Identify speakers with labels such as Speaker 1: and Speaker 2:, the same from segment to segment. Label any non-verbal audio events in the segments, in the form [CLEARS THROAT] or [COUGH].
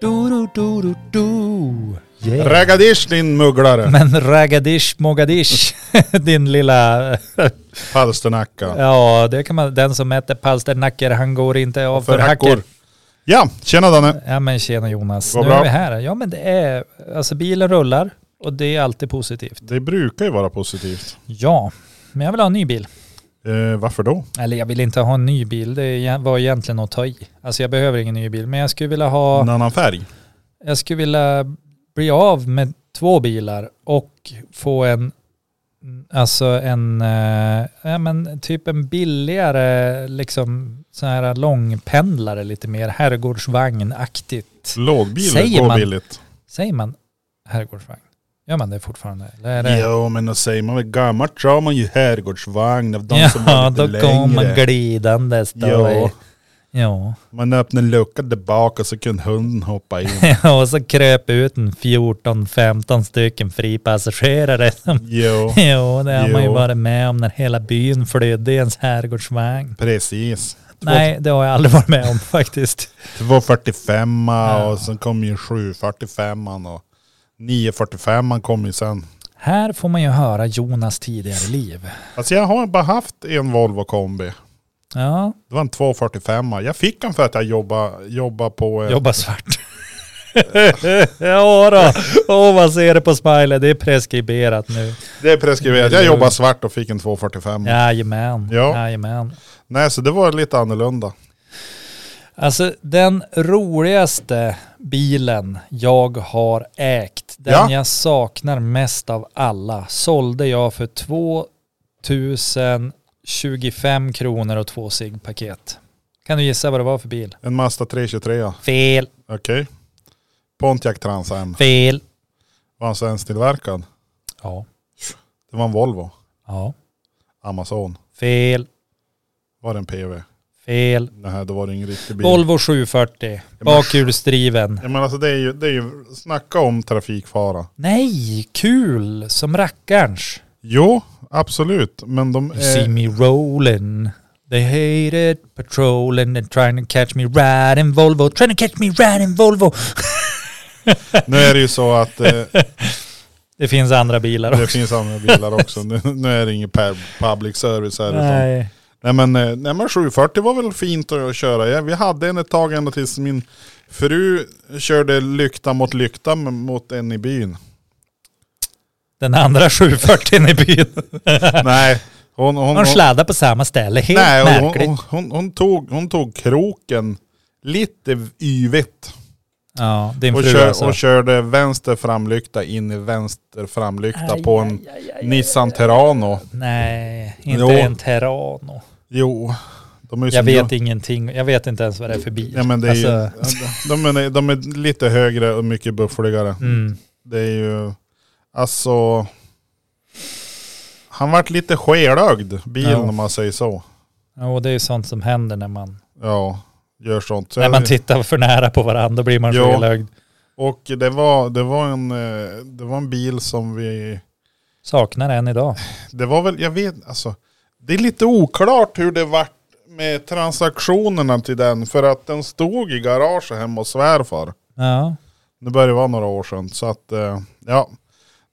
Speaker 1: Du, du, du, du, du. Yeah.
Speaker 2: Ragadish din mugglare.
Speaker 1: Men ragadish mogadish, [LAUGHS] din lilla...
Speaker 2: Palsternacka.
Speaker 1: Ja, det kan man... Den som äter palsternackor, han går inte av för, hackor.
Speaker 2: Ja, tjena Danne.
Speaker 1: Ja men tjena Jonas,
Speaker 2: Vad
Speaker 1: nu
Speaker 2: bra.
Speaker 1: är vi här. Ja men det är, alltså bilen rullar och det är alltid positivt.
Speaker 2: Det brukar ju vara positivt.
Speaker 1: Ja, men jag vill ha en ny bil.
Speaker 2: Eh, varför då?
Speaker 1: Eller jag vill inte ha en ny bil, det är- var egentligen att ta i. Alltså jag behöver ingen ny bil, men jag skulle vilja ha,
Speaker 2: En annan färg.
Speaker 1: jag skulle vilja bli av med två bilar och få en, alltså en, eh, ja men typ en billigare liksom sån här långpendlare lite mer, herrgårdsvagnaktigt.
Speaker 2: Mm. Lågbil
Speaker 1: Säger
Speaker 2: går
Speaker 1: man-
Speaker 2: billigt.
Speaker 1: Säger man herrgårdsvagn? Gör man det fortfarande? Eller är det...
Speaker 2: Jo, men då säger man väl gammalt så har man ju herrgårdsvagn av de som
Speaker 1: ja,
Speaker 2: var
Speaker 1: då
Speaker 2: lite
Speaker 1: kom man
Speaker 2: längre.
Speaker 1: glidandes. då.
Speaker 2: Ja,
Speaker 1: ja.
Speaker 2: man öppnade luckan där bak och så kunde hunden hoppa in.
Speaker 1: [LAUGHS] Och så kröp ut en 14-15 stycken fripassagerare. som-
Speaker 2: jo,
Speaker 1: [LAUGHS] Jo, det har man ju
Speaker 2: Jo.
Speaker 1: varit med om när hela byn flydde i ens herrgårdsvagn.
Speaker 2: precis.
Speaker 1: Nej, det har jag aldrig varit med om [LAUGHS] faktiskt.
Speaker 2: 245 och sen kom ju 745 och 945 kom ju sen.
Speaker 1: Här får man ju höra Jonas tidigare liv.
Speaker 2: Alltså jag har bara haft en Volvo kombi.
Speaker 1: Ja,
Speaker 2: Det var en 245. Jag fick den för att jag jobbade, jobbade på... eh,
Speaker 1: jobba svart. [LAUGHS] ja då. Åh, vad ser det på smiley? Det är preskriberat nu.
Speaker 2: Det är preskriberat. Jag jobbade svart och fick en 245.
Speaker 1: Jajamän.
Speaker 2: Mm. Ja.
Speaker 1: Jajamän.
Speaker 2: Nej, så det var lite annorlunda.
Speaker 1: Alltså den roligaste bilen jag har ägt, den
Speaker 2: Ja.
Speaker 1: jag saknar mest av alla, sålde jag för 2025 kronor och två cigg paket. Kan du gissa vad det var för bil?
Speaker 2: En Mazda 323. Okej.
Speaker 1: Fel,
Speaker 2: Pontiac Transam.
Speaker 1: fel.
Speaker 2: Var han svensktillverkad?
Speaker 1: Ja,
Speaker 2: Det var en Volvo.
Speaker 1: ja.
Speaker 2: Amazon.
Speaker 1: Fel,
Speaker 2: Var det en PV?
Speaker 1: fel.
Speaker 2: Nej, då var det ingen riktig bil.
Speaker 1: Volvo 740, bakhjulsdriven.
Speaker 2: Ja, men alltså det är ju, det är ju snacka om trafikfara.
Speaker 1: Nej, kul som rackarns.
Speaker 2: Jo, absolut. Men de
Speaker 1: You see
Speaker 2: är...
Speaker 1: me rolling. They hate it, patrolling and trying to catch me riding Volvo. Trying to catch me riding Volvo.
Speaker 2: Nu är det ju så att eh,
Speaker 1: Det finns andra bilar
Speaker 2: det
Speaker 1: också.
Speaker 2: finns andra bilar också. Nu, nu är det ingen pub- public service här. utan
Speaker 1: Nej.
Speaker 2: Nej men, eh, nej men 740 var väl fint att köra. Ja, Vi hade en ett tag ända tills min fru körde lykta mot lykta m- mot en
Speaker 1: [LAUGHS]
Speaker 2: i byn.
Speaker 1: Den andra 740 i byn.
Speaker 2: nej, hon, hon,
Speaker 1: De sladdar på samma ställe. Helt
Speaker 2: nej, hon,
Speaker 1: märkligt.
Speaker 2: hon, hon, hon, tog, hon tog kroken lite yvigt
Speaker 1: ja, din
Speaker 2: och,
Speaker 1: fru
Speaker 2: kör,
Speaker 1: alltså.
Speaker 2: och körde vänster framlykta in i vänster framlykta
Speaker 1: Aj,
Speaker 2: på
Speaker 1: aj,
Speaker 2: en
Speaker 1: aj, aj,
Speaker 2: Nissan Terrano.
Speaker 1: Nej, inte
Speaker 2: Jo.
Speaker 1: en Terrano.
Speaker 2: Jo, de är ju
Speaker 1: Jag
Speaker 2: som
Speaker 1: vet ingenting. Jag vet inte ens vad det är för bil.
Speaker 2: Ja, men det är ju,
Speaker 1: Alltså,
Speaker 2: de, är, de är lite högre och mycket buffligare.
Speaker 1: mm.
Speaker 2: Det är ju, alltså. Han vart lite skelögd, bilen
Speaker 1: Ja.
Speaker 2: om man säger så.
Speaker 1: Jo, det är ju sånt som händer när man,
Speaker 2: Ja, gör sånt. Så
Speaker 1: när
Speaker 2: jag-
Speaker 1: man tittar för nära på varandra. Då blir man
Speaker 2: Jo.
Speaker 1: felögd.
Speaker 2: och det var, det, var en, eh, det var en bil som vi,
Speaker 1: Saknar en idag.
Speaker 2: det var väl, jag vet, alltså. Det är lite oklart hur det vart med transaktionerna till den. För att den stod i garaget hemma hos svärfar.
Speaker 1: Ja.
Speaker 2: Det börjar vara några år sedan. Så att, eh, ja.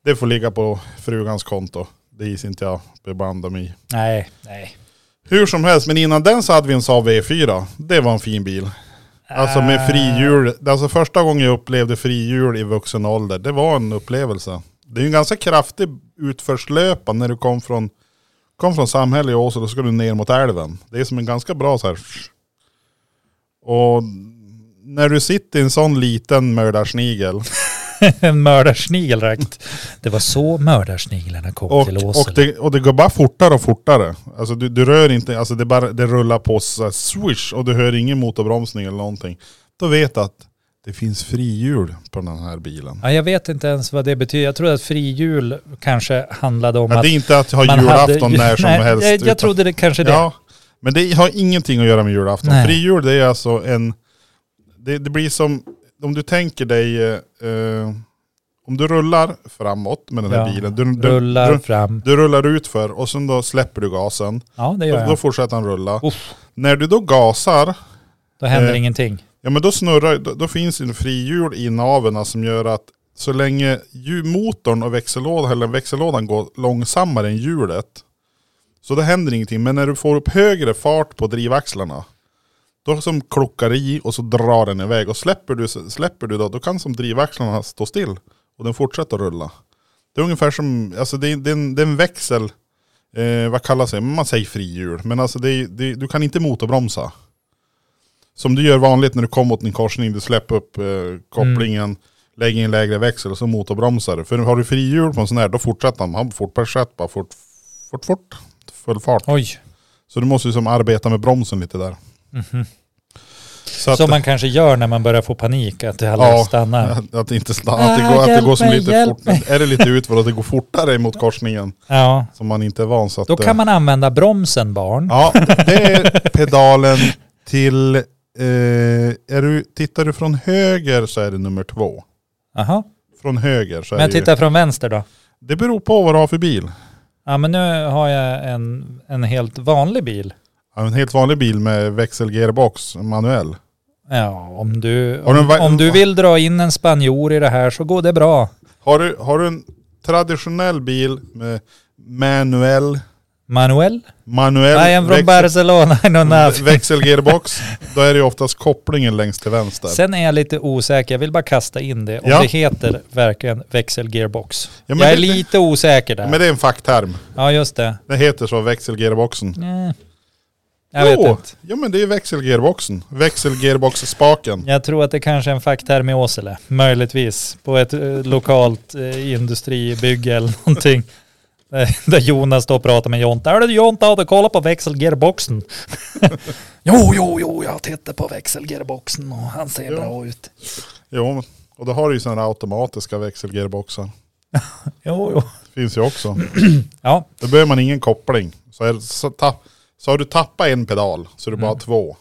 Speaker 2: Det får ligga på frugans konto. Det is inte jag beblanda mig i.
Speaker 1: Nej, nej.
Speaker 2: Hur som helst, men innan den så hade vi en Saab V4. Det var en fin bil. Alltså
Speaker 1: Eh.
Speaker 2: med frihjul. Det är Alltså första gången jag upplevde frihjul i vuxen ålder, det var en upplevelse. Det är ju en ganska kraftig utförslöpa när du kom från, kom från samhället i Åsele och så ska du ner mot älven. Det är som en ganska bra så här... Och när du sitter i en sån liten mördarsnigel
Speaker 1: [LAUGHS] en mördarsnigel rakt. Det var så mördarsniglarna kom
Speaker 2: och,
Speaker 1: till
Speaker 2: och,
Speaker 1: Åsele.
Speaker 2: det, och det går bara fortare och fortare. Alltså du, du rör inte, alltså det, bara, det rullar på så här swish och du hör ingen motorbromsning eller någonting. Då vet du att det finns frihjul på den här bilen.
Speaker 1: Ja, jag vet inte ens vad det betyder. Jag tror att frihjul kanske handlade om
Speaker 2: Ja,
Speaker 1: att...
Speaker 2: det är inte att ha
Speaker 1: man
Speaker 2: julafton
Speaker 1: hade- [LAUGHS]
Speaker 2: när som
Speaker 1: Nej,
Speaker 2: helst.
Speaker 1: Jag, jag
Speaker 2: utan-
Speaker 1: trodde det kanske det.
Speaker 2: Ja, men det har ingenting att göra med julafton.
Speaker 1: Nej.
Speaker 2: Frihjul det är alltså en... Det, det blir som, om du tänker dig... eh, eh, om du rullar framåt med den här
Speaker 1: Ja,
Speaker 2: bilen. Du, du,
Speaker 1: Rullar
Speaker 2: du,
Speaker 1: fram.
Speaker 2: du rullar ut för och sen då släpper du gasen.
Speaker 1: Ja, det
Speaker 2: Då,
Speaker 1: gör
Speaker 2: då
Speaker 1: jag.
Speaker 2: fortsätter han rulla.
Speaker 1: Uff,
Speaker 2: När du då gasar,
Speaker 1: då händer
Speaker 2: eh,
Speaker 1: ingenting.
Speaker 2: Ja men då snurrar, då, då finns ju en frihjul i naven som gör att så länge ju- motorn och växellådan, eller växellådan går långsammare än hjulet så det händer ingenting. Men när du får upp högre fart på drivaxlarna då som klockar i och så drar den iväg. Och släpper du, släpper du då, då kan som drivaxlarna stå still och den fortsätter att rulla. Det är ungefär som, alltså det, är- det, är, en, det är en växel, eh, vad kallas det, man säger frihjul. Men alltså det, är- det, är- du kan inte motorbromsa. Som du gör vanligt när du kommer åt en korsning, du släpper upp eh, kopplingen, lägger in lägre växel och så motorbromsar du. För har du frihjul på en sån här, då fortsätter han, han fortsätter bara fort, fort, fort, full fart.
Speaker 1: Oj.
Speaker 2: Så du måste ju som arbeta med bromsen lite där.
Speaker 1: Mhm.
Speaker 2: Så att,
Speaker 1: Som man kanske gör när man börjar få panik, att det alla
Speaker 2: Ja.
Speaker 1: stannar.
Speaker 2: [LAUGHS] att, att det inte stannar, att
Speaker 1: Ah,
Speaker 2: det går, att det
Speaker 1: hjälp
Speaker 2: går som
Speaker 1: mig,
Speaker 2: lite
Speaker 1: hjälp
Speaker 2: fort. Är
Speaker 1: [LAUGHS]
Speaker 2: det lite utför att det går fortare mot korsningen
Speaker 1: Ja.
Speaker 2: som man inte är van. Så att,
Speaker 1: Då
Speaker 2: eh,
Speaker 1: kan man använda bromsen barn.
Speaker 2: Ja, det är pedalen till, eh, är du, tittar du från höger så är det nummer två.
Speaker 1: Aha.
Speaker 2: Från höger så är
Speaker 1: Men jag
Speaker 2: det ju-
Speaker 1: tittar från vänster då.
Speaker 2: Det beror på vad du har för bil.
Speaker 1: Ja men nu har jag en, en helt vanlig bil.
Speaker 2: Ja, En helt vanlig bil med växelgearbox, manuell.
Speaker 1: Ja, om du,
Speaker 2: Har du en
Speaker 1: om,
Speaker 2: va-
Speaker 1: om du vill dra in en spanjor i det här så går det bra.
Speaker 2: Har du, har du en traditionell bil med manuell,
Speaker 1: Manuel?
Speaker 2: manuell
Speaker 1: I am from
Speaker 2: växel-
Speaker 1: Barcelona, I know
Speaker 2: Vä-
Speaker 1: nothing.
Speaker 2: [LAUGHS] Växelgearbox, då är det ju oftast kopplingen längst till vänster.
Speaker 1: Sen är jag lite osäker, jag vill bara kasta in det. Om
Speaker 2: Ja.
Speaker 1: det heter verkligen växelgearbox.
Speaker 2: Ja, men
Speaker 1: jag är
Speaker 2: det-
Speaker 1: lite osäker där.
Speaker 2: Men det är en fackterm.
Speaker 1: Ja just det.
Speaker 2: Det heter så, växelgearboxen.
Speaker 1: Mm. Jag vet
Speaker 2: Jo,
Speaker 1: inte.
Speaker 2: Ja men det är växelgearboxen. Växelgearbox-spaken.
Speaker 1: Jag tror att det kanske är en fackterm i Åsele, möjligtvis. På ett eh, lokalt eh, industribygge eller [LAUGHS] någonting. Eh, Där Jonas står och pratar med Jonta. Hörru du Jonta, har du kollat på växelgearboxen? [LAUGHS] jo, jo, jo, jag tittar på växelgearboxen och han ser
Speaker 2: Ja.
Speaker 1: bra ut.
Speaker 2: Jo, och då har du ju sådana här automatiska växelgearboxar.
Speaker 1: Jo, jo.
Speaker 2: Finns ju också.
Speaker 1: Ja,
Speaker 2: Då behöver man ingen koppling. Så, är, så, tapp, så har du tappat en pedal, så är det bara
Speaker 1: Mm.
Speaker 2: två.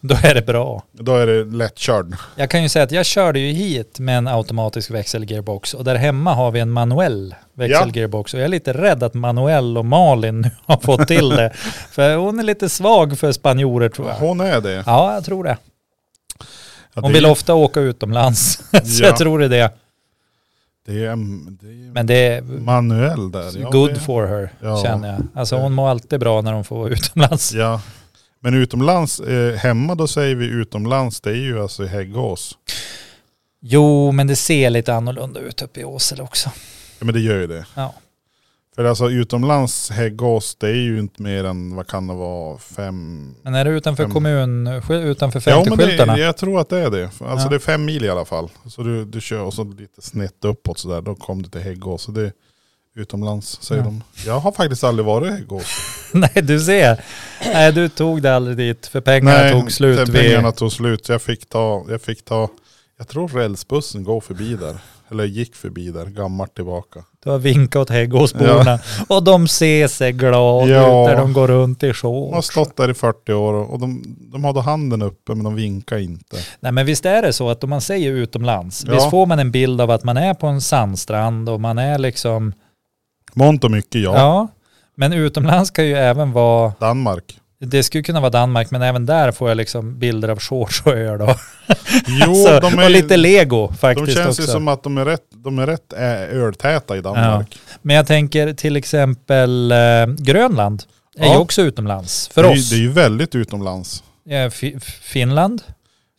Speaker 1: då är det bra.
Speaker 2: Då är det lättkörd.
Speaker 1: Jag kan ju säga att jag körde ju hit med en automatisk växelgearbox och där hemma har vi en manuell växelgearbox och jag är lite rädd att Manuel och Malin [LAUGHS] nu har fått till det. för hon är lite svag för spanjorer tror jag.
Speaker 2: Hon är det.
Speaker 1: Ja, jag tror det.
Speaker 2: Ja,
Speaker 1: Hon
Speaker 2: det,
Speaker 1: vill ofta åka utomlands. [LAUGHS] så
Speaker 2: Ja.
Speaker 1: jag tror det är det.
Speaker 2: det, är, det är
Speaker 1: Men det är
Speaker 2: manuell där. Ja,
Speaker 1: good
Speaker 2: det-
Speaker 1: for her,
Speaker 2: Ja.
Speaker 1: känner jag. Alltså hon mår alltid bra när hon får vara utomlands.
Speaker 2: Ja. Men utomlands, eh, hemma då säger vi utomlands, det är ju alltså i Häggås.
Speaker 1: Jo, men det ser lite annorlunda ut uppe i Åsele också.
Speaker 2: Ja men det gör ju det.
Speaker 1: Ja.
Speaker 2: För alltså utomlands Häggås, det är ju inte mer än, vad kan det vara, fem...
Speaker 1: Men är det utanför
Speaker 2: Fem.
Speaker 1: kommun, sk- utanför
Speaker 2: Ja men det,
Speaker 1: 50-skyltarna?
Speaker 2: jag tror att det är det. Alltså
Speaker 1: Ja.
Speaker 2: det är fem mil i alla fall. Så du, du kör och så lite snett uppåt sådär, då kom du till Häggås. Så det är utomlands säger
Speaker 1: Ja.
Speaker 2: de. Jag har faktiskt aldrig varit i Häggås.
Speaker 1: [LAUGHS] Nej, du ser. Nej, du tog det aldrig dit för pengarna tog slut.
Speaker 2: sen
Speaker 1: vid-
Speaker 2: pengarna tog slut. Så jag fick ta, jag fick ta, jag tror rälsbussen går förbi där. Eller gick förbi där, gammalt tillbaka.
Speaker 1: Du har vinkat åt Häggåsborna och de ser sig glada
Speaker 2: Ja.
Speaker 1: ut när de går runt i
Speaker 2: De har
Speaker 1: shorts.
Speaker 2: stått där i 40 år och och de, de hade handen uppe men de vinkar inte.
Speaker 1: Nej men visst är det så att om man säger utomlands,
Speaker 2: Ja.
Speaker 1: visst får man en bild av att man är på en sandstrand och man är liksom,
Speaker 2: Mångt och mycket ja.
Speaker 1: ja. Men utomlands kan ju även vara, [LAUGHS]
Speaker 2: Danmark.
Speaker 1: det skulle kunna vara Danmark, men även där får jag liksom bilder av shorts och öar då.
Speaker 2: Jo,
Speaker 1: så,
Speaker 2: de,
Speaker 1: Alltså, och lite
Speaker 2: är,
Speaker 1: lego
Speaker 2: de
Speaker 1: faktiskt
Speaker 2: känns ju
Speaker 1: också.
Speaker 2: som att de är rätt, de är rätt ä, öltäta i Danmark.
Speaker 1: Men jag tänker till exempel eh, Grönland är
Speaker 2: Ja.
Speaker 1: ju också utomlands för
Speaker 2: det, är ju-
Speaker 1: oss.
Speaker 2: det är ju väldigt utomlands.
Speaker 1: Eh, Fi- Finland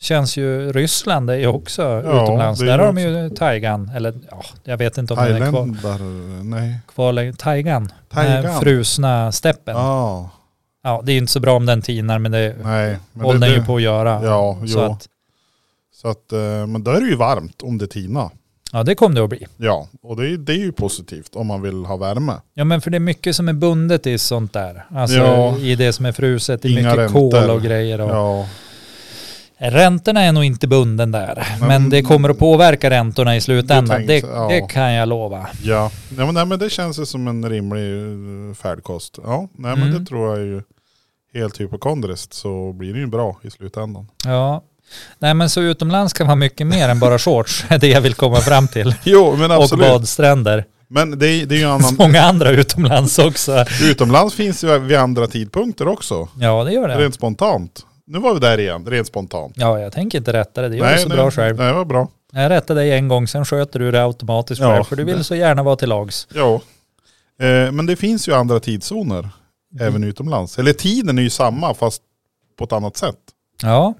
Speaker 1: känns ju, Ryssland är ju också utomlands.
Speaker 2: det är
Speaker 1: Där
Speaker 2: ju
Speaker 1: har de ju Taigan, eller ja, jag vet inte om den är kvar.
Speaker 2: Thailändare, nej.
Speaker 1: kvar längre. Taigan.
Speaker 2: Taigan.
Speaker 1: Den här frusna steppen. Ja.
Speaker 2: Ja,
Speaker 1: det är inte så bra om den tinar men det
Speaker 2: nej. Men
Speaker 1: håller den
Speaker 2: det,
Speaker 1: ju på att göra.
Speaker 2: Ja, jo.
Speaker 1: så att,
Speaker 2: Så att, eh, men då är det ju varmt om det tinar.
Speaker 1: ja, det kommer det att bli.
Speaker 2: Ja, och det, är- det är ju positivt om man vill ha värme.
Speaker 1: Ja men för det är mycket som är bundet i sånt där. Alltså
Speaker 2: Ja.
Speaker 1: i det som är fruset. Det är
Speaker 2: Inga
Speaker 1: mycket kol
Speaker 2: räntor.
Speaker 1: och grejer. Och.
Speaker 2: Ja,
Speaker 1: Räntorna är nog inte bunden där. Men,
Speaker 2: Men-
Speaker 1: det kommer att påverka räntorna i slutändan.
Speaker 2: tänkte-
Speaker 1: Det,
Speaker 2: ja.
Speaker 1: det kan jag lova.
Speaker 2: ja. Nej, men, nej, men det känns ju som en rimlig eh, färdkost. Ja, nej men
Speaker 1: Mm.
Speaker 2: det tror jag är ju helt hypokondriskt så blir det ju bra
Speaker 1: [LAUGHS]
Speaker 2: i slutändan.
Speaker 1: Ja. Nej men så utomlands kan vara mycket mer än bara shorts. [LAUGHS] Det är det jag vill komma fram till.
Speaker 2: Jo, men
Speaker 1: Och badstränder.
Speaker 2: Men det, är- det är ju en annan...
Speaker 1: [LAUGHS] Många andra utomlands också.
Speaker 2: Utomlands finns ju vid andra tidpunkter också.
Speaker 1: Ja det gör det.
Speaker 2: Rent spontant. Nu var vi där igen, rent spontant.
Speaker 1: Ja, jag tänker inte rätta det. Det gör du så
Speaker 2: nej,
Speaker 1: bra själv.
Speaker 2: Nej, det var bra.
Speaker 1: Jag rättar dig en gång, sen sköter du det automatiskt
Speaker 2: Ja,
Speaker 1: själv. För du vill
Speaker 2: det-
Speaker 1: så gärna vara till lags.
Speaker 2: Ja. Eh, men det finns ju andra tidszoner,
Speaker 1: Mm.
Speaker 2: även utomlands. Eller tiden är ju samma, fast på ett annat sätt.
Speaker 1: Ja.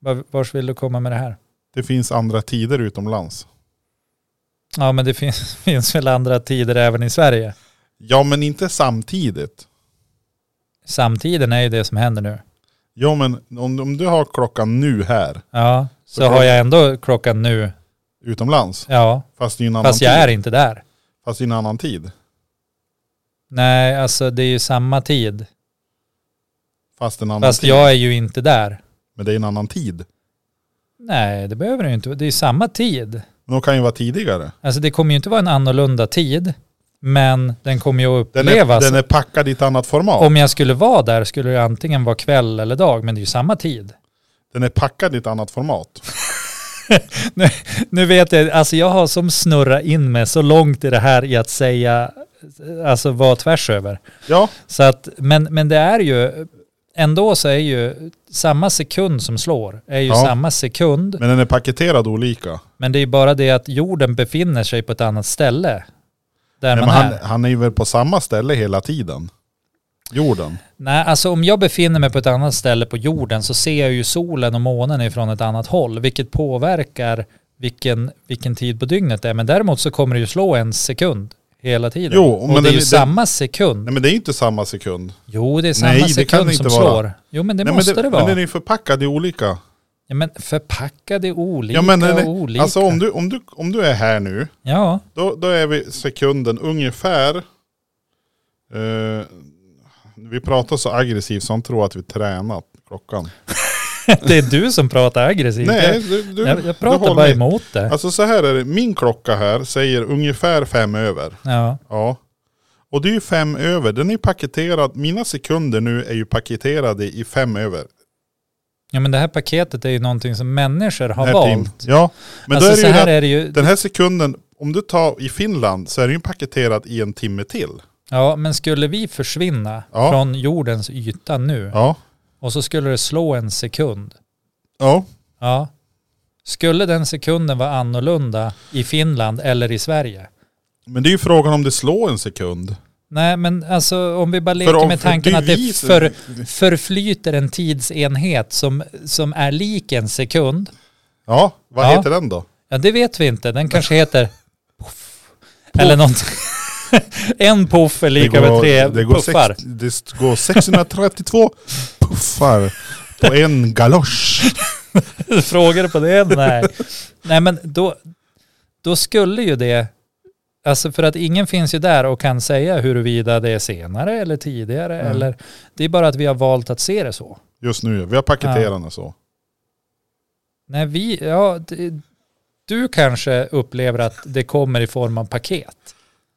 Speaker 1: Var- Vars vill du komma med det här?
Speaker 2: Det finns andra tider utomlands.
Speaker 1: Ja, men det finns, [LAUGHS] finns väl andra tider även i Sverige.
Speaker 2: Ja, men inte samtidigt.
Speaker 1: Samtiden är ju det som händer nu.
Speaker 2: Ja, men om, om du har klockan nu här,
Speaker 1: Ja, så
Speaker 2: klockan-
Speaker 1: har jag ändå klockan nu.
Speaker 2: utomlands,
Speaker 1: Ja,
Speaker 2: fast i en annan
Speaker 1: fast jag
Speaker 2: tid.
Speaker 1: är inte där.
Speaker 2: Fast i en annan tid.
Speaker 1: Nej, alltså det är ju samma tid.
Speaker 2: Fast en annan
Speaker 1: Fast
Speaker 2: tid.
Speaker 1: jag är ju inte där.
Speaker 2: Men det är en annan tid.
Speaker 1: Nej, det behöver det ju inte vara. Det är ju samma tid.
Speaker 2: Men de kan ju vara tidigare.
Speaker 1: Alltså det kommer ju inte vara en annorlunda tid, men den kommer ju att
Speaker 2: Den är,
Speaker 1: upplevas.
Speaker 2: den är packad i ett annat format.
Speaker 1: Om jag skulle vara där skulle det antingen vara kväll eller dag, men det är ju samma tid. [LAUGHS]
Speaker 2: Den är packad i ett annat format.
Speaker 1: Nu vet jag, alltså jag har som snurrat in mig så långt i det här i att säga, alltså vara tvärs över.
Speaker 2: Ja,
Speaker 1: Så att, men, men det är ju, ändå så är ju samma sekund som slår, är ju
Speaker 2: Ja.
Speaker 1: samma sekund.
Speaker 2: men den är paketerad olika.
Speaker 1: Men det är ju bara det att jorden befinner sig på ett annat ställe. Där
Speaker 2: Nej, men
Speaker 1: man
Speaker 2: han,
Speaker 1: är.
Speaker 2: han är ju väl på samma ställe hela tiden. Jorden.
Speaker 1: Nej, alltså om jag befinner mig på ett annat ställe på jorden så ser jag ju solen och månen ifrån ett annat håll, vilket påverkar vilken, vilken tid på dygnet det är. Men däremot så kommer det ju slå en sekund hela tiden.
Speaker 2: Jo,
Speaker 1: och
Speaker 2: men
Speaker 1: det är ju
Speaker 2: den-
Speaker 1: samma sekund.
Speaker 2: Nej men det är ju inte samma sekund.
Speaker 1: Jo, det är samma
Speaker 2: Nej, det kan
Speaker 1: sekund
Speaker 2: det
Speaker 1: som
Speaker 2: inte vara.
Speaker 1: slår. Jo, men det
Speaker 2: Nej,
Speaker 1: måste
Speaker 2: men
Speaker 1: det,
Speaker 2: Men
Speaker 1: vara.
Speaker 2: den är ju förpackad i olika.
Speaker 1: ja, men förpackade olika
Speaker 2: Ja, men den
Speaker 1: och
Speaker 2: är-
Speaker 1: olika.
Speaker 2: Alltså om du, om, du, om du är här nu,
Speaker 1: Ja,
Speaker 2: då, då är vi sekunden ungefär. Eh, vi pratar så aggressivt så han tror att vi tränat klockan.
Speaker 1: det är du som pratar aggressivt.
Speaker 2: Nej, du, du,
Speaker 1: jag, jag, jag
Speaker 2: du håller
Speaker 1: pratar bara
Speaker 2: i.
Speaker 1: emot det.
Speaker 2: Alltså så här är det, min klocka här säger ungefär fem över.
Speaker 1: Ja.
Speaker 2: Ja. Och det är ju fem över, den är paketerad, mina sekunder nu är ju paketerade i fem över.
Speaker 1: ja, men det här paketet är ju någonting som människor har
Speaker 2: Den här tim-
Speaker 1: valt.
Speaker 2: Ja, men
Speaker 1: alltså
Speaker 2: då är
Speaker 1: så
Speaker 2: det ju
Speaker 1: här
Speaker 2: att
Speaker 1: är det ju,
Speaker 2: den här sekunden, om du tar i Finland så är den ju paketerad i en timme till.
Speaker 1: Ja, men skulle vi försvinna
Speaker 2: Ja.
Speaker 1: från jordens yta nu
Speaker 2: Ja.
Speaker 1: och så skulle det slå en sekund.
Speaker 2: Ja.
Speaker 1: Ja. Skulle den sekunden vara annorlunda i Finland eller i Sverige?
Speaker 2: Men det är ju frågan om det slår en sekund.
Speaker 1: Nej, men alltså om vi bara leker
Speaker 2: För om-
Speaker 1: med
Speaker 2: för
Speaker 1: tanken
Speaker 2: det är
Speaker 1: att det
Speaker 2: vi som-
Speaker 1: för, förflyter en tidsenhet som, som är lik en sekund.
Speaker 2: Ja, vad
Speaker 1: Ja.
Speaker 2: heter den då?
Speaker 1: Ja, det vet vi inte. Den kanske heter poff. Eller någonting. [LAUGHS] en poff är lika med tre
Speaker 2: det går,
Speaker 1: puffar.
Speaker 2: sex, det går 632 puffar på en galosch.
Speaker 1: [LAUGHS] Frågar du på det? Nej. Nej men då, då skulle ju det, alltså för att ingen finns ju där och kan säga huruvida det är senare eller tidigare
Speaker 2: Mm.
Speaker 1: eller, det är bara att vi har valt att se det så.
Speaker 2: Just nu, vi har paketerat den så.
Speaker 1: Nej vi, ja, det, du kanske upplever att det kommer i form av paket.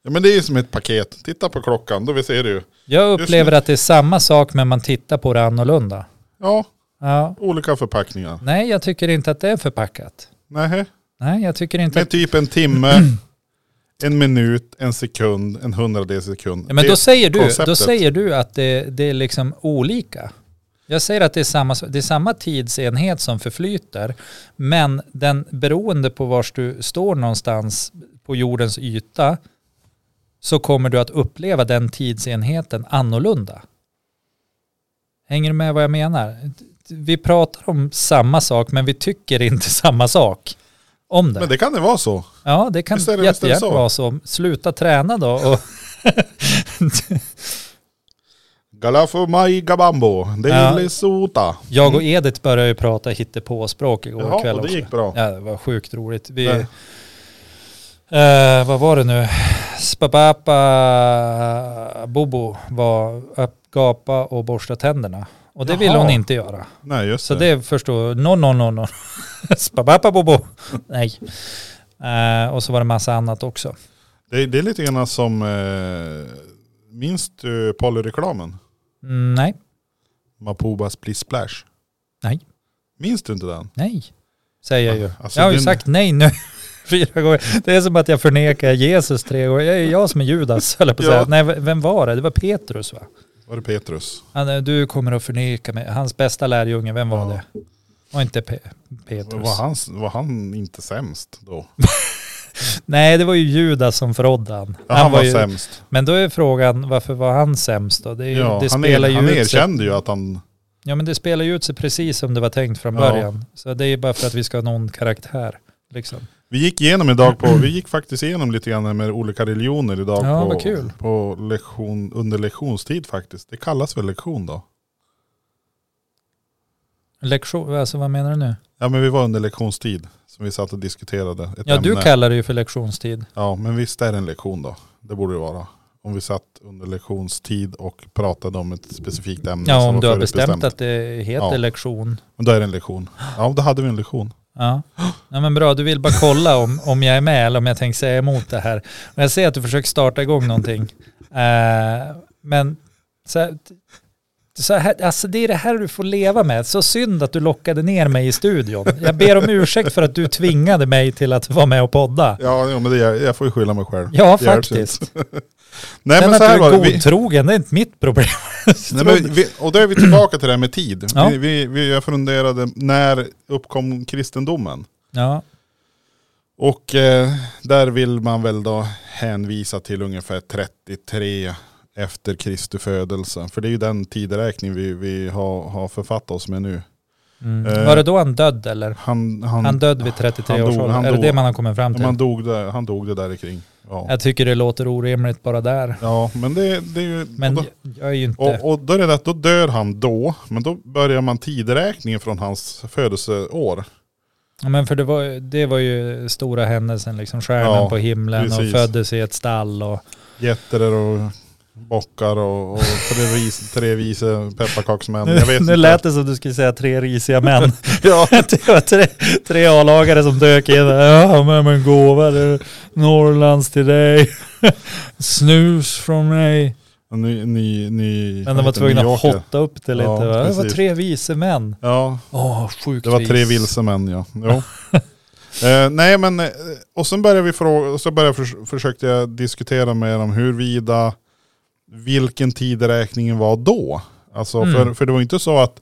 Speaker 2: Ja men det är ju som ett paket. Titta på klockan, då vi ser det ju.
Speaker 1: Jag
Speaker 2: Just
Speaker 1: upplever
Speaker 2: nu.
Speaker 1: att det är samma sak men man tittar på det annorlunda.
Speaker 2: Ja,
Speaker 1: Ja.
Speaker 2: olika förpackningar.
Speaker 1: Nej, jag tycker inte att det är förpackat.
Speaker 2: Nej.
Speaker 1: Nej, jag tycker inte
Speaker 2: Det är
Speaker 1: att...
Speaker 2: typ
Speaker 1: [CLEARS THROAT]
Speaker 2: en timme, en minut, en sekund, en hundradels sekund.
Speaker 1: Ja, men
Speaker 2: Det-
Speaker 1: då säger, du, då
Speaker 2: konceptet.
Speaker 1: säger du att det, det är liksom olika. Jag säger att det är, samma, det är samma tidsenhet som förflyter, men den beroende på var du står någonstans på jordens yta så kommer du att uppleva den tidsenheten annorlunda. Hänger du med vad jag menar? Vi pratar om samma sak, men vi tycker inte [LAUGHS] samma sak om det.
Speaker 2: Men det kan det vara så.
Speaker 1: Ja, det kan
Speaker 2: Visst är det- visst är det
Speaker 1: jättegärna
Speaker 2: så?
Speaker 1: vara så. Sluta träna då och
Speaker 2: Galafumai gabambo,
Speaker 1: Ja.
Speaker 2: delisuta.
Speaker 1: Jag och Edith började ju prata hittepåspråk igår
Speaker 2: Ja,
Speaker 1: kväll
Speaker 2: Mm. och det
Speaker 1: också.
Speaker 2: gick bra.
Speaker 1: Ja, det var sjukt roligt. Vi,
Speaker 2: Nej.
Speaker 1: eh, vad var det nu? Spapapa Bobo var att gapa och borsta tänderna. Och det ville
Speaker 2: Jaha.
Speaker 1: hon inte göra.
Speaker 2: Nej just
Speaker 1: Så
Speaker 2: det.
Speaker 1: det förstår No, no, no, no. [LAUGHS] Spapapa Bobo. Nej. Eh, och så var det massa annat också.
Speaker 2: Det, det är lite grann som, eh, minst du Polly-reklamen?
Speaker 1: Mm, nej,
Speaker 2: Mapubas Bliss Splash.
Speaker 1: Nej.
Speaker 2: Minns du inte den?
Speaker 1: nej, säger jag ju.
Speaker 2: Alltså,
Speaker 1: jag har ju
Speaker 2: den-
Speaker 1: sagt nej nu. [LAUGHS] Fyra gånger. Det är som att jag förnekar Jesus tre gånger. Jag är jag som är Judas, höll jag på att
Speaker 2: Ja.
Speaker 1: säga. Nej, v- vem var det? Det var Petrus va?
Speaker 2: Var det Petrus?
Speaker 1: Han, eh, du kommer att förneka mig. Hans bästa lärjunge, vem var
Speaker 2: Ja.
Speaker 1: det? Och inte Pe- Petrus.
Speaker 2: Var han, var han inte sämst då?
Speaker 1: Nej, det var ju Judas som förrådde han.
Speaker 2: Ja, han var
Speaker 1: ju,
Speaker 2: sämst.
Speaker 1: Men då är frågan, varför var han sämst då? Det, är ju,
Speaker 2: Ja,
Speaker 1: det
Speaker 2: han
Speaker 1: spelar
Speaker 2: er,
Speaker 1: ju
Speaker 2: han
Speaker 1: ut sig.
Speaker 2: erkände ju att han...
Speaker 1: Ja, men det spelar ju ut sig precis som det var tänkt från
Speaker 2: Ja.
Speaker 1: början. Så det är bara för att vi ska ha någon karaktär. Liksom.
Speaker 2: Vi gick igenom idag på, vi gick faktiskt igenom lite grann med olika religioner idag
Speaker 1: Ja,
Speaker 2: på,
Speaker 1: vad kul.
Speaker 2: på lektion, under lektionstid faktiskt. Det kallas väl lektion då?
Speaker 1: Lektion, alltså vad menar du nu?
Speaker 2: Ja men vi var under lektionstid som vi satt och diskuterade ett
Speaker 1: Ja, du
Speaker 2: ämne.
Speaker 1: kallar det ju för lektionstid.
Speaker 2: Ja men visst är det en lektion då? Det borde det vara. Om vi satt under lektionstid och pratade om ett specifikt ämne.
Speaker 1: Ja,
Speaker 2: som
Speaker 1: om
Speaker 2: var
Speaker 1: du har
Speaker 2: förutbestämt.
Speaker 1: bestämt att det heter
Speaker 2: Ja.
Speaker 1: lektion.
Speaker 2: Men då är det en lektion. Ja då hade vi en lektion.
Speaker 1: Ja. ja, men bra. Du vill bara kolla om, om jag är med eller om jag tänker säga emot det här. Och jag ser att du försöker starta igång någonting. Eh, men så här, så här, alltså det är det här du får leva med. Så synd att du lockade ner mig i studion. Jag ber om ursäkt för att du tvingade mig till att vara med och podda.
Speaker 2: Ja jo, men det, jag får ju skylla mig själv.
Speaker 1: Ja,
Speaker 2: Det hjälps
Speaker 1: faktiskt.
Speaker 2: Nej
Speaker 1: Sen
Speaker 2: men så
Speaker 1: att
Speaker 2: här
Speaker 1: du
Speaker 2: var
Speaker 1: är
Speaker 2: det. Vi,
Speaker 1: godtrogen, det är inte mitt problem.
Speaker 2: nej, men vi, och då är vi tillbaka till det här med tid.
Speaker 1: Ja.
Speaker 2: Vi, vi, vi, jag funderade, när uppkom kristendomen?
Speaker 1: Ja,
Speaker 2: Och eh, där vill man väl då hänvisa till ungefär 33 efter Kristi födelse. För det är ju den tideräkning vi, vi har, har författat oss med nu.
Speaker 1: mm.
Speaker 2: Eh.
Speaker 1: Var det då han död eller?
Speaker 2: Han, han,
Speaker 1: Han död vid 33
Speaker 2: han
Speaker 1: års
Speaker 2: dog-
Speaker 1: ålder?
Speaker 2: han
Speaker 1: Är det
Speaker 2: dog.
Speaker 1: det man har kommit fram till?
Speaker 2: man dog där, han dog det där kring. Ja.
Speaker 1: Jag tycker det låter orimligt bara där.
Speaker 2: ja, men det, det är ju...
Speaker 1: Men
Speaker 2: och,
Speaker 1: jag är ju inte...
Speaker 2: då, och, och då är det att då dör han då, men då börjar man tideräkningen från hans födelseår.
Speaker 1: Ja, men för det var, det var ju stora händelsen, liksom stjärnan
Speaker 2: Ja,
Speaker 1: på himlen
Speaker 2: precis.
Speaker 1: och föddes i ett stall och...
Speaker 2: Getter och bockar och, och tre, vis, tre vise pepparkaksmän. Jag
Speaker 1: [LAUGHS]
Speaker 2: vet
Speaker 1: nu
Speaker 2: inte.
Speaker 1: lät det som du skulle säga tre risiga män.
Speaker 2: [LAUGHS]
Speaker 1: [LAUGHS]
Speaker 2: ja.
Speaker 1: det var tre, tre A-lagare som dök in. Ja, men en gåva. Det är Norrlands till dig. [LAUGHS] Snus från mig.
Speaker 2: En Ny, ny, ny,
Speaker 1: Men de var
Speaker 2: vad heter det?
Speaker 1: tvungna
Speaker 2: New
Speaker 1: att
Speaker 2: Yorker.
Speaker 1: hotta upp det lite.
Speaker 2: Ja,
Speaker 1: va? Det var
Speaker 2: precis.
Speaker 1: tre vise män.
Speaker 2: Ja,
Speaker 1: Åh, sjukt
Speaker 2: det var
Speaker 1: vis.
Speaker 2: tre vilse män ja. [LAUGHS] Jo. Eh, nej men, eh, och sen började vi fråga, och så började jag förs- försökte jag diskutera med dem huruvida vilken tideräkningen var då. Alltså,
Speaker 1: Mm.
Speaker 2: för, för det var inte så att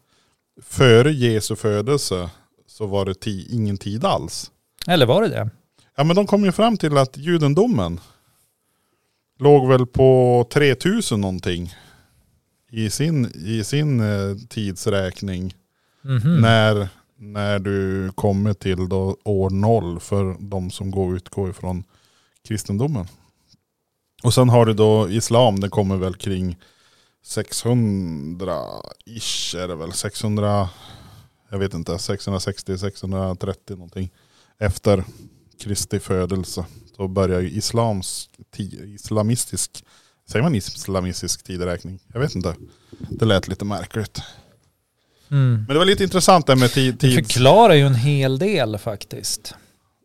Speaker 2: före Jesu födelse så var det ti, ingen tid alls.
Speaker 1: Eller var det det?
Speaker 2: Ja men de kom ju fram till att judendomen låg väl på 3000 någonting i sin, i sin eh, tidsräkning.
Speaker 1: Mhm.
Speaker 2: När, när du kommer till då år noll för de som går utgår ifrån kristendomen. Och sen har du då islam, den kommer väl kring 600-ish är det väl, 600, jag vet inte, 660-630 någonting efter Kristi födelse. Då börjar ju islams, ti- islamistisk, säger man islamistisk tideräkning? Jag vet inte. Det lät lite märkligt.
Speaker 1: Mm.
Speaker 2: Men det var lite intressant det här med tid.
Speaker 1: Det
Speaker 2: tids...
Speaker 1: förklarar ju en hel del faktiskt.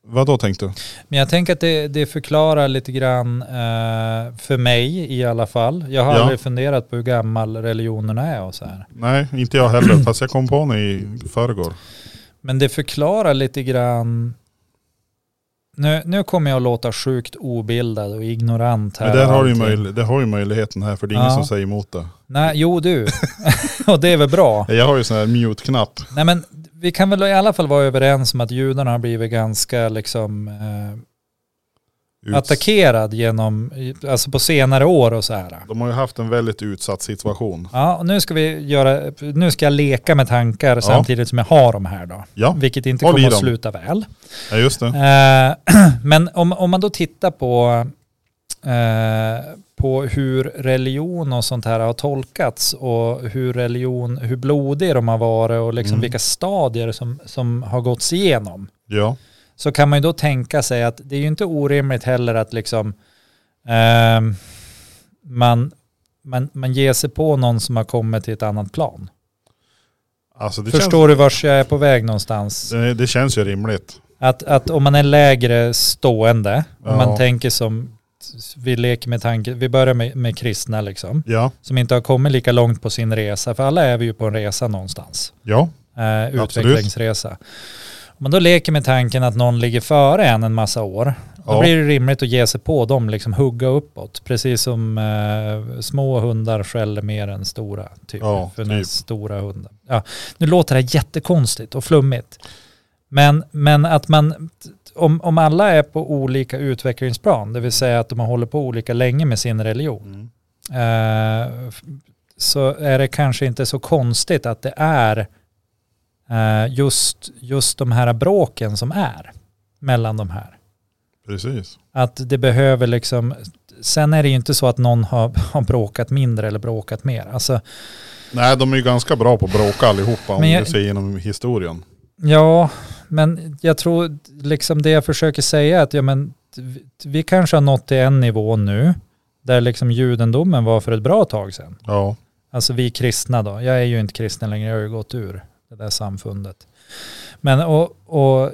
Speaker 2: Vad då tänkte du?
Speaker 1: Men jag tänker att det, det förklarar lite grann eh, för mig i alla fall. Jag har
Speaker 2: Ja.
Speaker 1: aldrig funderat på hur gammal religionerna är och så här.
Speaker 2: Nej, inte
Speaker 1: [CLEARS THROAT]
Speaker 2: jag heller. fast jag kom på henne i förrgår.
Speaker 1: Men det förklarar lite grann... Nu, nu kommer jag att låta sjukt obildad och ignorant här.
Speaker 2: Men där
Speaker 1: och
Speaker 2: har du ju
Speaker 1: allting.
Speaker 2: möjl- det har ju möjligheten här för det är ingen
Speaker 1: Ja.
Speaker 2: som säger emot det.
Speaker 1: Nej, jo du. [LAUGHS] och det är väl bra.
Speaker 2: Jag har ju sån här mute-knapp.
Speaker 1: Nej men vi kan väl i alla fall vara överens om att judarna har blivit ganska liksom eh,
Speaker 2: Uts-
Speaker 1: attackerad genom, alltså på senare år och så här.
Speaker 2: De har ju haft en väldigt utsatt situation.
Speaker 1: Ja, och nu ska vi göra, nu ska jag leka med tankar samtidigt som jag har dem här då.
Speaker 2: Ja,
Speaker 1: Vilket inte
Speaker 2: Håll i
Speaker 1: kommer att
Speaker 2: dem.
Speaker 1: sluta väl.
Speaker 2: ja just det.
Speaker 1: Eh, [CLEARS THROAT] men om, om man då tittar på, eh, på hur religion och sånt här har tolkats och hur religion, hur blodig de har varit och liksom
Speaker 2: Mm.
Speaker 1: vilka stadier som, som har gåtts igenom
Speaker 2: Ja,
Speaker 1: så kan man ju då tänka sig att det är ju inte orimligt heller att liksom ehm, man, man, man ger sig på någon som har kommit till ett annat plan.
Speaker 2: alltså det,
Speaker 1: Förstår du vars jag är på väg någonstans?
Speaker 2: känns, det, det känns ju rimligt.
Speaker 1: Att, att om man är lägre stående, om
Speaker 2: Ja.
Speaker 1: man tänker som, vi leker med tanken, vi börjar med, med kristna liksom,
Speaker 2: Ja,
Speaker 1: som inte har kommit lika långt på sin resa, för alla är vi ju på en resa någonstans.
Speaker 2: ja,
Speaker 1: eh,
Speaker 2: Absolut.
Speaker 1: utvecklingsresa. Om man då leker med tanken att någon ligger före en en massa år, Då blir det rimligt att ge sig på dem, liksom hugga uppåt. Precis som eh, små hundar skäller mer än stora. Typ,
Speaker 2: Ja,
Speaker 1: för den
Speaker 2: typ.
Speaker 1: stora hunden. Ja, nu låter det här jättekonstigt och flummigt. Men, men att man, om, om alla är på olika utvecklingsplan, det vill säga att de har hållit på olika länge med sin religion,
Speaker 2: Mm.
Speaker 1: eh, f- så är det kanske inte så konstigt att det är eh, just, just de här bråken som är mellan de här.
Speaker 2: Precis.
Speaker 1: Att det behöver liksom, sen är det ju inte så att någon har, [LAUGHS] har bråkat mindre eller bråkat mer. Alltså,
Speaker 2: Nej, de är ju ganska bra på att bråka allihopa om
Speaker 1: Men jag-
Speaker 2: du ser genom historien.
Speaker 1: ja, men jag tror liksom det jag försöker säga är att ja, men, vi- vi kanske har nått till en nivå nu där liksom judendomen var för ett bra tag sedan.
Speaker 2: Ja,
Speaker 1: Alltså vi kristna då. Jag är ju inte kristen längre, jag har ju gått ur det där samfundet. Men och, och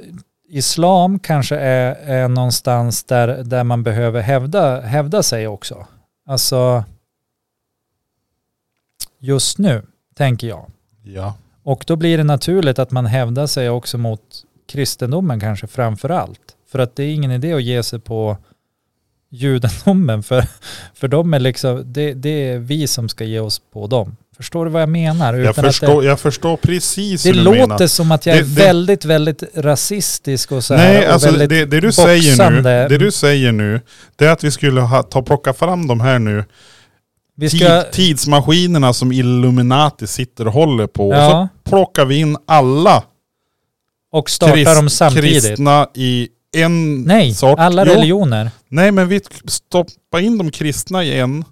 Speaker 1: islam kanske är, är någonstans där, där man behöver hävda, hävda sig också. Alltså just nu, tänker jag.
Speaker 2: ja.
Speaker 1: Och då blir det naturligt att man hävdar sig också mot kristendomen kanske framför allt. För att det är ingen idé att ge sig på judendomen [LAUGHS] för, för de är liksom, det, det är vi som ska ge oss på dem. Förstår du vad jag menar? Utan
Speaker 2: Jag
Speaker 1: att
Speaker 2: förstår, jag förstår precis
Speaker 1: det det
Speaker 2: hur du
Speaker 1: låter
Speaker 2: menar.
Speaker 1: som att jag är
Speaker 2: Det- det-
Speaker 1: väldigt, väldigt rasistisk och så här.
Speaker 2: Nej,
Speaker 1: och
Speaker 2: alltså
Speaker 1: väldigt,
Speaker 2: det, det, du säger nu,
Speaker 1: boxande.
Speaker 2: det du säger nu, det är att vi skulle ha, ta, plocka fram de här nu,
Speaker 1: vi ska,
Speaker 2: tid, tidsmaskinerna som Illuminati sitter och håller på.
Speaker 1: ja,
Speaker 2: Och så plockar vi in alla
Speaker 1: och starta dem samtidigt.
Speaker 2: kristna i en
Speaker 1: Nej,
Speaker 2: sort.
Speaker 1: alla
Speaker 2: Jo,
Speaker 1: religioner.
Speaker 2: Nej, men vi stoppar in de kristna i en.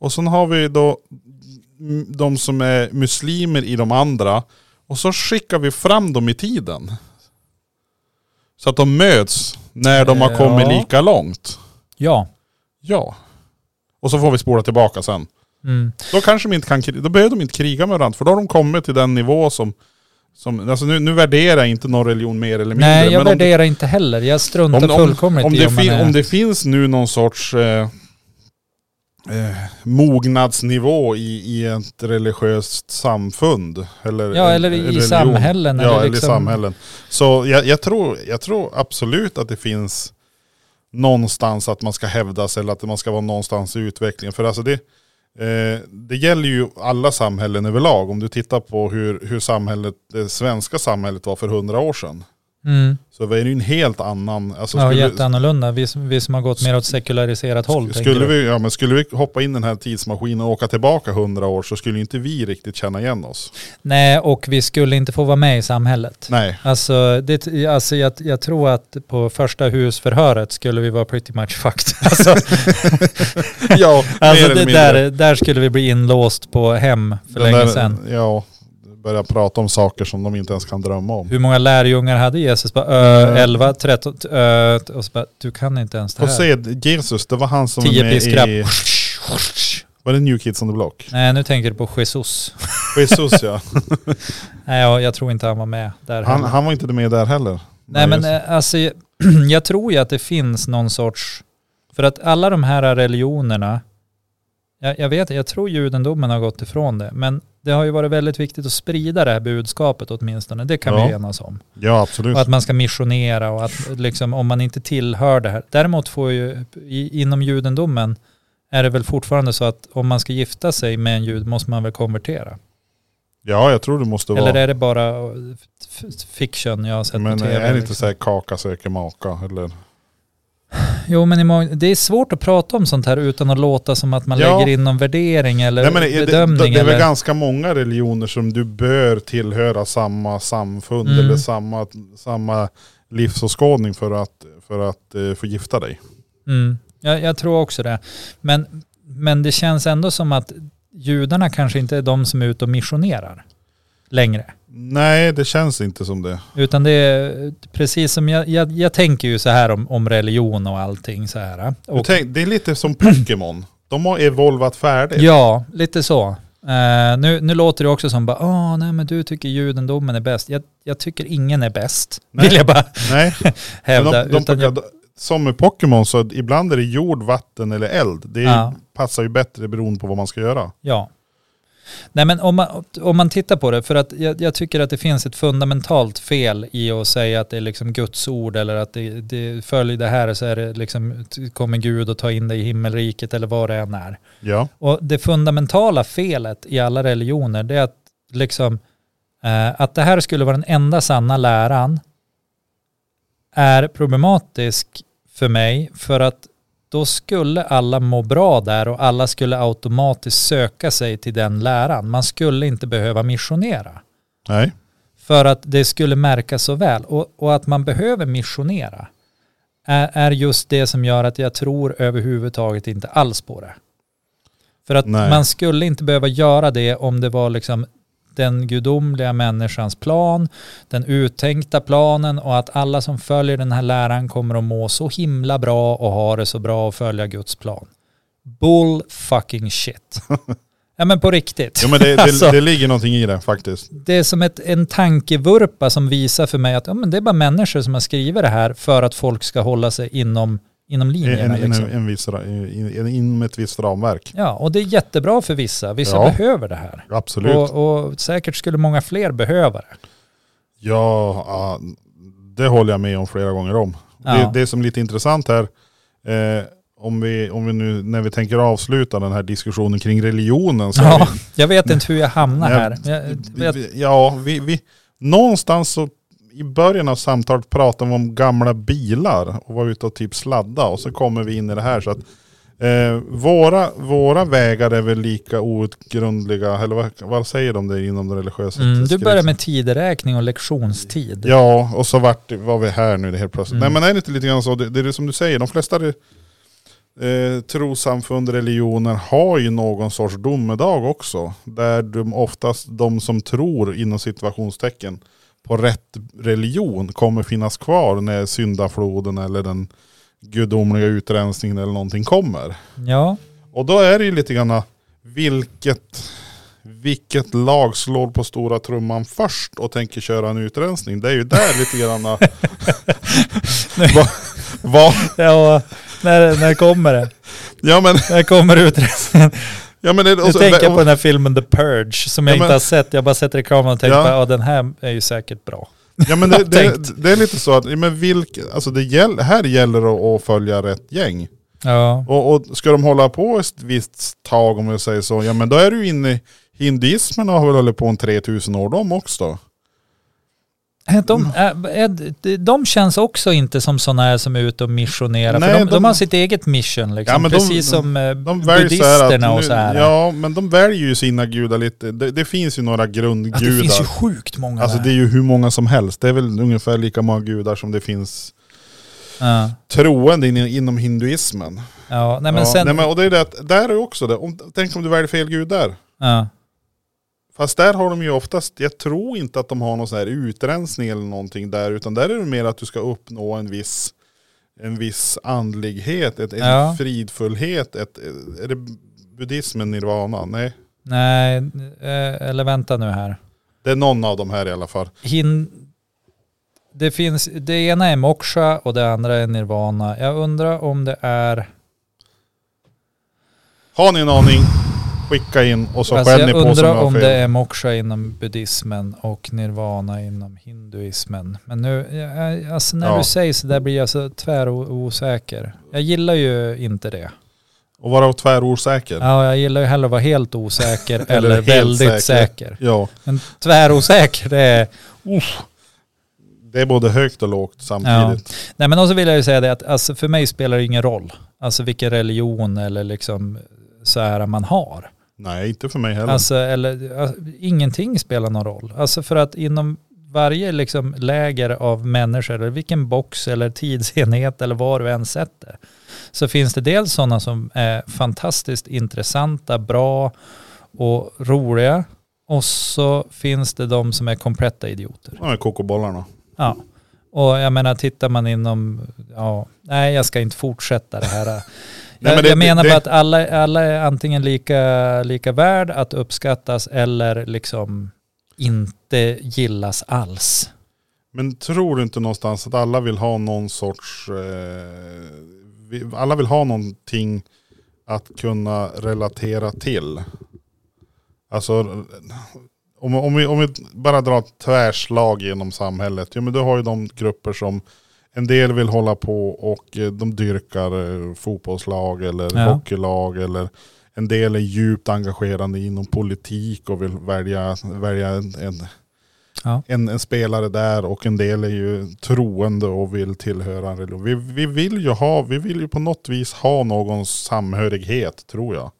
Speaker 2: Och sen har vi då mm, de som är muslimer i de andra. Och så skickar vi fram dem i tiden. Så att de möts när de har kommit
Speaker 1: Ja.
Speaker 2: lika långt.
Speaker 1: Ja.
Speaker 2: Ja. Och så får vi spola tillbaka sen.
Speaker 1: Mm.
Speaker 2: Då kanske de inte kan kri- då behöver de inte kriga med varandra. För då har de kommit till den nivå som... som alltså nu, nu värderar jag inte någon religion mer eller mindre.
Speaker 1: Nej, jag
Speaker 2: men om det-
Speaker 1: värderar inte heller. Jag struntar
Speaker 2: om, om,
Speaker 1: fullkomligt
Speaker 2: om,
Speaker 1: i
Speaker 2: det
Speaker 1: om man
Speaker 2: fin,
Speaker 1: är...
Speaker 2: om det finns nu någon sorts eh, eh, mognadsnivå i, i ett religiöst samfund. Eller,
Speaker 1: Ja,
Speaker 2: en-
Speaker 1: eller i
Speaker 2: en religion.
Speaker 1: samhällen,
Speaker 2: Ja,
Speaker 1: eller
Speaker 2: eller,
Speaker 1: liksom-
Speaker 2: i samhällen. Så jag, jag, tror, jag tror absolut att det finns någonstans att man ska hävdas eller att man ska vara någonstans i utvecklingen. För alltså det, Eh, det gäller ju alla samhällen överlag. Om du tittar på hur, hur samhället, det svenska samhället var för hundra år sedan.
Speaker 1: Mm.
Speaker 2: Så var det ju en helt annan... Alltså
Speaker 1: ja,
Speaker 2: skulle-
Speaker 1: jätteannorlunda. Vi som, vi som har gått mer åt sekulariserat håll. tänker
Speaker 2: Skulle
Speaker 1: du.
Speaker 2: vi, ja, men skulle vi hoppa in i den här tidsmaskinen och åka tillbaka hundra år så skulle ju inte vi riktigt känna igen oss.
Speaker 1: Nej, och vi skulle inte få vara med i samhället. [LAUGHS]
Speaker 2: Nej,
Speaker 1: Alltså, det, alltså jag, jag tror att på första husförhöret skulle vi vara pretty much
Speaker 2: [LAUGHS]
Speaker 1: fucked. Alltså,
Speaker 2: ja,
Speaker 1: alltså
Speaker 2: mer eller
Speaker 1: det
Speaker 2: mindre.
Speaker 1: där, där skulle vi bli inlåst på hem för
Speaker 2: Den
Speaker 1: länge
Speaker 2: där-
Speaker 1: sedan.
Speaker 2: Ja, börja prata om saker som de inte ens kan drömma om.
Speaker 1: Hur många lärjungar hade Jesus? Bara,
Speaker 2: Mm.
Speaker 1: ö, 11, 13, ö, och så bara, du kan inte ens det
Speaker 2: Och
Speaker 1: här.
Speaker 2: se, Jesus, det var han som
Speaker 1: 10
Speaker 2: var med
Speaker 1: piskrapp.
Speaker 2: i... Var det New Kids on the Block?
Speaker 1: [LAUGHS] Nej, nu tänker du på Jesus.
Speaker 2: Jesus ja.
Speaker 1: Nej, jag, jag tror inte han var med [LAUGHS] där
Speaker 2: Han,
Speaker 1: heller.
Speaker 2: han var inte med där heller.
Speaker 1: Nej men
Speaker 2: just-
Speaker 1: eh, alltså, jag- [CLEARS THROAT] jag tror ju att det finns någon sorts, för att alla de här religionerna, jag, jag vet jag tror judendomen har gått ifrån det, men det har ju varit väldigt viktigt att sprida det här budskapet åtminstone, det kan
Speaker 2: Ja.
Speaker 1: vi enas om.
Speaker 2: Ja, absolut.
Speaker 1: Och att man ska missionera och att liksom, om man inte tillhör det här. Däremot får ju, i, inom judendomen är det väl fortfarande så att om man ska gifta sig med en jud måste man väl konvertera?
Speaker 2: Ja, jag tror det måste vara.
Speaker 1: Eller är det bara eh, f- f- fiction jag har sett
Speaker 2: men eh,
Speaker 1: på tv?
Speaker 2: är det
Speaker 1: liksom?
Speaker 2: inte så här kaka söker maka? Eller?
Speaker 1: Jo, men i många- det är svårt att prata om sånt här utan att låta som att man
Speaker 2: Ja.
Speaker 1: lägger in någon värdering eller
Speaker 2: Nej, men det, det,
Speaker 1: bedömning.
Speaker 2: det, det är
Speaker 1: eller,
Speaker 2: väl ganska många religioner som du bör tillhöra samma samfund
Speaker 1: Mm.
Speaker 2: eller samma, samma livsåskådning för att, för att eh, få gifta dig.
Speaker 1: mm, jag, jag tror också det. Men, men det känns ändå som att judarna kanske inte är de som är ute och missionerar längre.
Speaker 2: Nej, det känns inte som det.
Speaker 1: Utan det är precis som jag, jag, jag tänker ju så här om, om religion och allting så här.
Speaker 2: Du
Speaker 1: Och,
Speaker 2: Tänk, det är lite som Pokémon. De har evolvat färdigt.
Speaker 1: ja, lite så. Eh, nu, nu låter det också som bara, åh nej men du tycker judendomen är bäst. Jag, jag tycker ingen är bäst,
Speaker 2: Nej.
Speaker 1: vill jag bara
Speaker 2: Nej, men
Speaker 1: hävda.
Speaker 2: de, de
Speaker 1: utan
Speaker 2: plockar,
Speaker 1: jag,
Speaker 2: Som med Pokémon så ibland är det jord, vatten eller eld. Det är,
Speaker 1: Ja.
Speaker 2: passar ju bättre beroende på vad man ska göra.
Speaker 1: ja. Nej men om man, om man tittar på det, för att jag, jag tycker att det finns ett fundamentalt fel i att säga att det är liksom Guds ord eller att det, det följer det här så är det liksom, kommer Gud att ta in dig i himmelriket eller vad det än är.
Speaker 2: Ja.
Speaker 1: Och det fundamentala felet i alla religioner det är att, liksom, eh, att det här skulle vara den enda sanna läran är problematisk för mig för att då skulle alla må bra där och alla skulle automatiskt söka sig till den läran. Man skulle inte behöva missionera [LAUGHS]
Speaker 2: Nej.
Speaker 1: för att det skulle märkas så väl. Och, och att man behöver missionera är, är just det som gör att jag tror överhuvudtaget inte alls på det. För att
Speaker 2: Nej.
Speaker 1: man skulle inte behöva göra det om det var liksom den gudomliga människans plan, den uttänkta planen och att alla som följer den här läran kommer att må så himla bra och ha det så bra och följa Guds plan. Bull fucking
Speaker 2: [LAUGHS]
Speaker 1: shit. ja men på riktigt
Speaker 2: Jo men det, det,
Speaker 1: Alltså.
Speaker 2: det ligger någonting i det faktiskt.
Speaker 1: det är som ett, en tankevurpa som visar för mig att ja, men det är bara människor som har skrivit det här för att folk ska hålla sig inom, inom
Speaker 2: En, en,
Speaker 1: linjerna.
Speaker 2: en,
Speaker 1: liksom.
Speaker 2: en viss, ra- in- in- inom ett visst ramverk.
Speaker 1: Ja, och det är jättebra för vissa. Vissa
Speaker 2: Ja.
Speaker 1: behöver det här.
Speaker 2: Absolut.
Speaker 1: Och, och säkert skulle många fler behöva det.
Speaker 2: Ja, ja, det håller jag med om flera gånger om.
Speaker 1: Ja.
Speaker 2: Det, det som är lite intressant här, eh, om, vi, om vi nu när vi tänker avsluta den här diskussionen kring religionen. Så
Speaker 1: Ja,
Speaker 2: är vi,
Speaker 1: jag vet inte hur jag hamnar
Speaker 2: Nej,
Speaker 1: här. [LAUGHS] Jag, vet,
Speaker 2: vi, ja vi, vi, någonstans så i början av samtalet pratade vi om gamla bilar och var ute och typ sladda och så kommer vi in i det här. Så att, eh, våra, våra vägar är väl lika outgrundliga, eller vad, vad säger de det inom det religiösa?
Speaker 1: mm, du
Speaker 2: skriften?
Speaker 1: börjar med tideräkning och lektionstid.
Speaker 2: Ja, och så vart, var vi här nu helt plötsligt.
Speaker 1: Mm.
Speaker 2: Nej men är det inte lite grann så, det, det är det som du säger, de flesta eh, trossamfund, religioner har ju någon sorts domedag också. Där de oftast, de som tror inom situationstecken på rätt religion kommer finnas kvar när syndafloden eller den gudomliga utrensningen eller någonting kommer.
Speaker 1: Ja,
Speaker 2: Och då är det ju lite grann vilket, vilket lag slår på stora trumman först och tänker köra en utrensning. Det är ju där lite
Speaker 1: [LAUGHS]
Speaker 2: grann [LAUGHS] vad, vad,
Speaker 1: ja och när, när kommer det?
Speaker 2: ja men,
Speaker 1: När kommer utredningen?
Speaker 2: ja men det,
Speaker 1: Nu
Speaker 2: och så,
Speaker 1: tänker jag på den här filmen The Purge som jag
Speaker 2: Ja,
Speaker 1: inte
Speaker 2: men-
Speaker 1: har sett. Jag har bara sett reklamen och tänkt
Speaker 2: Ja.
Speaker 1: att ja. den här är ju säkert bra.
Speaker 2: ja, men det, det,
Speaker 1: tänkt.
Speaker 2: det är lite så att, ja, men vilk, alltså det gäll, här gäller det att, att följa rätt gäng.
Speaker 1: Ja,
Speaker 2: Och, och ska de hålla på ett visst tag om jag säger så, ja men då är du inne i hinduismen och har väl hållit på en 3000 år de också.
Speaker 1: de,
Speaker 2: Mm.
Speaker 1: äh, Ed, de- de känns också inte som sådana här som är ute och missionerar.
Speaker 2: Nej,
Speaker 1: för de, de,
Speaker 2: de-
Speaker 1: har sitt eget mission liksom.
Speaker 2: Ja, men de-
Speaker 1: Precis som eh,
Speaker 2: De väljer så här att
Speaker 1: buddhisterna och så här.
Speaker 2: Ja, men de väljer ju sina gudar lite. Det, det finns ju några
Speaker 1: Att
Speaker 2: grundgudar.
Speaker 1: det finns ju sjukt många
Speaker 2: alltså
Speaker 1: där.
Speaker 2: det är ju hur många som helst. Det är väl ungefär lika många gudar som det finns
Speaker 1: ja.
Speaker 2: troende in, inom hinduismen.
Speaker 1: ja, nej men
Speaker 2: ja,
Speaker 1: sen...
Speaker 2: nej, men, och det är det att, där är ju också det. Om, tänk om du väljer fel gud där.
Speaker 1: ja.
Speaker 2: Fast där har de ju oftast, jag tror inte att de har någon sån här utrensning eller någonting där, utan där är det mer att du ska uppnå en viss, en viss andlighet, ett, en
Speaker 1: Ja.
Speaker 2: fridfullhet, ett, är det buddhismen nirvana? Nej.
Speaker 1: Nej, eh, eller vänta nu här.
Speaker 2: Det är någon av de här i alla fall.
Speaker 1: Hin, det, finns, det ena är moksha och det andra är nirvana. Jag undrar om det är...
Speaker 2: Har ni en aning, skicka in och så
Speaker 1: Alltså
Speaker 2: skäll ni
Speaker 1: jag
Speaker 2: på som
Speaker 1: undrar
Speaker 2: har
Speaker 1: om
Speaker 2: fel.
Speaker 1: det är moksha inom buddhismen och nirvana inom hinduismen. Men nu, jag- alltså när
Speaker 2: Ja.
Speaker 1: du säger så där blir jag så tvärosäker. Jag gillar ju inte det.
Speaker 2: Och vara tvärosäker. Ja.
Speaker 1: Ja, jag gillar ju hellre att vara helt osäker
Speaker 2: [LAUGHS] Eller
Speaker 1: eller,
Speaker 2: helt
Speaker 1: väldigt
Speaker 2: säker.
Speaker 1: säker.
Speaker 2: ja,
Speaker 1: Men tvärosäker det är...
Speaker 2: det är både högt och lågt samtidigt.
Speaker 1: Nej men också vill jag ju säga det att alltså, för mig spelar det ingen roll. Alltså vilken religion eller liksom så här man har.
Speaker 2: Nej, inte för mig heller.
Speaker 1: Alltså, eller, alltså, ingenting spelar någon roll. Alltså för att inom varje liksom, läger av människor, eller vilken box eller tidsenhet eller var du än sätter, så finns det dels sådana som är fantastiskt intressanta, bra och roliga. Och så finns det de som är kompletta idioter.
Speaker 2: De här kokobollarna.
Speaker 1: Ja. Och jag menar, tittar man inom, ja, nej jag ska inte fortsätta det
Speaker 2: [LAUGHS]
Speaker 1: här.
Speaker 2: men
Speaker 1: jag,
Speaker 2: det-
Speaker 1: jag menar
Speaker 2: det-
Speaker 1: bara att alla, alla är antingen lika, lika värd att uppskattas eller liksom inte gillas alls.
Speaker 2: Men tror du inte någonstans att alla vill ha någon sorts... Eh, vi- alla vill ha någonting att kunna relatera till. Alltså om, om, vi, om vi bara drar ett tvärslag genom samhället. Ja, men du har ju de grupper som en del vill hålla på och eh, de dyrkar eh, fotbollslag eller
Speaker 1: Ja.
Speaker 2: hockeylag eller en del är djupt engagerade inom politik och vill välja, välja en, en,
Speaker 1: Ja.
Speaker 2: en, en spelare där och en del är ju troende och vill tillhöra en religion. Vi, vi, vill ju ha, vi vill ju på något vis ha någon samhörighet tror jag.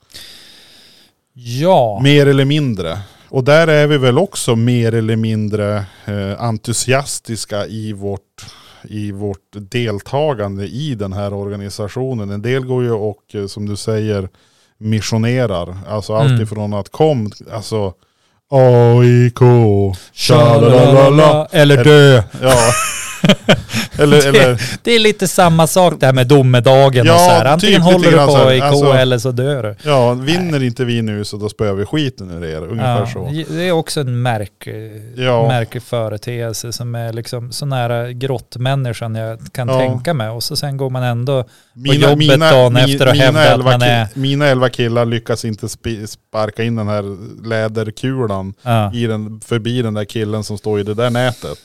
Speaker 1: Ja.
Speaker 2: Mer eller mindre. Och där är vi väl också mer eller mindre eh, entusiastiska i vårt, i vårt deltagande i den här organisationen. En del går ju och, eh, som du säger, missionerar. Alltså
Speaker 1: Mm.
Speaker 2: allt ifrån att kom, alltså AIK, tja-la-la-la-la.
Speaker 1: Tja-la-la-la. Eller dö. [LAUGHS]
Speaker 2: Ja. eller, eller,
Speaker 1: Det är lite samma sak det här med domedagen
Speaker 2: Ja,
Speaker 1: och så här. Antingen
Speaker 2: typ lite
Speaker 1: håller du
Speaker 2: grann
Speaker 1: på
Speaker 2: så här.
Speaker 1: AIK
Speaker 2: Alltså,
Speaker 1: eller så dör du.
Speaker 2: ja, vinner inte vi nu så då spöar vi skiten ur er. Ungefär
Speaker 1: Ja,
Speaker 2: så.
Speaker 1: det är också en märk,
Speaker 2: Ja.
Speaker 1: märklig företeelse som är liksom så nära grottmänniskan jag kan
Speaker 2: Ja.
Speaker 1: tänka mig. Och så sen går man ändå... jobbet dagen efter och hävda att
Speaker 2: elva
Speaker 1: man
Speaker 2: ki-
Speaker 1: är-
Speaker 2: Mina elva killar lyckas inte spi- sparka in den här läderkulan
Speaker 1: Ja.
Speaker 2: i den, förbi den där killen som står i det där nätet.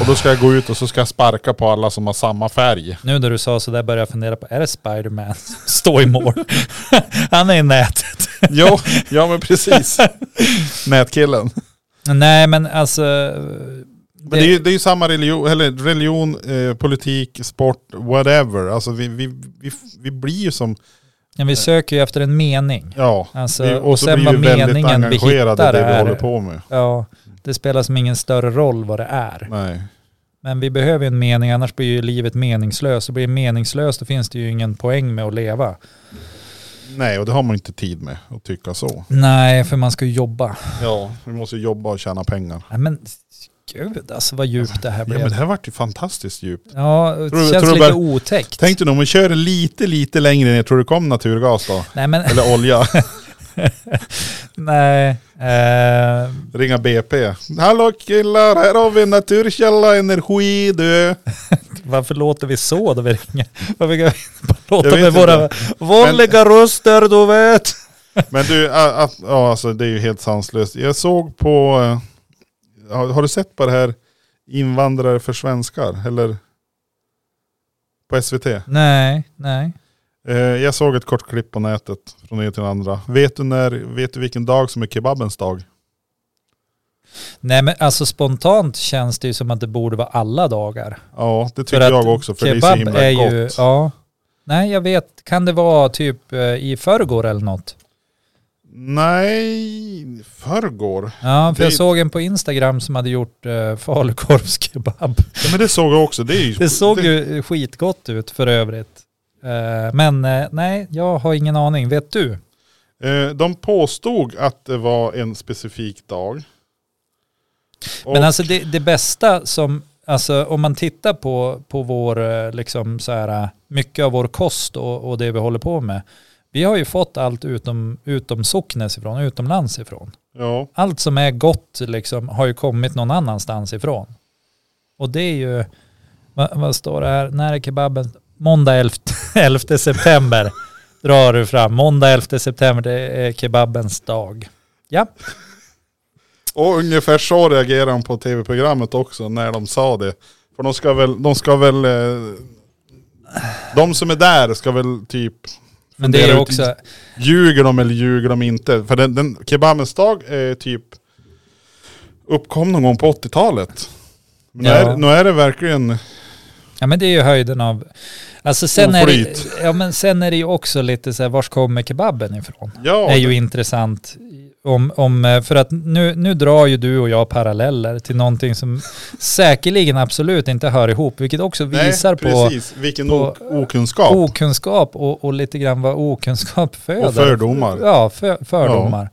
Speaker 2: Och då ska jag gå ut och så ska jag sparka på alla som har samma färg.
Speaker 1: [LAUGHS] Nu när du sa så där började jag fundera på, är det Spiderman som [LAUGHS] står i mål? Han är i nätet.
Speaker 2: Jo, ja
Speaker 1: [LAUGHS]
Speaker 2: men precis. Nätkillen.
Speaker 1: Nej men alltså...
Speaker 2: Men det, är, ju, det är ju samma religion, eller religion eh, politik, sport, whatever. Alltså vi, vi, vi, vi blir ju som,
Speaker 1: ja, vi söker ju efter en mening.
Speaker 2: ja.
Speaker 1: Alltså,
Speaker 2: vi,
Speaker 1: och sen vad meningen vi hittar
Speaker 2: i det vi
Speaker 1: är...
Speaker 2: håller på med.
Speaker 1: Ja, det spelar som ingen större roll vad det är.
Speaker 2: Nej.
Speaker 1: Men vi behöver ju en mening, annars blir ju livet meningslöst. Och blir det meningslöst då finns det ju ingen poäng med att leva.
Speaker 2: Nej, och det har man inte tid med att tycka så.
Speaker 1: Nej, för man ska ju jobba.
Speaker 2: Ja, vi måste ju jobba och tjäna pengar.
Speaker 1: Nej men gud alltså vad djupt det här
Speaker 2: Ja, men
Speaker 1: blev.
Speaker 2: det här vart ju fantastiskt djupt.
Speaker 1: Ja, det
Speaker 2: Tror du-
Speaker 1: känns
Speaker 2: tror du
Speaker 1: lite
Speaker 2: bara-
Speaker 1: otäckt.
Speaker 2: Tänk dig nu om vi kör lite, lite längre ner, tror du det kom naturgas då?
Speaker 1: Nej men, [LAUGHS]
Speaker 2: Eller olja? [LAUGHS]
Speaker 1: nej. Eh,
Speaker 2: Ringa BP. Hallå killar, här har vi naturkälla energi du.
Speaker 1: varför låter vi så då vi ringer? [LAUGHS] Varför kan vi bara låta
Speaker 2: Jag vet
Speaker 1: med våra
Speaker 2: inte.
Speaker 1: vanliga röster du vet?
Speaker 2: Men du, a- a- ja, alltså, det är ju helt sanslöst. Jag såg på, eh, har, har du sett på det här invandrare för svenskar? Eller på SVT?
Speaker 1: Nej, nej.
Speaker 2: Eh, Jag såg ett kort klipp på nätet från en till den andra. Vet du, när, vet du vilken dag som är kebabens dag?
Speaker 1: Nej men alltså spontant känns det ju som att det borde vara alla dagar.
Speaker 2: Ja, det
Speaker 1: För
Speaker 2: tycker
Speaker 1: att
Speaker 2: jag också för det är så
Speaker 1: Kebab
Speaker 2: himla
Speaker 1: är
Speaker 2: gott.
Speaker 1: ju, ja. Nej jag vet, kan det vara typ eh, i förrgår eller något?
Speaker 2: Nej, förrgår.
Speaker 1: Ja, för
Speaker 2: Det-
Speaker 1: jag såg en på Instagram som hade gjort eh, falukorvskebab. [LAUGHS]
Speaker 2: Ja, men det såg jag också. Det, är ju,
Speaker 1: Det såg ju skitgott ut för övrigt. Eh, men eh, nej, jag har ingen aning. Vet du?
Speaker 2: Eh, De påstod att det var en specifik dag. Och,
Speaker 1: Men alltså det, det bästa som, alltså om man tittar på, på vår, eh, liksom så här, eh, mycket av vår kost och, och det vi håller på med. Vi har ju fått allt utom, utom socknes ifrån, utomlands ifrån.
Speaker 2: ja,
Speaker 1: allt som är gott liksom har ju kommit någon annanstans ifrån. Och det är ju, vad, vad står det här, när är kebaben? Måndag 11, [LAUGHS] 11 september drar du fram. Måndag 11 september, det är kebabens dag. Ja,
Speaker 2: och ungefär så reagerade de på tv-programmet också när de sa det. För de ska väl, de ska väl, eh, de som är där ska väl typ
Speaker 1: men det
Speaker 2: Fundera
Speaker 1: är
Speaker 2: ut-
Speaker 1: också,
Speaker 2: Ljuger de eller ljuger de inte? För den, den kebabens dag är typ uppkom någon gång på 80-talet. Men nu,
Speaker 1: Ja.
Speaker 2: är, nu är det verkligen,
Speaker 1: ja men det är ju höjden av, alltså sen är, det,
Speaker 2: Oflyt.
Speaker 1: ja, men sen är det ju också lite så här, vars kommer kebaben ifrån?
Speaker 2: ja,
Speaker 1: är ju intressant. Om, om, eh, för att nu, nu drar ju du och jag paralleller till någonting som säkerligen absolut inte hör ihop, vilket också
Speaker 2: nej,
Speaker 1: visar på
Speaker 2: precis, vilken
Speaker 1: på-
Speaker 2: ok- okunskap.
Speaker 1: okunskap och, och lite grann vad okunskap föder.
Speaker 2: Och fördomar.
Speaker 1: Ja, för, fördomar.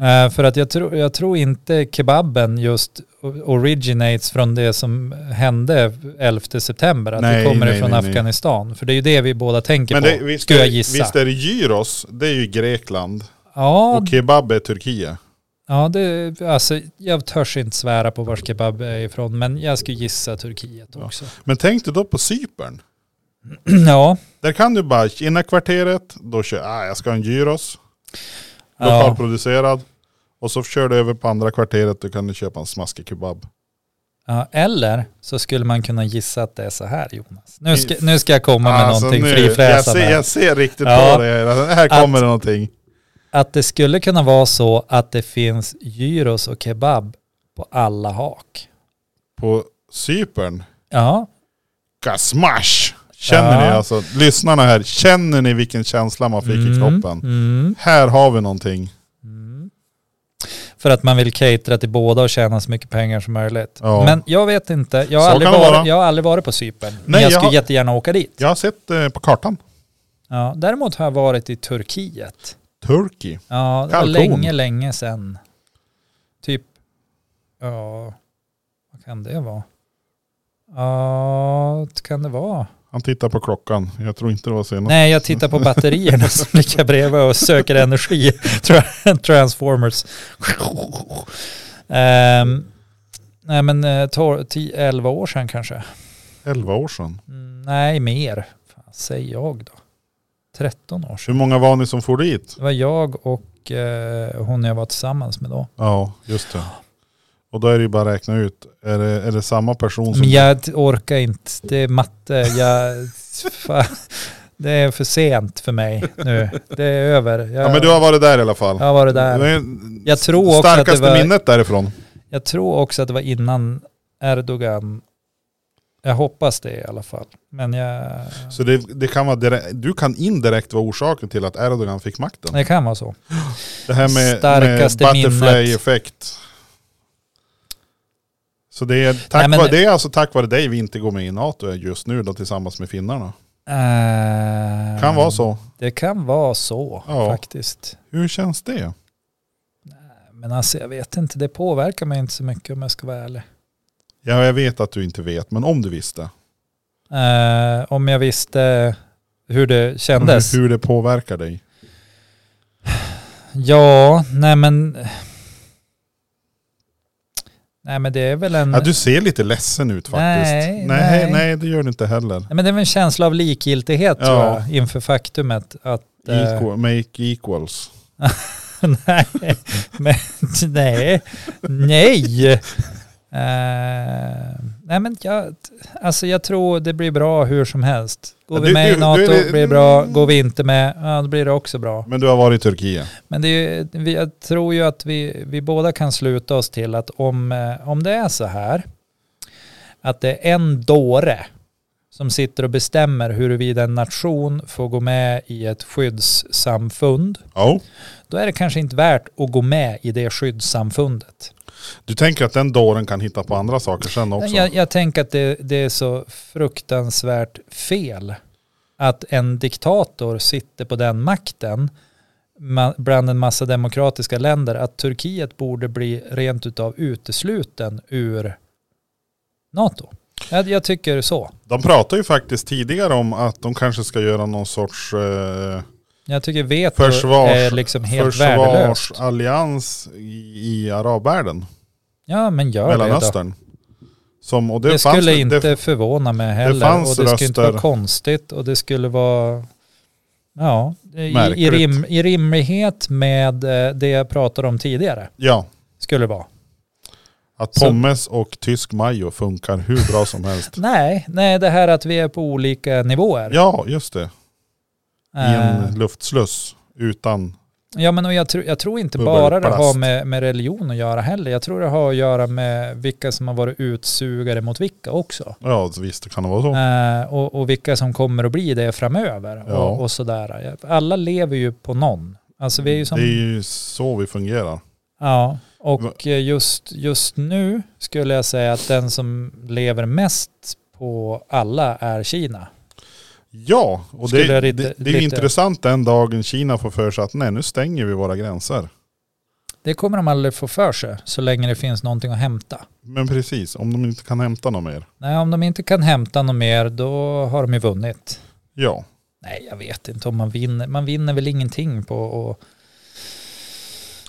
Speaker 1: Eh, för att jag, tror jag tror inte kebaben just o- originates från det som hände 11 september, att
Speaker 2: Nej,
Speaker 1: det kommer
Speaker 2: nej,
Speaker 1: ifrån
Speaker 2: nej, nej.
Speaker 1: Afghanistan. För det är ju det vi båda tänker
Speaker 2: Men
Speaker 1: på,
Speaker 2: det, visst,
Speaker 1: skulle
Speaker 2: är,
Speaker 1: jag gissa.
Speaker 2: visst är det gyros, det är ju Grekland.
Speaker 1: ja,
Speaker 2: Och kebab är Turkiet.
Speaker 1: Ja, det, alltså, jag törs inte svära på var kebab är ifrån, men jag skulle gissa Turkiet också. [CLEARS THROAT]
Speaker 2: Men tänk dig då på Cypern.
Speaker 1: Ja,
Speaker 2: Där kan du bara, innan kvarteret, då kör jag, ah, jag ska ha en gyros.
Speaker 1: ja,
Speaker 2: Lokalproducerad. Och så kör du över på andra kvarteret och kan du köpa en smaskig kebab.
Speaker 1: Ja, eller så skulle man kunna gissa att det är så här Jonas. Nu ska, nu ska jag komma med
Speaker 2: Alltså,
Speaker 1: någonting
Speaker 2: nu- jag,
Speaker 1: frifräsande.
Speaker 2: ser, jag ser riktigt
Speaker 1: Ja.
Speaker 2: på det. Här kommer
Speaker 1: Att-
Speaker 2: det någonting.
Speaker 1: Att det skulle kunna vara så att det finns gyros och kebab på alla hak.
Speaker 2: På Cypern.
Speaker 1: Ja,
Speaker 2: Gasmash! Känner
Speaker 1: Ja.
Speaker 2: ni alltså, lyssnarna här, känner ni vilken känsla man fick i
Speaker 1: Mm,
Speaker 2: kroppen?
Speaker 1: Mm.
Speaker 2: Här har vi någonting.
Speaker 1: Mm. För att man vill catera till båda och tjäna så mycket pengar som möjligt.
Speaker 2: Ja.
Speaker 1: Men jag vet inte, jag har,
Speaker 2: Så
Speaker 1: aldrig
Speaker 2: kan det
Speaker 1: varit,
Speaker 2: vara.
Speaker 1: jag har aldrig varit på Cypern. men
Speaker 2: Nej,
Speaker 1: jag
Speaker 2: jag
Speaker 1: skulle
Speaker 2: har-
Speaker 1: jättegärna åka dit.
Speaker 2: Jag har sett eh, på kartan.
Speaker 1: Ja, däremot har jag varit i Turkiet.
Speaker 2: Turkey.
Speaker 1: Ja, det
Speaker 2: Kalkon.
Speaker 1: var länge, länge sedan. Typ, ja, vad kan det vara? Ja, vad kan det vara?
Speaker 2: Han tittar på klockan. Jag tror inte det var senast.
Speaker 1: Nej, jag tittar på batterierna
Speaker 2: [LAUGHS]
Speaker 1: som ligger bredvid och söker energi. [LAUGHS] Tra-
Speaker 2: [LAUGHS]
Speaker 1: Transformers. Ehm, nej, men eh, tor- 10-11 år sedan kanske.
Speaker 2: 11 år sedan.
Speaker 1: Mm, nej, mer. Fan, säger jag då. 13 år sedan.
Speaker 2: Hur många var ni som for dit?
Speaker 1: Det var jag och eh, hon jag var tillsammans med då.
Speaker 2: Ja, just det. Och då är det ju bara att räkna ut. Är det, är det samma person som...
Speaker 1: Men jag orkar inte. Det är matte. Jag, fan, det är för sent för mig nu. Det är över. Jag,
Speaker 2: Ja men du har varit där i alla fall.
Speaker 1: jag var det där.
Speaker 2: Det är
Speaker 1: Jag tror också att det
Speaker 2: starkaste
Speaker 1: var-
Speaker 2: minnet därifrån.
Speaker 1: Jag tror också att det var innan Erdogan. Jag hoppas det i alla fall. Men jag...
Speaker 2: Så det, det kan vara direkt, du kan indirekt vara orsaken till att Erdogan fick makten.
Speaker 1: Det kan vara så.
Speaker 2: Det här med, med
Speaker 1: Starkaste minnet.
Speaker 2: butterfly-effekt. Så det är, tack
Speaker 1: Nej, men-
Speaker 2: vare, det är alltså tack vare dig vi inte går med i NATO just nu då tillsammans med finnarna.
Speaker 1: Eh,
Speaker 2: Kan vara så.
Speaker 1: Det kan vara så
Speaker 2: Ja.
Speaker 1: faktiskt.
Speaker 2: Hur känns det?
Speaker 1: Men alltså jag vet inte, det påverkar mig inte så mycket om jag ska vara ärlig.
Speaker 2: Ja, jag vet att du inte vet, men om du visste.
Speaker 1: Eh, om jag visste hur det kändes.
Speaker 2: Hur, hur det påverkar dig.
Speaker 1: Ja, nej men... Nej men det är väl en...
Speaker 2: Ja, du ser lite ledsen ut faktiskt.
Speaker 1: Mm. Nej,
Speaker 2: nej,
Speaker 1: nej.
Speaker 2: nej, det gör du inte heller.
Speaker 1: Nej, men det är väl en känsla av likgiltighet
Speaker 2: Ja.
Speaker 1: tror jag, inför faktumet att... eh,
Speaker 2: Equal, make equals.
Speaker 1: [LAUGHS] nej, men, nej, nej. Eh, nej men jag, alltså jag tror det blir bra hur som helst. Går
Speaker 2: Ja,
Speaker 1: vi
Speaker 2: du-
Speaker 1: med
Speaker 2: du-
Speaker 1: i
Speaker 2: du
Speaker 1: NATO
Speaker 2: är det-
Speaker 1: blir det bra, går vi inte med, ja, då blir det också bra.
Speaker 2: Men du har varit i Turkiet.
Speaker 1: Men det är ju, vi, jag tror ju att vi, vi båda kan sluta oss till att om, eh, om det är så här, att det är en dåre som sitter och bestämmer huruvida en nation får gå med i ett skyddssamfund,
Speaker 2: Ja.
Speaker 1: då är det kanske inte värt att gå med i det skyddssamfundet.
Speaker 2: Du tänker att den dåren kan hitta på andra saker sen också?
Speaker 1: Jag, jag tänker att det, det är så fruktansvärt fel att en diktator sitter på den makten ma- bland en massa demokratiska länder att Turkiet borde bli rent utav utesluten ur NATO. Jag, jag tycker så.
Speaker 2: De pratar ju faktiskt tidigare om att de kanske ska göra någon sorts eh,
Speaker 1: Jag tycker veto
Speaker 2: Försvars-
Speaker 1: är liksom helt värdelöst.
Speaker 2: försvarsallians i, i arabvärlden,
Speaker 1: Ja men gör det då.
Speaker 2: Mellanöstern. Som, och det,
Speaker 1: Det,
Speaker 2: fanns,
Speaker 1: skulle inte
Speaker 2: Det,
Speaker 1: förvåna mig heller.
Speaker 2: fanns
Speaker 1: och det skulle inte
Speaker 2: röster.
Speaker 1: vara konstigt och det skulle vara... Ja, i, i,
Speaker 2: Märkligt.
Speaker 1: rim, i rimlighet med eh, det jag pratade om tidigare
Speaker 2: ja,
Speaker 1: skulle det vara.
Speaker 2: att
Speaker 1: Så-
Speaker 2: pommes och tysk majo funkar hur bra
Speaker 1: [LAUGHS]
Speaker 2: som helst.
Speaker 1: Nej, nej, det här att vi är på olika nivåer.
Speaker 2: Ja, just det. I
Speaker 1: Eh,
Speaker 2: en luftsluss utan...
Speaker 1: Ja, men och jag, tror jag tror inte
Speaker 2: Bubbelplast.
Speaker 1: bara det har med, med religion att göra heller. Jag tror det har att göra med vilka som har varit utsugare mot vilka också.
Speaker 2: Ja, visst det kan det vara så.
Speaker 1: Eh, och, och vilka som kommer att bli det framöver.
Speaker 2: Ja.
Speaker 1: Och, och sådär. Alla lever ju på någon. Alltså vi är ju som
Speaker 2: Mm. Det är ju så vi fungerar.
Speaker 1: Ja, och eh, just, just nu skulle jag säga att den som lever mest på alla är Kina.
Speaker 2: Ja, och
Speaker 1: Skulle
Speaker 2: det,
Speaker 1: jag
Speaker 2: det,
Speaker 1: rita-
Speaker 2: det är ju
Speaker 1: lite-
Speaker 2: intressant den dagen Kina får för sig att nej, nu stänger vi våra gränser.
Speaker 1: Det kommer de aldrig få för sig så länge det finns någonting att hämta.
Speaker 2: Men precis, om de inte kan hämta något mer.
Speaker 1: Nej, om de inte kan hämta något mer då har de ju vunnit.
Speaker 2: Ja.
Speaker 1: Nej, jag vet inte om man vinner. Man vinner väl ingenting på och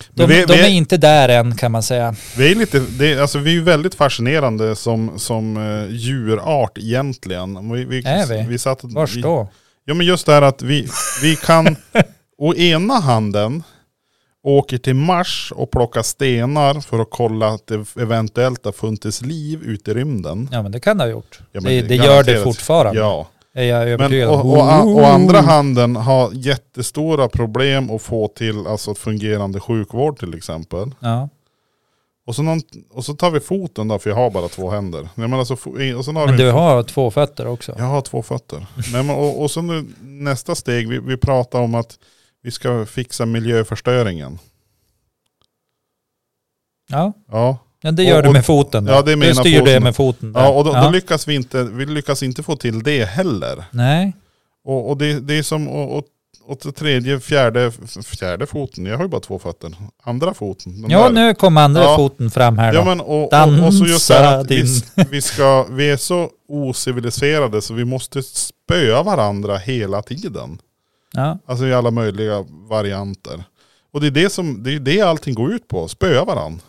Speaker 1: de,
Speaker 2: Men vi-
Speaker 1: de
Speaker 2: vi-
Speaker 1: är inte där än kan man säga.
Speaker 2: Vi är, lite, det, är- alltså, vi är ju väldigt fascinerande som, som eh, djurart egentligen. Vi, vi,
Speaker 1: Är vi?
Speaker 2: vi satt,
Speaker 1: Vars
Speaker 2: vi-
Speaker 1: då?
Speaker 2: Ja men just det här att vi, vi kan å ena handen åker till Mars och plockar stenar för att kolla att det eventuellt har funnits liv ute i rymden.
Speaker 1: Ja men det kan det ha gjort.
Speaker 2: Ja, men
Speaker 1: det
Speaker 2: är
Speaker 1: det gör det
Speaker 2: garanterat-
Speaker 1: fortfarande.
Speaker 2: Ja.
Speaker 1: Är jag
Speaker 2: Men
Speaker 1: övertygad
Speaker 2: och,
Speaker 1: om.
Speaker 2: och, a- och andra handen har jättestora problem att få till alltså ett fungerande sjukvård till exempel.
Speaker 1: Ja.
Speaker 2: Och så, någon, och så tar vi foten då, för jag har bara två händer. Jag menar, så, fo- och sen har
Speaker 1: Men
Speaker 2: vi,
Speaker 1: du har två fötter också.
Speaker 2: Jag har två fötter. Nej, men, och, och så nu, nästa steg, vi, vi pratar om att vi ska fixa miljöförstöringen.
Speaker 1: Ja.
Speaker 2: Ja,
Speaker 1: Men det
Speaker 2: Och-
Speaker 1: gör du
Speaker 2: och-
Speaker 1: med foten då.
Speaker 2: ja, det är
Speaker 1: du
Speaker 2: med ena
Speaker 1: styr det
Speaker 2: foten.
Speaker 1: med foten. där.
Speaker 2: ja och då, då lyckas vi inte, vi lyckas inte få till det heller.
Speaker 1: Nej.
Speaker 2: Och, och det, det är som, och, och, och till tredje, fjärde, fjärde foten, jag har ju bara två fötter. Andra foten. den
Speaker 1: Ja
Speaker 2: där.
Speaker 1: nu kom andra
Speaker 2: Ja.
Speaker 1: foten fram här då.
Speaker 2: Ja men och, och, och så just det här att vi,
Speaker 1: Dansa
Speaker 2: vi, ska, vi är så ociviliserade så vi måste spöa varandra hela tiden.
Speaker 1: ja.
Speaker 2: Alltså i alla möjliga varianter. Och det är det som, det är det allting går ut på, spöa varandra.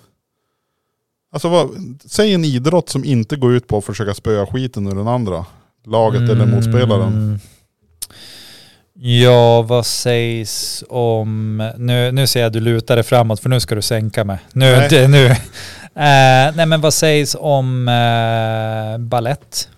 Speaker 2: Alltså vad, säg en idrott som inte går ut på att försöka spöa skiten ur den andra. Laget eller motspelaren.
Speaker 1: Mm. Ja, vad sägs om... Nu, nu ser jag att du lutar dig framåt för nu ska du sänka mig. Nu,
Speaker 2: Nej.
Speaker 1: nej. Det, nu. Eh, nej men vad sägs om uh, ballett?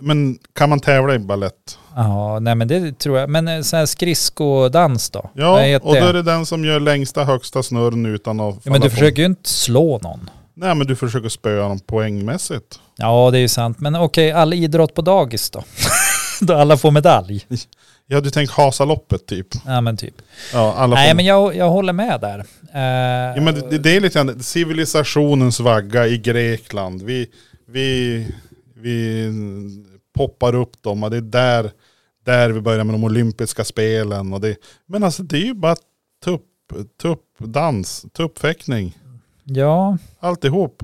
Speaker 2: Men kan man tävla i ballett?
Speaker 1: Ja, nej men det tror jag. Men eh, sån här skridskodans då?
Speaker 2: Ja,
Speaker 1: Vad heter
Speaker 2: och då
Speaker 1: det?
Speaker 2: är det den som gör längsta högsta snurren utan att
Speaker 1: ja, men
Speaker 2: falla
Speaker 1: du
Speaker 2: på-
Speaker 1: försöker ju inte slå någon.
Speaker 2: Nej men du försöker spöa dem poängmässigt.
Speaker 1: Ja, det är ju sant. Men okej, all idrott på dagis då? [LAUGHS] då alla får medalj?
Speaker 2: Jag hade tänkt Hasaloppet typ.
Speaker 1: Ja, men typ.
Speaker 2: Ja, alla
Speaker 1: Nej,
Speaker 2: får-
Speaker 1: men jag, jag håller med där. Eh,
Speaker 2: ja, men det, det är lite grann civilisationens vagga i Grekland. Vi, vi, vi poppar upp dem och det är där, där vi börjar med de olympiska spelen. Och det, men alltså det är ju bara tupp, tuppdans, tuppfäktning,
Speaker 1: Ja,
Speaker 2: alltihop.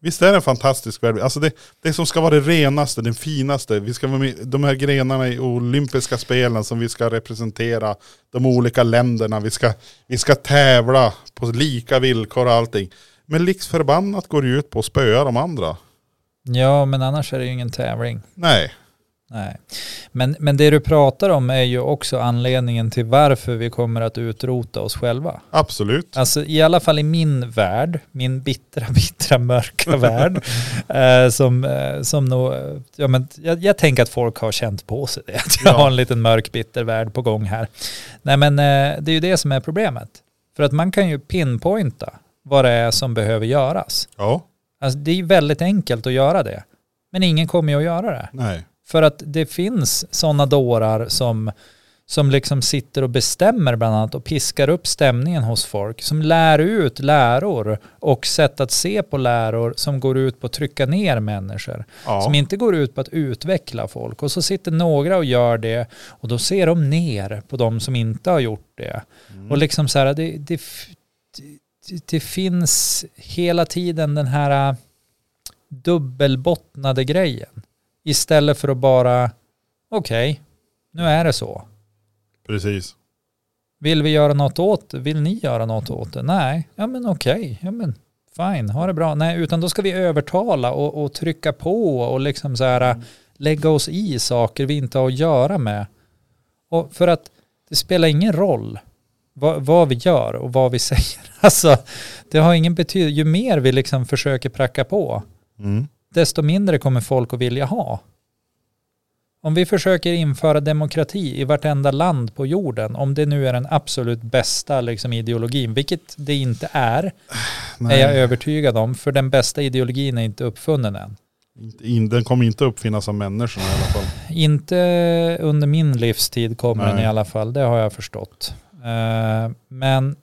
Speaker 2: Visst är det en fantastisk värld? Alltså det, det som ska vara det renaste, den finaste. Vi ska vara med, de här grenarna i olympiska spelen som vi ska representera de olika länderna. Vi ska, vi ska tävla på lika villkor och allting. Men likt förbannat går det ju ut på att spöa de andra.
Speaker 1: ja, men annars är det ju ingen tävling.
Speaker 2: Nej.
Speaker 1: Nej. Men, men det du pratar om är ju också anledningen till varför vi kommer att utrota oss själva.
Speaker 2: Absolut.
Speaker 1: Alltså i alla fall i min värld, min bittra, [LAUGHS] bittra, mörka värld. Eh, som, eh, som nog, eh, ja, men jag, jag tänker att folk har känt på sig det. [LAUGHS] Att jag
Speaker 2: Ja.
Speaker 1: har en liten mörk, bitter värld på gång här. Nej men eh, det är ju det som är problemet. För att man kan ju pinpointa vad det är som behöver göras.
Speaker 2: Ja.
Speaker 1: Alltså det är ju väldigt enkelt att göra det. Men ingen kommer ju att göra det.
Speaker 2: Nej.
Speaker 1: För att det finns sådana dårar som, som liksom sitter och bestämmer bland annat och piskar upp stämningen hos folk. Som lär ut läror och sätt att se på läror som går ut på att trycka ner människor. Som
Speaker 2: Ja.
Speaker 1: inte går ut på att utveckla folk. Och så sitter några och gör det och då ser de ner på de som inte har gjort det.
Speaker 2: Mm.
Speaker 1: Och liksom så här, det, det, f- det, det finns hela tiden den här äh, dubbelbottnade grejen. Istället för att bara, okej, nu är det så.
Speaker 2: Precis.
Speaker 1: Vill vi göra något åt det? Vill ni göra något åt det? Nej, ja men okej, ja men fine, ha det bra. Nej, utan då ska vi övertala och, och trycka på och liksom så här äh, lägga oss i saker vi inte har att göra med. Och för att det spelar ingen roll vad, vad vi gör och vad vi [LAUGHS] säger. Alltså, det har ingen betydelse. Ju mer vi liksom försöker pracka på,
Speaker 2: Mm.
Speaker 1: desto mindre kommer folk att vilja ha. Om vi försöker införa demokrati i vartenda land på jorden, om det nu är den absolut bästa liksom, ideologin, vilket det inte är,
Speaker 2: Nej.
Speaker 1: är jag övertygad om, för den bästa ideologin är inte uppfunnen än.
Speaker 2: Inte in- Den kommer inte uppfinnas av människorna i alla fall.
Speaker 1: Inte under min livstid kommer den
Speaker 2: Nej.
Speaker 1: i alla fall, det har jag förstått. Eh, men,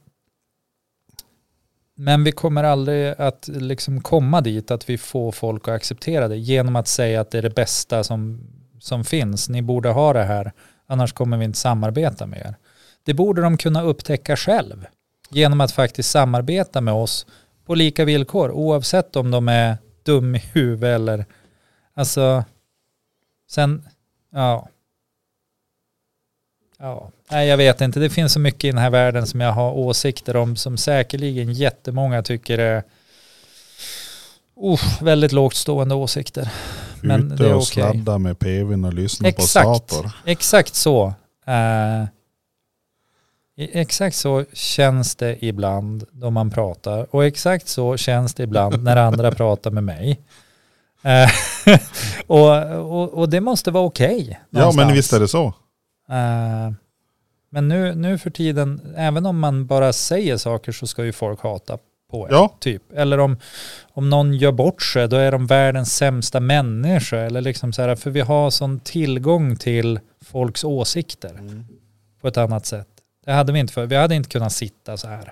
Speaker 1: men vi kommer aldrig att liksom komma dit att vi får folk att acceptera det genom att säga att det är det bästa som, som finns. Ni borde ha det här, annars kommer vi inte samarbeta med er. Det borde de kunna upptäcka själv genom att faktiskt samarbeta med oss på lika villkor oavsett om de är dum i huvudet eller alltså sen ja ja nej jag vet inte det finns så mycket i den här världen som jag har åsikter om som säkerligen jättemånga tycker är Uff, väldigt lågt stående åsikter. Men
Speaker 2: Ute
Speaker 1: det är
Speaker 2: och
Speaker 1: okej.
Speaker 2: sladda med PVn och lyssna på
Speaker 1: Exakt,
Speaker 2: Sator.
Speaker 1: exakt så. Eh, I- Exakt så känns det ibland då man pratar och exakt så känns det ibland när andra pratar med mig. Eh, [LAUGHS] och, och, och det måste vara okej.
Speaker 2: Ja men
Speaker 1: någonstans.
Speaker 2: visst är det så.
Speaker 1: Eh, men nu, nu för tiden, även om man bara säger saker så ska ju folk hata på en.
Speaker 2: Ja.
Speaker 1: Typ. Eller om, om någon gör bort sig, då är de världens sämsta människor. Eller liksom så här, för vi har sån tillgång till folks åsikter på ett annat sätt. Det hade vi inte för. Vi hade inte kunnat sitta så här.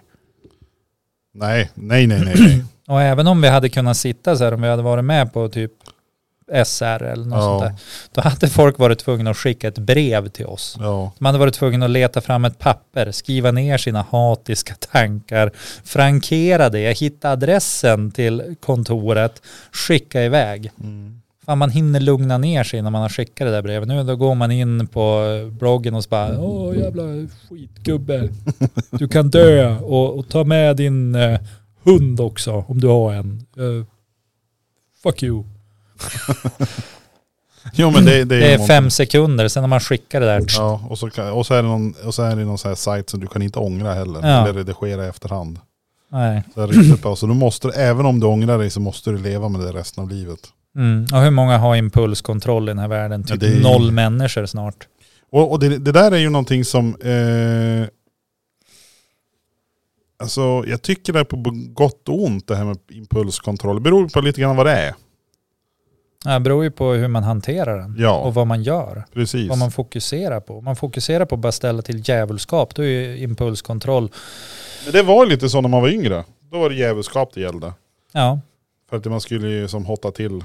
Speaker 2: Nej, nej, nej, nej. nej.
Speaker 1: Och även om vi hade kunnat sitta så här, om vi hade varit med på typ SR eller något sånt
Speaker 2: ja,
Speaker 1: där, då hade folk varit tvungna att skicka ett brev till oss.
Speaker 2: ja.
Speaker 1: Man hade varit tvungen att leta fram ett papper, skriva ner sina hatiska tankar, frankera det, hitta adressen till kontoret, skicka iväg.
Speaker 2: Mm.
Speaker 1: Fan, man hinner lugna ner sig innan man har skickat det där brevet. Nu då går man in på bloggen och så bara, åh jävla skitgubbe, du kan dö och, och ta med din eh, hund också om du har en. Eh, fuck you.
Speaker 2: Jo men det, det är,
Speaker 1: Det är
Speaker 2: många-
Speaker 1: fem sekunder, sen när man skickar det där,
Speaker 2: Ja, och så, kan, och så är det någon, och så är det någon sån här sajt som du kan inte ångra heller.
Speaker 1: Ja.
Speaker 2: Eller redigera i efterhand.
Speaker 1: nej.
Speaker 2: Så, här ryktet på. så du måste, även om du ångrar dig så måste du leva med det resten av livet.
Speaker 1: Mm. Och hur många har impulskontroll i den här världen?
Speaker 2: Ja,
Speaker 1: Typ
Speaker 2: det är-
Speaker 1: noll människor snart.
Speaker 2: Och, och det, det där är ju någonting som... Eh, alltså jag tycker det är på gott och ont det här med impulskontroll. Det beror på lite grann vad det är.
Speaker 1: Ja, Det beror ju på hur man hanterar den
Speaker 2: Ja,
Speaker 1: och vad man gör.
Speaker 2: precis.
Speaker 1: Vad man fokuserar på. Om man fokuserar på att bara ställa till djävulskap, då är ju impulskontroll,
Speaker 2: Men det var ju lite så när man var yngre. Då var det djävulskap det gällde.
Speaker 1: ja,
Speaker 2: För att man skulle ju som hotta till.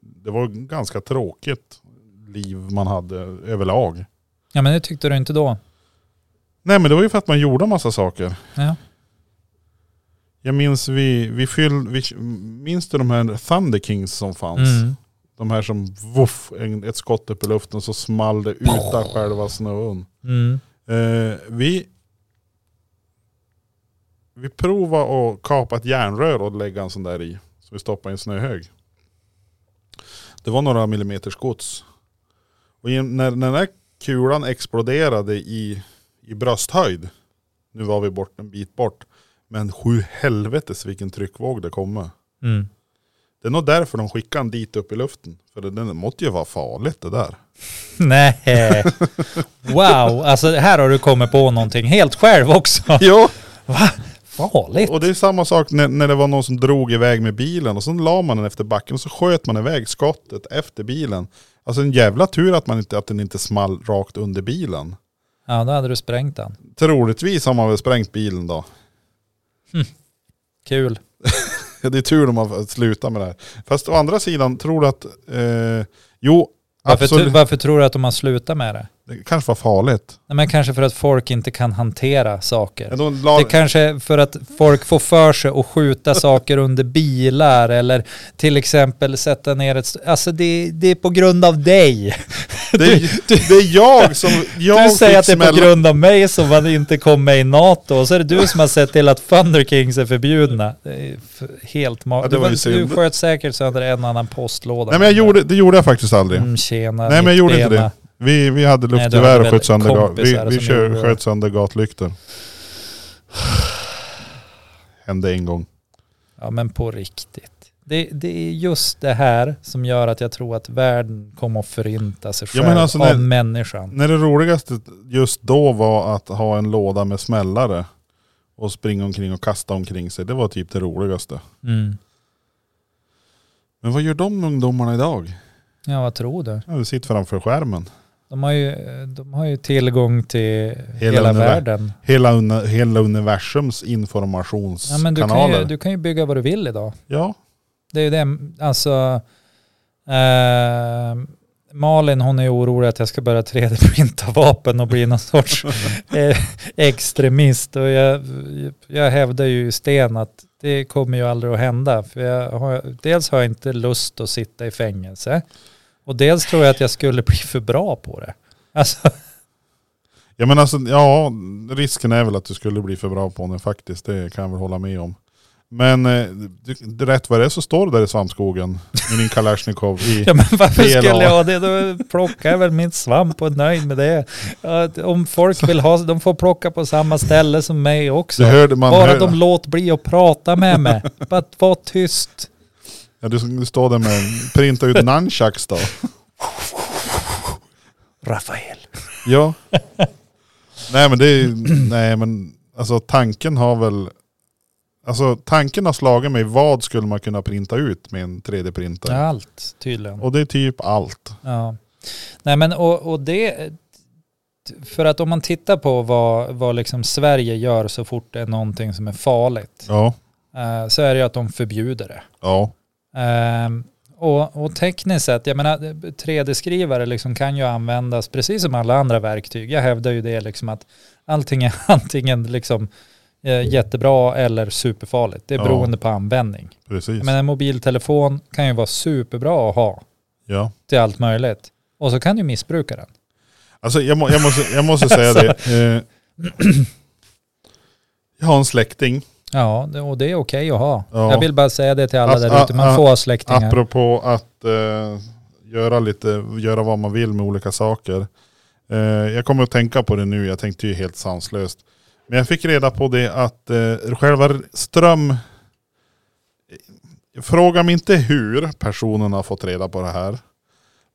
Speaker 2: Det var ju ganska tråkigt liv man hade överlag.
Speaker 1: Ja men det tyckte du inte då.
Speaker 2: Nej men det var ju för att man gjorde massa saker.
Speaker 1: Ja.
Speaker 2: Jag minns vi, vi fyll, vi, minns du de här Thunder Kings som fanns?
Speaker 1: Mm.
Speaker 2: De här som voff, en, ett skott upp i luften så small det ut där själva snön.
Speaker 1: Mm.
Speaker 2: Eh, vi, vi provade att kapa ett järnrör och lägga en sån där i. Så vi stoppade i en snöhög. Det var några millimeters gods. Och i- när, när den där kulan exploderade i, i brösthöjd. Nu var vi bort en bit bort. Men sju helvetes vilken tryckvåg det kom med.
Speaker 1: Mm. [LAUGHS]
Speaker 2: Det är nog därför de skickade den dit upp i luften. För det, det måste ju vara farligt det där.
Speaker 1: Nej. Wow, alltså här har du kommit på någonting helt själv också.
Speaker 2: Ja,
Speaker 1: Farligt.
Speaker 2: Och det är samma sak när, när det var någon som drog iväg med bilen och sen la man den efter backen och så sköt man iväg skottet efter bilen. Alltså en jävla tur att, man inte, att den inte small rakt under bilen.
Speaker 1: Ja då hade du sprängt den.
Speaker 2: Troligtvis har man väl sprängt bilen då. [LAUGHS]
Speaker 1: Kul.
Speaker 2: Det är tur om man slutar med det här. Fast å andra sidan, tror du att... Eh, jo,
Speaker 1: Varför, tr-
Speaker 2: absolut.
Speaker 1: varför tror du att de har slutat med det?
Speaker 2: Det kanske var farligt.
Speaker 1: Nej, men kanske för att folk inte kan hantera saker.
Speaker 2: Men då la,
Speaker 1: Det [LAUGHS] kanske är för att folk får för sig att skjuta saker under bilar eller till exempel sätta ner ett... st- Alltså det, det är på grund av dig.
Speaker 2: det, är- det är jag som...
Speaker 1: [LAUGHS]
Speaker 2: Jag
Speaker 1: du säger
Speaker 2: fick
Speaker 1: att det är på
Speaker 2: smälla-
Speaker 1: grund av mig som man inte kom med i NATO och så är det du som har sett till att Thunder Kings är förbjudna. Det är f- helt ma-
Speaker 2: Ja, det
Speaker 1: du,
Speaker 2: var ju
Speaker 1: var- du
Speaker 2: synd.
Speaker 1: sköt säkert sönder en annan postlåda.
Speaker 2: Nej men jag gjorde, det gjorde jag faktiskt aldrig.
Speaker 1: Mm, tjena,
Speaker 2: Nej men jag
Speaker 1: mitt
Speaker 2: gjorde inte
Speaker 1: bena.
Speaker 2: det. Vi, vi hade
Speaker 1: Nej, du hade
Speaker 2: luftegevär och
Speaker 1: väl
Speaker 2: sköt sönder, ga- vi,
Speaker 1: kompisar
Speaker 2: vi
Speaker 1: som
Speaker 2: kör,
Speaker 1: gjorde-
Speaker 2: sköt sönder gatlyktor. [SIGHS] Hände en gång.
Speaker 1: Ja men på riktigt. Det, det är just det här som gör att jag tror att världen kommer att förinta sig
Speaker 2: Ja,
Speaker 1: själv
Speaker 2: men alltså
Speaker 1: av
Speaker 2: när-
Speaker 1: människan.
Speaker 2: När det roligaste just då var att ha en låda med smällare och springa omkring och kasta omkring sig. Det var typ det roligaste.
Speaker 1: Mm.
Speaker 2: Men vad gör de ungdomarna idag?
Speaker 1: Ja vad tror du?
Speaker 2: Ja, de sitter framför skärmen.
Speaker 1: De har ju, de har ju tillgång till hela,
Speaker 2: Hela univer-
Speaker 1: världen.
Speaker 2: Hela, uni- hela universums
Speaker 1: Ja, men du,
Speaker 2: informationskanaler.
Speaker 1: kan ju, du kan ju bygga vad du vill idag.
Speaker 2: Ja,
Speaker 1: Det är ju det, alltså... Eh, Malin hon är orolig att jag ska börja 3D-printa vapen och bli någon
Speaker 2: [LAUGHS]
Speaker 1: sorts eh, extremist. Och jag, jag hävdar ju i sten att det kommer ju aldrig att hända. För jag har, dels har jag inte lust att sitta i fängelse. Och dels tror jag att jag skulle bli för bra på det. Alltså,
Speaker 2: Ja men alltså, ja, risken är väl att du skulle bli för bra på den faktiskt. Det kan jag väl hålla med om. Men eh, du, du- rätt vad det är så står du där i svampskogen med din Kalashnikov i...
Speaker 1: [LAUGHS] Ja men varför
Speaker 2: Fel
Speaker 1: skulle
Speaker 2: av.
Speaker 1: jag ha det? Då plockar jag väl min svamp och är nöjd med det. Att Om folk vill ha, de får plocka på samma ställe som mig också.
Speaker 2: Du hörde, man
Speaker 1: Bara
Speaker 2: hör,
Speaker 1: de låt bli att prata med mig. Bara att vara tyst.
Speaker 2: ja, du, du står där med printa ut
Speaker 1: [LAUGHS]
Speaker 2: nunchucks då.
Speaker 1: Rafael.
Speaker 2: Ja. nej men det är nej men alltså tanken har väl, alltså tanken har slagit mig, vad skulle man kunna printa ut med en 3D-printer?
Speaker 1: Allt tydligen.
Speaker 2: Och det är typ allt.
Speaker 1: Ja. Nej men och, och det, för att om man tittar på vad, vad liksom Sverige gör så fort det är någonting som är farligt
Speaker 2: Ja.
Speaker 1: eh, så är det ju att de förbjuder det.
Speaker 2: Ja.
Speaker 1: Ehm, och, och tekniskt sett, jag menar 3D-skrivare liksom kan ju användas precis som alla andra verktyg. Jag hävdar ju det liksom att allting är [LAUGHS] antingen liksom eh, jättebra eller superfarligt. Det är
Speaker 2: Ja.
Speaker 1: beroende på användning.
Speaker 2: Precis.
Speaker 1: Men en mobiltelefon kan ju vara superbra att ha
Speaker 2: ja.
Speaker 1: till allt möjligt. Och så kan du missbruka den.
Speaker 2: Alltså jag, må, jag, måste, jag måste säga det. Eh, [CLEARS THROAT] jag har en släkting,
Speaker 1: Ja, det- och det är okej att ha.
Speaker 2: Ja.
Speaker 1: Jag vill bara säga det till alla
Speaker 2: Ap-
Speaker 1: där ute.
Speaker 2: a-
Speaker 1: Man får ha släktingar.
Speaker 2: apropå att eh, göra lite, göra vad man vill med olika saker. Eh, jag kommer att tänka på det nu, jag tänkte ju helt sanslöst. Men jag fick reda på det att eh, själva ström... eh, Fråga mig inte hur personen har fått reda på det här.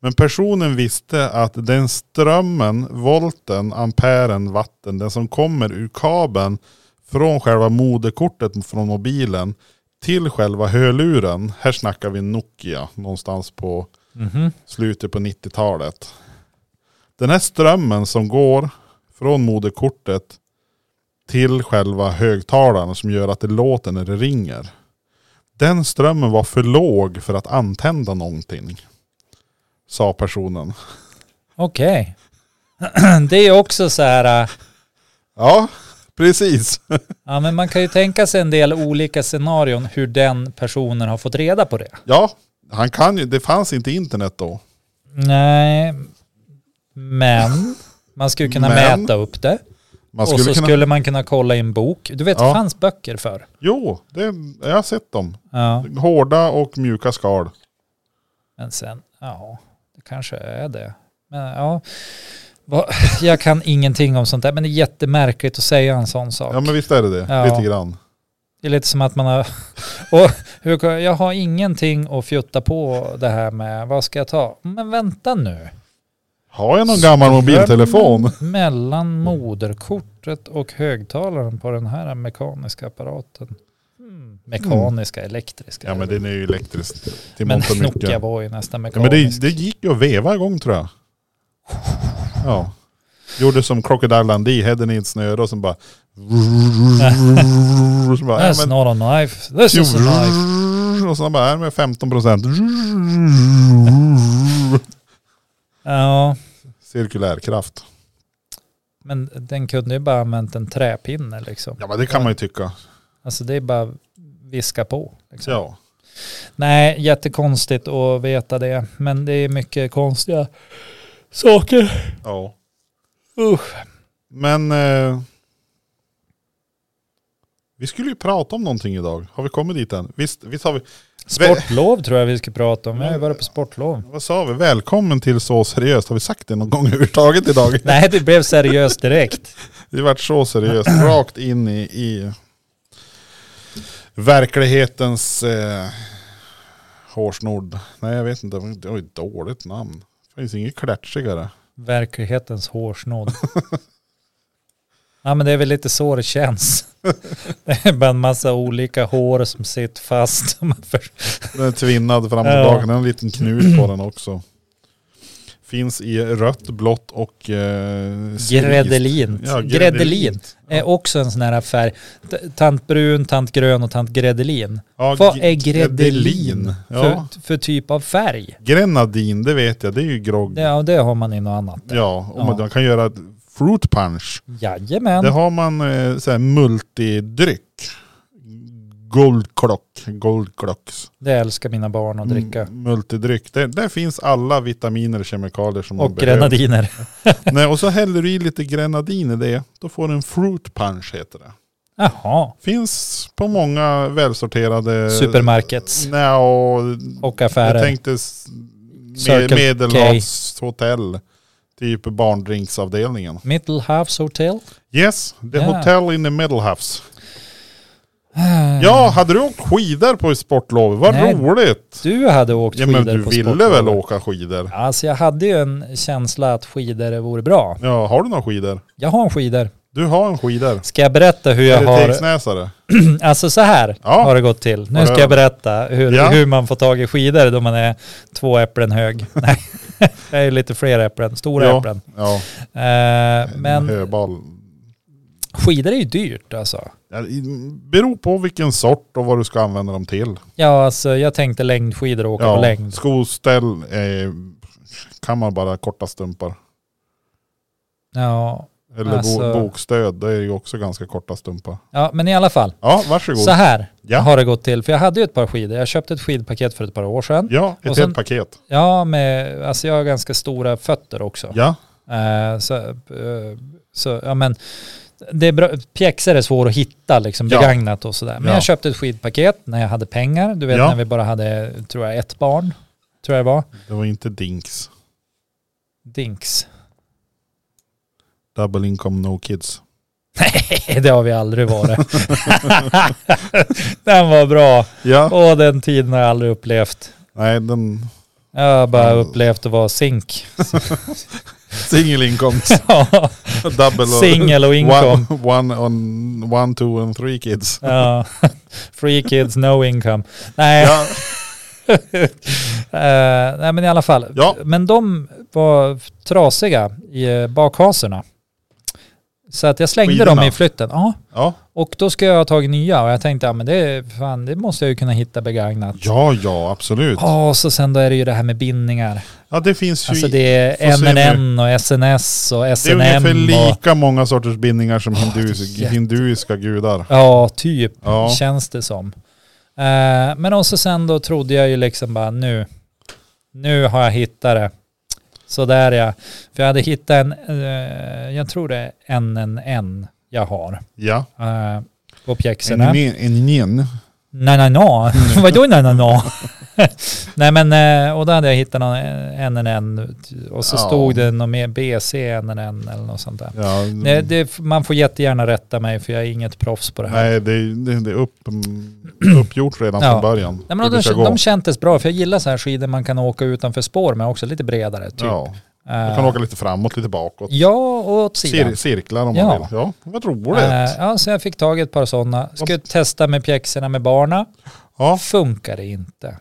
Speaker 2: Men personen visste att den strömmen, volten, amperen, vatten, den som kommer ur kabeln från själva moderkortet från mobilen till själva hörluren. Här snackar vi Nokia någonstans på
Speaker 1: Mhm.
Speaker 2: slutet på 90-talet. Den här strömmen som går från moderkortet till själva högtalaren som gör att det låter när det ringer. Den strömmen var för låg för att antända någonting. Sa personen.
Speaker 1: Okej. [CLEARS THROAT] det är också så här... äh,
Speaker 2: Ja, precis.
Speaker 1: Ja, men man kan ju tänka sig en del olika scenarion hur den personen har fått reda på det.
Speaker 2: Ja, han kan ju, det fanns inte internet då.
Speaker 1: Nej, men man skulle kunna
Speaker 2: Men,
Speaker 1: mäta upp det.
Speaker 2: Man
Speaker 1: och så
Speaker 2: kunna,
Speaker 1: skulle man kunna kolla i en bok. Du vet,
Speaker 2: Ja.
Speaker 1: det fanns böcker för.
Speaker 2: Jo, det, jag har sett dem.
Speaker 1: Ja,
Speaker 2: Hårda och mjuka skal.
Speaker 1: men sen, ja, det kanske är det. Men ja, vad- [LAUGHS] jag kan ingenting om sånt där, men det är jättemärkligt att säga en sån sak.
Speaker 2: Ja men visst är det det,
Speaker 1: Ja.
Speaker 2: lite grann.
Speaker 1: Det är lite som att man har... [LAUGHS] Och, hur kan- jag har ingenting att fjutta på det här med. Vad ska jag ta? Men vänta nu.
Speaker 2: Har jag någon gammal mobiltelefon?
Speaker 1: Mellan moderkortet och högtalaren på den här mekaniska apparaten. Mm. Mekaniska, elektriska.
Speaker 2: Hmm. Ja men den är ju elektrisk till
Speaker 1: Men
Speaker 2: mångt och mycket.
Speaker 1: Nokia
Speaker 2: Ja,
Speaker 1: var ju nästan
Speaker 2: men
Speaker 1: mekanisk.
Speaker 2: det, det gick ju att veva igång tror jag. Ja. Gjorde som Crocodile Dundee, hädden i ett snöre och sen bara... Och så bara, ja,
Speaker 1: That's
Speaker 2: men,
Speaker 1: not a knife. This is a knife.
Speaker 2: och sen bara, här med 15 procent.
Speaker 1: Ja,
Speaker 2: Cirkulär kraft.
Speaker 1: men den kunde ju bara använt en träpinne liksom.
Speaker 2: Ja men det kan man ju tycka.
Speaker 1: Alltså det är bara viska på. Liksom.
Speaker 2: Ja.
Speaker 1: Nej, jättekonstigt att veta det. Men det är mycket konstiga saker.
Speaker 2: ja.
Speaker 1: Usch.
Speaker 2: Men... Eh, vi skulle ju prata om någonting idag. Har vi kommit dit än? Visst, visst har vi...
Speaker 1: Sportlov tror jag vi ska prata om. Jag har ju varit på sportlov.
Speaker 2: Vad sa vi? Välkommen till Så seriöst. Har vi sagt det någon gång [LAUGHS] överhuvudtaget idag?
Speaker 1: [LAUGHS] Nej, det blev seriöst direkt.
Speaker 2: Det har varit så seriöst. Rakt in i, i verklighetens eh, hårsnodd. Nej, jag vet inte. Det var ett dåligt namn. Det finns inget klatschigare.
Speaker 1: Verklighetens hårsnodd. Ja men det är väl lite så det känns. Det är bara en massa olika hår som sitter fast. Man för-
Speaker 2: Den är tvinnad fram och
Speaker 1: Ja.
Speaker 2: tillbaka. Den har en liten knut på den också. Finns i rött, blått och... Eh, cerise.
Speaker 1: Gredelin.
Speaker 2: Ja,
Speaker 1: Gredelin är
Speaker 2: Ja.
Speaker 1: också en sån här färg. T- Tant brun, tant grön och tant gredelin.
Speaker 2: Ja,
Speaker 1: Vad
Speaker 2: g-
Speaker 1: är gredelin
Speaker 2: gredelin? Ja.
Speaker 1: för, för typ av färg?
Speaker 2: Grenadin, det vet jag. Det är ju grogg.
Speaker 1: Det, ja, det har man i något annat.
Speaker 2: Ja, och
Speaker 1: Ja.
Speaker 2: Man, man kan göra ett fruit punch.
Speaker 1: Jajamän.
Speaker 2: Det har man eh, så här multidryck. Goldklock, goldklocks.
Speaker 1: Det älskar mina barn att dricka.
Speaker 2: M- multidryck. Där, där finns alla vitaminer och kemikalier som man
Speaker 1: och grenadiner.
Speaker 2: Nej, och så häller du i lite grenadin i det. Då får du en fruit punch heter det.
Speaker 1: Jaha,
Speaker 2: Finns på många välsorterade...
Speaker 1: supermarkets
Speaker 2: Nej, och
Speaker 1: och
Speaker 2: Eh, jag
Speaker 1: affärer.
Speaker 2: tänkte s- me-
Speaker 1: Circle K.
Speaker 2: medelhavshotell. Typ barndrinksavdelningen.
Speaker 1: Middle House Hotel.
Speaker 2: Yes, the
Speaker 1: Ja.
Speaker 2: hotel in the middle house. Ja, hade du åkt skidor på sportlovet? Vad
Speaker 1: Nej.
Speaker 2: roligt!
Speaker 1: Du hade åkt
Speaker 2: Ja
Speaker 1: skidor
Speaker 2: men du
Speaker 1: på
Speaker 2: ville
Speaker 1: sportlovet.
Speaker 2: väl åka skidor?
Speaker 1: Alltså jag hade ju en känsla att skidor vore bra.
Speaker 2: Ja, har du några skidor?
Speaker 1: Jag har en skidor.
Speaker 2: Du har en skidor.
Speaker 1: Ska jag berätta hur jag
Speaker 2: Är det
Speaker 1: har...
Speaker 2: Tegsnäsare?
Speaker 1: Alltså så här
Speaker 2: Ja.
Speaker 1: har det gått till. Nu
Speaker 2: Har
Speaker 1: ska
Speaker 2: det-
Speaker 1: jag berätta hur,
Speaker 2: Ja.
Speaker 1: hur man får tag i skidor då man är två äpplen hög. [LAUGHS] Nej, det är lite fler äpplen. Stora
Speaker 2: Ja.
Speaker 1: äpplen.
Speaker 2: Ja,
Speaker 1: Eh,
Speaker 2: men...
Speaker 1: men
Speaker 2: höbal.
Speaker 1: skidor är ju dyrt alltså.
Speaker 2: Ja, i- Beror på vilken sort och vad du ska använda dem till.
Speaker 1: Ja, alltså jag tänkte längdskidor och åka på längd.
Speaker 2: Skoställ eh, kan man bara korta stumpar.
Speaker 1: Ja.
Speaker 2: Eller
Speaker 1: Alltså-
Speaker 2: bo, bokstöd, det är ju också ganska korta stumpar.
Speaker 1: ja, men i alla fall.
Speaker 2: Ja, varsågod.
Speaker 1: Så här
Speaker 2: Ja.
Speaker 1: har det gått till. För jag hade ju ett par skidor. Jag köpte ett skidpaket för ett par år sedan.
Speaker 2: Ja, ett
Speaker 1: Och sen-
Speaker 2: helt paket.
Speaker 1: Ja, med, alltså jag har ganska stora fötter också.
Speaker 2: Ja,
Speaker 1: Eh, så, eh, så, ja men, det är bra, pjäxor är svår att hitta liksom
Speaker 2: Ja.
Speaker 1: begagnat och sådär. Men
Speaker 2: Ja.
Speaker 1: jag köpte ett skidpaket när jag hade pengar. Du vet
Speaker 2: Ja.
Speaker 1: när vi bara hade, tror jag, ett barn. Tror jag det var.
Speaker 2: det var inte Dinks.
Speaker 1: Dinks. [LAUGHS]
Speaker 2: Double income, no kids.
Speaker 1: Det har vi aldrig varit. [LAUGHS] den var bra.
Speaker 2: Ja,
Speaker 1: Åh, den tiden har jag aldrig upplevt.
Speaker 2: nej den...
Speaker 1: Jag har bara upplevt att vara
Speaker 2: [LAUGHS]
Speaker 1: sink. [LAUGHS]
Speaker 2: Single income,
Speaker 1: Ja,
Speaker 2: double och-
Speaker 1: Singel och income.
Speaker 2: One, one, on, one, two and three kids.
Speaker 1: Ja. [LAUGHS] Free kids, no income. Nej,
Speaker 2: Ja,
Speaker 1: [LAUGHS] Eh, nej men i alla fall.
Speaker 2: Ja.
Speaker 1: Men de var trasiga i eh, bakhasorna. Så att jag slängde dem
Speaker 2: Skidorna.
Speaker 1: i flytten. Ja.
Speaker 2: ja,
Speaker 1: Och då ska jag ha tagit nya och jag tänkte, ja men det, fan, det måste jag ju kunna hitta begagnat.
Speaker 2: ja, ja absolut.
Speaker 1: Ja, och så sen då är det ju det här med bindningar.
Speaker 2: Ja, det finns ju...
Speaker 1: Alltså
Speaker 2: i-
Speaker 1: det
Speaker 2: får se
Speaker 1: är MNN och SNS och
Speaker 2: Det är
Speaker 1: SNM
Speaker 2: ungefär
Speaker 1: och...
Speaker 2: lika många sorters bindningar som hindus,
Speaker 1: jätte-
Speaker 2: hinduiska gudar.
Speaker 1: Ja, typ
Speaker 2: Ja.
Speaker 1: känns det som. Eh, men också sen då trodde jag ju liksom bara nu, nu har jag hittat det. Så där ja. För jag hade hittat en, eh, jag tror det är en, en, en jag har
Speaker 2: Ja.
Speaker 1: eh, på
Speaker 2: En
Speaker 1: pjäxorna.
Speaker 2: nin- en nin.
Speaker 1: Nej, nej, nej. [LAUGHS] Vadå nej, nej, nej? [LAUGHS] Nej men, eh, och då hade jag hittat någon en, en, en och så
Speaker 2: Ja.
Speaker 1: stod det något mer BC, en, en, en eller något sånt där.
Speaker 2: Ja.
Speaker 1: Nej, det, man får jättegärna rätta mig för jag är inget proffs på det här.
Speaker 2: Nej, det, det, det är upp, uppgjort redan
Speaker 1: Ja.
Speaker 2: från början.
Speaker 1: Nej, men
Speaker 2: hur
Speaker 1: de,
Speaker 2: det ska
Speaker 1: de,
Speaker 2: gå.
Speaker 1: de kändes bra, för jag gillar så här skidor man kan åka utanför spår med också, lite bredare. Typ. Ja,
Speaker 2: ja. Du kan åka lite framåt, lite bakåt.
Speaker 1: ja och åt sidan.
Speaker 2: Cir, cirklar om
Speaker 1: Ja.
Speaker 2: man vill. Ja, vad roligt.
Speaker 1: Eh, ja, så jag fick tag i ett par sådana. Skulle testa med pjäxorna med barna.
Speaker 2: ja.
Speaker 1: Funkar det inte.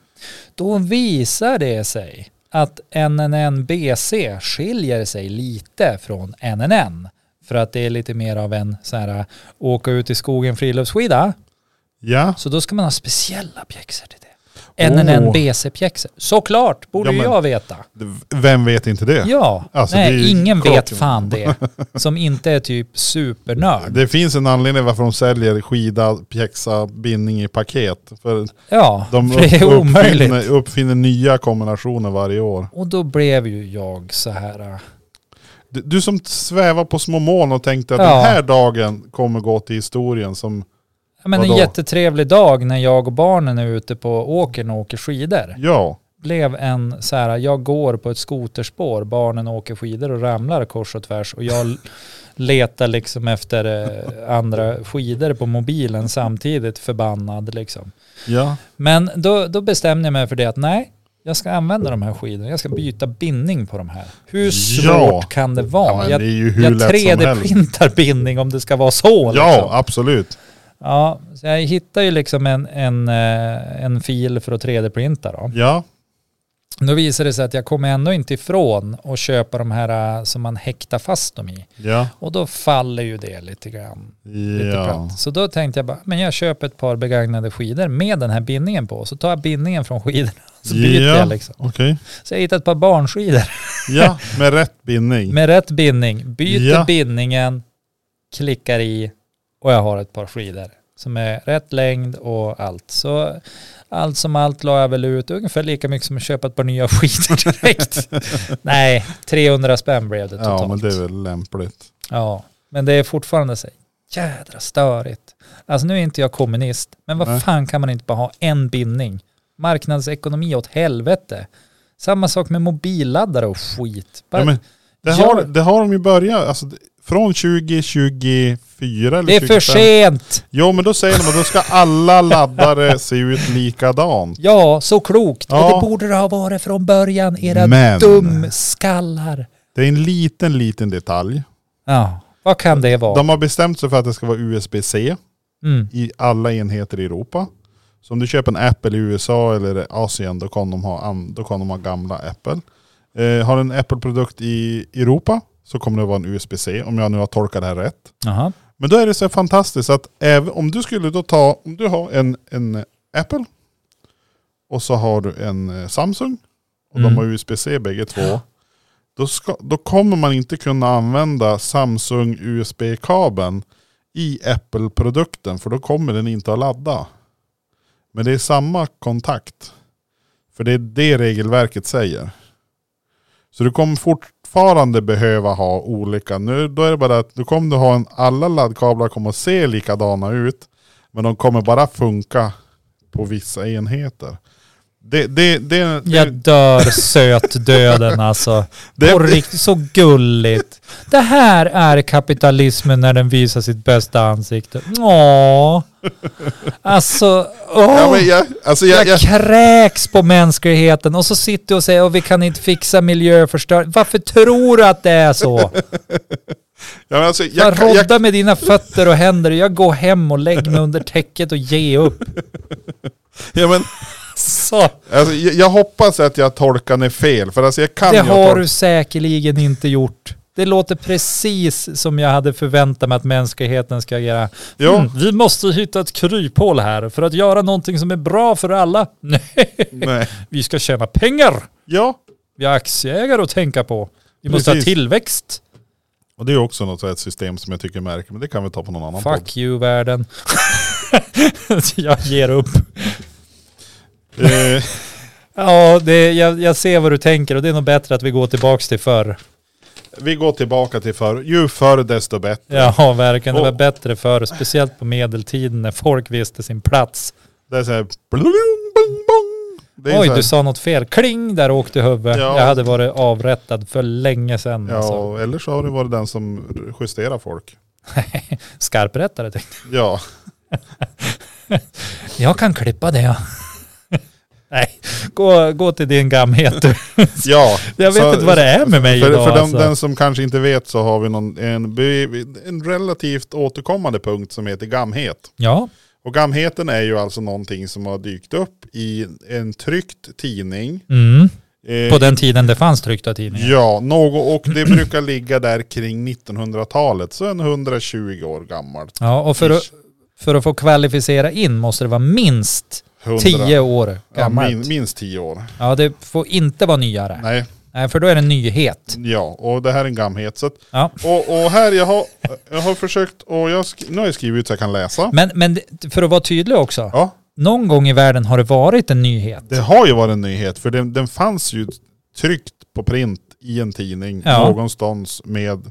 Speaker 1: Då visar det sig att NNN-BC skiljer sig lite från NNN. För att det är lite mer av en så här eh, åka ut i skogen friluftsskida.
Speaker 2: ja.
Speaker 1: Så då ska man ha speciella pjäxor till det. NNN-BC-pjäxor. Såklart borde
Speaker 2: Ja,
Speaker 1: ju
Speaker 2: men-
Speaker 1: jag veta.
Speaker 2: Vem vet inte det?
Speaker 1: Ja,
Speaker 2: Alltså, det är
Speaker 1: nej,
Speaker 2: ju
Speaker 1: ingen vet
Speaker 2: klart.
Speaker 1: fan
Speaker 2: [LAUGHS]
Speaker 1: det. Som inte är typ supernörd.
Speaker 2: Det finns en anledning varför de säljer skida, pjäxa, bindning i paket. För
Speaker 1: Ja,
Speaker 2: de
Speaker 1: för [LAUGHS] det är
Speaker 2: upp-
Speaker 1: omöjligt.
Speaker 2: uppfinner, uppfinner nya kombinationer varje år.
Speaker 1: Och då blev ju jag så här. äh,
Speaker 2: Du, du som svävar på små moln och tänkte att
Speaker 1: Ja.
Speaker 2: den här dagen kommer gå till historien som,
Speaker 1: ja, Men en
Speaker 2: Vadå?
Speaker 1: jättetrevlig dag när jag och barnen är ute på åkern och åker skidor.
Speaker 2: ja,
Speaker 1: Blev en så här, jag går på ett skoterspår, barnen åker skidor och ramlar kors och tvärs och
Speaker 2: [LAUGHS]
Speaker 1: jag letar liksom efter eh, andra skidor på mobilen samtidigt förbannad liksom.
Speaker 2: ja,
Speaker 1: Men då, då bestämde jag mig för det att nej, jag ska använda de här skidorna. Jag ska byta bindning på de här. Hur svårt
Speaker 2: Mm. Ja.
Speaker 1: kan det
Speaker 2: ja
Speaker 1: vara?
Speaker 2: men det är
Speaker 1: jag
Speaker 2: ju hur
Speaker 1: jag
Speaker 2: lätt som helst.
Speaker 1: 3D-printar bindning om det ska vara så.
Speaker 2: Ja,
Speaker 1: Liksom.
Speaker 2: absolut.
Speaker 1: ja så jag hittade ju liksom en, en, eh, en fil för att 3D-printa då.
Speaker 2: Ja,
Speaker 1: Då visade det sig att jag kommer ändå inte ifrån att köpa de här eh, som man häktar fast dem i.
Speaker 2: ja,
Speaker 1: Och då faller ju det lite grann. Lite
Speaker 2: ja.
Speaker 1: platt. Så då tänkte jag bara, men jag köper ett par begagnade skidor med den här bindningen på. Så tar jag bindningen från skidorna [LAUGHS] så byter
Speaker 2: Ja. Mm.
Speaker 1: jag liksom.
Speaker 2: Okej.
Speaker 1: Så jag hittade ett par barnskidor
Speaker 2: Ja, med rätt bindning.
Speaker 1: med rätt bindning. Byter
Speaker 2: Ja.
Speaker 1: bindningen, klickar i och jag har ett par skidor som är rätt längd och allt. Så allt som allt la jag väl ut ungefär lika mycket som att köpa ett par nya [LAUGHS] skidor
Speaker 2: [LAUGHS]
Speaker 1: direkt. Nej, 300 spänn blev det totalt.
Speaker 2: Ja, men det är väl lämpligt.
Speaker 1: Ja, men det är fortfarande så jädra störigt. Alltså nu är inte jag kommunist, men vad
Speaker 2: Nej.
Speaker 1: fan kan man inte bara ha en bindning? Marknadsekonomi åt helvete. Samma sak med mobilladdare och skit. Bara,
Speaker 2: Ja, men det,
Speaker 1: Ja.
Speaker 2: har, det har de ju börjat, alltså, det- från 2024 eller
Speaker 1: det är för
Speaker 2: 25.
Speaker 1: sent!
Speaker 2: Jo men då säger de att då ska alla laddare se ut likadant.
Speaker 1: Ja, så klokt.
Speaker 2: Ja.
Speaker 1: Och det borde det ha varit från början, era
Speaker 2: Men-
Speaker 1: dumskallar.
Speaker 2: Det är en liten, liten detalj.
Speaker 1: Ja, vad kan det vara?
Speaker 2: De har bestämt sig för att det ska vara USB-C
Speaker 1: Mm.
Speaker 2: i alla enheter i Europa. Så om du köper en Apple i USA eller Asien då kan de ha, an- då kan de ha gamla Apple. Eh, har du en Apple-produkt i Europa så kommer det vara en USB-C om jag nu har tolkat det här rätt.
Speaker 1: Jaha.
Speaker 2: Men då är det så fantastiskt att även om du skulle då ta, om du har en, en Apple och så har du en eh, Samsung och
Speaker 1: Mm.
Speaker 2: de har USB-C bägge två. Då, ska, då kommer man inte kunna använda Samsung USB-kabeln i Apple-produkten för då kommer den inte att ladda. Men det är samma kontakt. För det är det regelverket säger. Så du kommer fortfarande behöva ha olika. Nu då är det bara att du kommer du ha en, alla laddkablar kommer att se likadana ut. Men de kommer bara funka på vissa enheter. Det, det, det, det,
Speaker 1: Jag dör
Speaker 2: [LAUGHS]
Speaker 1: sötdöden alltså.
Speaker 2: det,
Speaker 1: På riktigt, så gulligt. Det här är kapitalismen när den visar sitt bästa ansikte. Åh. Alltså, åh.
Speaker 2: ja, men jag, alltså jag,
Speaker 1: jag,
Speaker 2: jag,
Speaker 1: kräks på mänskligheten och så sitter du och säger att vi kan inte fixa miljöförstöring. Varför tror du att det är så?
Speaker 2: ja, men alltså, jag,
Speaker 1: Jag,
Speaker 2: jag,
Speaker 1: rodda med dina fötter och händer. Jag går hem och lägger mig under täcket och ger upp.
Speaker 2: ja, men,
Speaker 1: Så,
Speaker 2: alltså, jag, jag hoppas att jag tolkar det fel. För alltså, jag kan
Speaker 1: det
Speaker 2: ju
Speaker 1: har
Speaker 2: tolka-
Speaker 1: du säkerligen inte gjort. Det låter precis som jag hade förväntat mig att mänskligheten ska agera.
Speaker 2: Ja.
Speaker 1: Mm, vi måste hitta ett kryphål här för att göra någonting som är bra för alla. Nej,
Speaker 2: Nej.
Speaker 1: vi ska tjäna pengar.
Speaker 2: Ja,
Speaker 1: Vi har aktieägare att tänka på. Vi måste
Speaker 2: Precis.
Speaker 1: ha tillväxt.
Speaker 2: och det är också något så här, ett system som jag tycker är märkligt. Men det kan vi ta på någon annan podd.
Speaker 1: Fuck you världen. [LAUGHS] jag ger upp.
Speaker 2: Eh,
Speaker 1: Ja, det, jag, jag ser vad du tänker och det är nog bättre att vi går tillbaka till förr.
Speaker 2: vi går tillbaka till förr. Ju förr desto bättre.
Speaker 1: Ja, verkligen. Det var
Speaker 2: Och-
Speaker 1: bättre förr, speciellt på medeltiden när folk visste sin plats.
Speaker 2: Det är så här... blulung, bung, bung. Det är
Speaker 1: Oj,
Speaker 2: så här,
Speaker 1: du sa något fel. Kling, där åkte huvudet.
Speaker 2: Ja.
Speaker 1: Jag hade varit avrättad för länge sedan. Alltså.
Speaker 2: Ja, eller så har det varit den som justerar folk.
Speaker 1: Skarprättare tänkte
Speaker 2: Ja,
Speaker 1: jag. Jag kan klippa det. ja. [LAUGHS] Nej, gå, gå till din gamhet. du.
Speaker 2: ja.
Speaker 1: [LAUGHS] Jag vet
Speaker 2: Så-
Speaker 1: inte vad det är med mig
Speaker 2: För,
Speaker 1: idag.
Speaker 2: för den,
Speaker 1: alltså.
Speaker 2: den som kanske inte vet så har vi någon, en, by- en relativt återkommande punkt som heter gamhet.
Speaker 1: Ja,
Speaker 2: Och gamheten är ju alltså någonting som har dykt upp i en tryckt tidning.
Speaker 1: mm.
Speaker 2: Eh,
Speaker 1: på den tiden det fanns tryckta tidningar.
Speaker 2: Ja, något, och det brukar ligga där kring 1900-talet, så en 120 år gammalt.
Speaker 1: Ja, och för att,
Speaker 2: Ish.
Speaker 1: för att få kvalificera in måste det vara minst
Speaker 2: 100,
Speaker 1: 10 år gammalt.
Speaker 2: Ja, min, minst 10 år.
Speaker 1: Ja, det får inte vara nyare. Nej.
Speaker 2: Nej,
Speaker 1: för då är det en nyhet.
Speaker 2: Ja, och det här är en gamhet. Så att,
Speaker 1: Ja.
Speaker 2: och, och här, jag har, jag har försökt, och jag, sk- nu har jag skrivit ut så jag kan läsa.
Speaker 1: Men, men det- för att vara tydlig också,
Speaker 2: Ja,
Speaker 1: någon gång i världen har det varit en nyhet.
Speaker 2: det har ju varit en nyhet, för den, den fanns ju tryckt på print i en tidning
Speaker 1: Ja.
Speaker 2: någonstans med,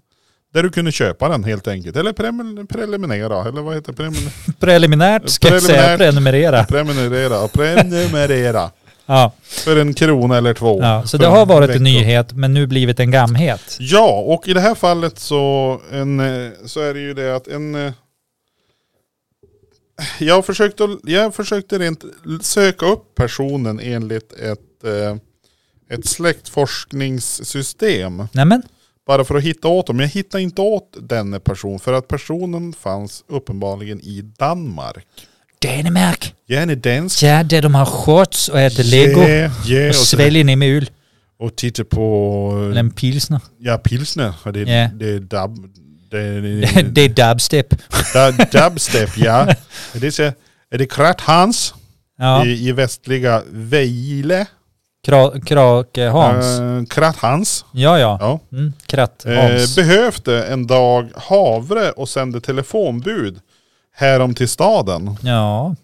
Speaker 2: där du kunde köpa den helt enkelt. Eller premen, preliminera, eller vad heter det? Premen,
Speaker 1: Preliminärt ska jag säga
Speaker 2: Preliminärt.
Speaker 1: prenumerera.
Speaker 2: prenumerera, prenumerera.
Speaker 1: Ja,
Speaker 2: För en krona eller två.
Speaker 1: ja. Så
Speaker 2: För
Speaker 1: det har varit en
Speaker 2: vecka.
Speaker 1: nyhet men nu blivit en gamhet.
Speaker 2: Ja, och i det här fallet så, en, eh, så är det ju det att en... eh, Jag försökte, jag försökte rent l- söka upp personen enligt ett, eh, ett släktforskningssystem.
Speaker 1: Nej men,
Speaker 2: Bara för att hitta åt dem. Jag hittade inte åt denne person för att personen fanns uppenbarligen i Danmark.
Speaker 1: Danmark.
Speaker 2: Jenny Dansk.
Speaker 1: Ja, där de har shorts och äter lego
Speaker 2: Yeah, yeah,
Speaker 1: och
Speaker 2: och, så-
Speaker 1: sväljer ner mul.
Speaker 2: och titta på
Speaker 1: Eller en pilsner.
Speaker 2: ja, pilsner. Och Det,
Speaker 1: Ja.
Speaker 2: det är dab, det,
Speaker 1: [LAUGHS] Det är dubstep.
Speaker 2: Da-
Speaker 1: [LAUGHS]
Speaker 2: Dubstep, ja. Det är, så, är det Krat Hans
Speaker 1: Ja,
Speaker 2: i, i västliga Vejle?
Speaker 1: Kra- Krake-Hans.
Speaker 2: Eh, Krat Hans.
Speaker 1: Ja, ja.
Speaker 2: Ja.
Speaker 1: Mm, kratt.
Speaker 2: Eh,
Speaker 1: Hans.
Speaker 2: behövde en dag havre och sände telefonbud härom till staden.
Speaker 1: ja.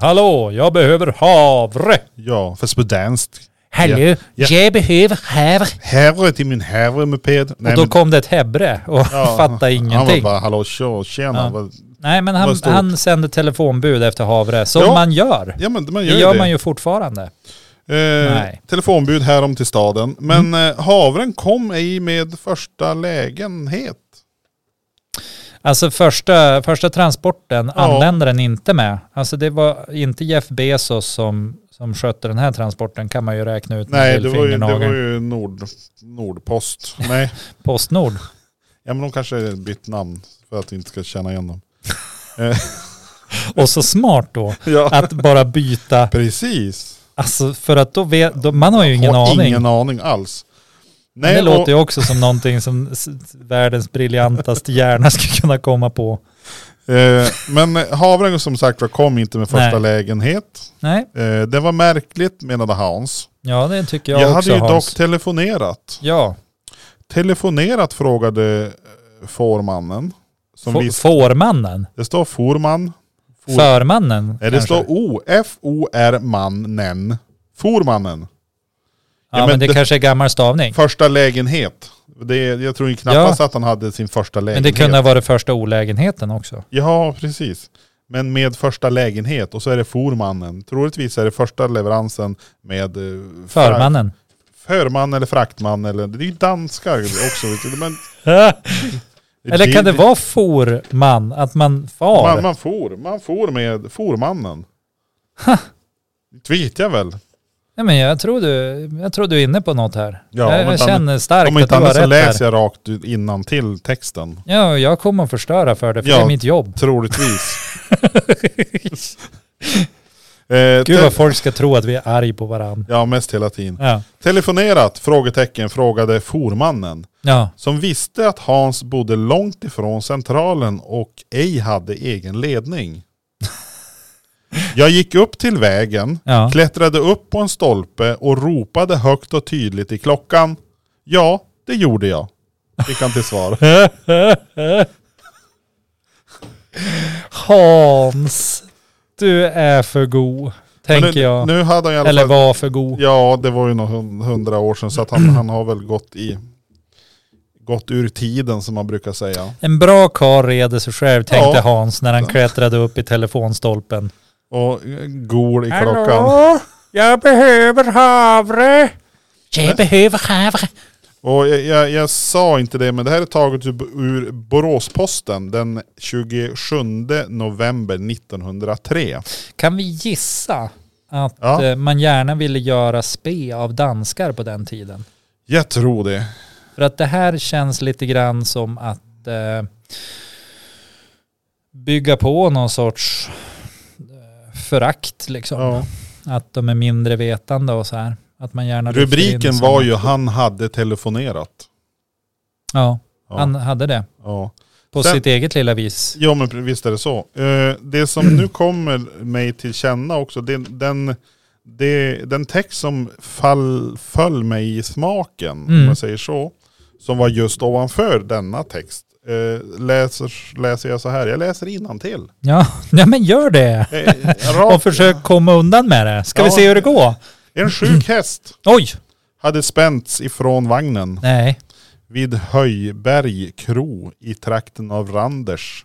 Speaker 1: Hallå, jag behöver havre.
Speaker 2: Ja, för spudenskt.
Speaker 1: Hallå,
Speaker 2: Ja, ja.
Speaker 1: jag behöver här.
Speaker 2: Herre till min herre med ped.
Speaker 1: och då kom det ett hebre och [LAUGHS] fattade
Speaker 2: Han var
Speaker 1: ingenting.
Speaker 2: bara hallå tjo, tjena.
Speaker 1: Ja.
Speaker 2: Vad-
Speaker 1: Nej men
Speaker 2: var
Speaker 1: han,
Speaker 2: stort.
Speaker 1: han sände telefonbud efter havre, som
Speaker 2: Ja.
Speaker 1: man gör.
Speaker 2: Ja men man
Speaker 1: Det
Speaker 2: gör,
Speaker 1: gör
Speaker 2: det.
Speaker 1: man ju fortfarande.
Speaker 2: Eh,
Speaker 1: Nej. Mm.
Speaker 2: telefonbud härom till staden. Men eh, havren kom ej med första lägenhet.
Speaker 1: Alltså första, första transporten
Speaker 2: Ja.
Speaker 1: anlände den inte med. Alltså det var inte Jeff Bezos som, som skötte den här transporten kan man ju räkna ut med
Speaker 2: Nej, det var ju, det var
Speaker 1: lillfingernageln.
Speaker 2: ju Nord, Nordpost. Nej,
Speaker 1: Postnord.
Speaker 2: ja, men de kanske har bytt namn för att vi inte ska känna igen dem.
Speaker 1: Och så smart då
Speaker 2: [LAUGHS] Ja,
Speaker 1: att bara byta,
Speaker 2: precis.
Speaker 1: alltså för att då vet, då, man har ju ingen
Speaker 2: Har
Speaker 1: aning.
Speaker 2: Ingen aning alls.
Speaker 1: Men det
Speaker 2: och-
Speaker 1: låter ju också som någonting som s- s- världens briljantaste hjärna [LAUGHS] skulle kunna komma på.
Speaker 2: Eh, men havren som sagt var kom inte med första
Speaker 1: Nej.
Speaker 2: lägenhet.
Speaker 1: Nej,
Speaker 2: Eh, det var märkligt menade Hans.
Speaker 1: ja det tycker
Speaker 2: Jag,
Speaker 1: jag, också
Speaker 2: hade ju
Speaker 1: Hans.
Speaker 2: dock telefonerat.
Speaker 1: Ja,
Speaker 2: Telefonerat frågade eh, formannen. Som
Speaker 1: F-
Speaker 2: visste.
Speaker 1: fårmannen,
Speaker 2: Det står forman. For,
Speaker 1: förmannen
Speaker 2: nej, det
Speaker 1: kanske.
Speaker 2: står O. F-O-R-mannen. Formannen.
Speaker 1: Ja,
Speaker 2: ja,
Speaker 1: men
Speaker 2: men
Speaker 1: det,
Speaker 2: det-
Speaker 1: kanske är gammal stavning.
Speaker 2: Första lägenhet. Det, jag tror ju knappast att han hade sin första
Speaker 1: Men det
Speaker 2: lägenhet.
Speaker 1: kunde ha varit första olägenheten också.
Speaker 2: Ja, precis. Men med första lägenhet och så är det formannen. Troligtvis är det första leveransen med... eh, fra- [LAUGHS]
Speaker 1: Förmannen.
Speaker 2: Förman eller fraktman eller... Det är ju danskar också. vet du, Men
Speaker 1: Eller kan det vara forman, att man far?
Speaker 2: Man, man får, man får med formannen. Det vet jag väl.
Speaker 1: Nej, men jag tror, du, jag tror du är inne på något här.
Speaker 2: Ja, om
Speaker 1: jag jag
Speaker 2: inte
Speaker 1: känner starkt
Speaker 2: Om
Speaker 1: att
Speaker 2: inte
Speaker 1: du har
Speaker 2: annars så
Speaker 1: rätt
Speaker 2: läser
Speaker 1: här.
Speaker 2: jag rakt innan till texten.
Speaker 1: Ja, och jag kommer att förstöra för det, för
Speaker 2: Ja.
Speaker 1: det är mitt jobb. [LAUGHS]
Speaker 2: Troligtvis. [LAUGHS] eh,
Speaker 1: Gud
Speaker 2: te-
Speaker 1: vad folk ska tro att vi är arg på varandra.
Speaker 2: ja, mest hela tiden.
Speaker 1: Ja.
Speaker 2: Telefonerat? Frågetecken frågade formannen.
Speaker 1: ja.
Speaker 2: Som visste att Hans bodde långt ifrån centralen och ej hade
Speaker 1: [LAUGHS]
Speaker 2: egen ledning. Jag gick upp till vägen,
Speaker 1: Ja.
Speaker 2: klättrade upp på en stolpe och ropade högt och tydligt i klockan. Ja, det gjorde jag. Fick han till svar.
Speaker 1: Hans, du är för god, [LAUGHS] tänker
Speaker 2: Men nu,
Speaker 1: jag.
Speaker 2: Nu hade han i alla
Speaker 1: Eller
Speaker 2: fall,
Speaker 1: var för god.
Speaker 2: Ja, det var ju nog hun- hundra år sedan så att han, han har väl gått i gått ur tiden som man brukar säga.
Speaker 1: En bra karl reder sig själv, tänkte
Speaker 2: Ja.
Speaker 1: Hans när han klättrade upp i telefonstolpen.
Speaker 2: Och eh, gol i klockan.
Speaker 1: jag behöver havre. Jag behöver havre.
Speaker 2: Och jag, jag, jag sa inte det, men det här är taget ur, ur Boråsposten den 27 november 1903.
Speaker 1: Kan vi gissa att
Speaker 2: Ja.
Speaker 1: eh, man gärna ville göra spe av danskar på den tiden?
Speaker 2: Jag tror det.
Speaker 1: För att det här känns lite grann som att eh, bygga på någon sorts eh, förakt liksom.
Speaker 2: Ja.
Speaker 1: Att de är mindre vetande och så här. Att man gärna lyfter in
Speaker 2: Rubriken
Speaker 1: sådana.
Speaker 2: var ju han hade telefonerat.
Speaker 1: Ja,
Speaker 2: Ja.
Speaker 1: han hade det.
Speaker 2: ja.
Speaker 1: På
Speaker 2: Sen-
Speaker 1: sitt eget lilla vis.
Speaker 2: ja men visst är det så. Eh, Det som nu kommer mig till känna också, det, den, det, den text som fall, föll mig i smaken, om
Speaker 1: Mm.
Speaker 2: man säger så, som var just ovanför denna text, eh, läser, läser jag så här, jag läser innantill.
Speaker 1: Ja, [LAUGHS] nej men gör det.
Speaker 2: Eh,
Speaker 1: [LAUGHS] Och
Speaker 2: rakt-
Speaker 1: försök komma undan med det. Ska vi
Speaker 2: Ja.
Speaker 1: se hur det går?
Speaker 2: En sjuk häst
Speaker 1: Oj!
Speaker 2: hade spänts ifrån vagnen
Speaker 1: Nej.
Speaker 2: vid Höjberg kro i trakten av Randers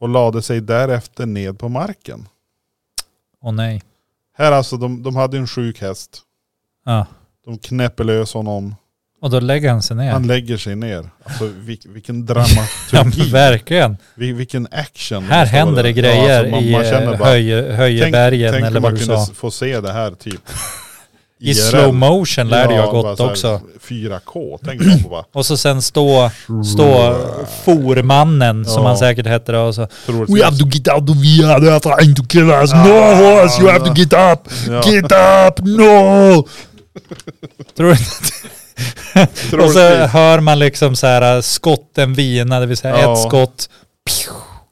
Speaker 2: och lade sig därefter ned på marken.
Speaker 1: Åh nej.
Speaker 2: Här alltså, de, de hade en sjuk häst.
Speaker 1: Ja.
Speaker 2: De knäpper lös honom.
Speaker 1: Och då lägger han sig ner.
Speaker 2: Han lägger sig ner.
Speaker 1: [LAUGHS]
Speaker 2: Alltså vil, vilken
Speaker 1: Ja men
Speaker 2: dramaturgi.
Speaker 1: verkligen.
Speaker 2: Vil, vilken action.
Speaker 1: Här
Speaker 2: förstår
Speaker 1: händer
Speaker 2: du?
Speaker 1: det grejer
Speaker 2: Ja, alltså, man,
Speaker 1: i
Speaker 2: man känner
Speaker 1: eh,
Speaker 2: bara,
Speaker 1: höje, Höjebergen
Speaker 2: tänk
Speaker 1: eller
Speaker 2: om
Speaker 1: vad
Speaker 2: man
Speaker 1: du
Speaker 2: kunde
Speaker 1: sa.
Speaker 2: s- få se det här typ.
Speaker 1: I slow motion lärde jag gott också.
Speaker 2: 4K, tänk
Speaker 1: [CLEARS THROAT]
Speaker 2: om bara.
Speaker 1: Och så sen stå, stå formannen som
Speaker 2: Ja.
Speaker 1: han säkert hette då. Och så,
Speaker 2: troligtvis.
Speaker 3: We have to get out of here. They are trying to kill us.
Speaker 2: Ah,
Speaker 3: no, horse, you have
Speaker 2: no.
Speaker 3: to get up.
Speaker 2: Ja.
Speaker 3: Get up, no.
Speaker 1: [LAUGHS] tror du, och så
Speaker 2: Troligtvis.
Speaker 1: hör man liksom så här äh, skotten vina, det vill säga
Speaker 2: Ja.
Speaker 1: ett skott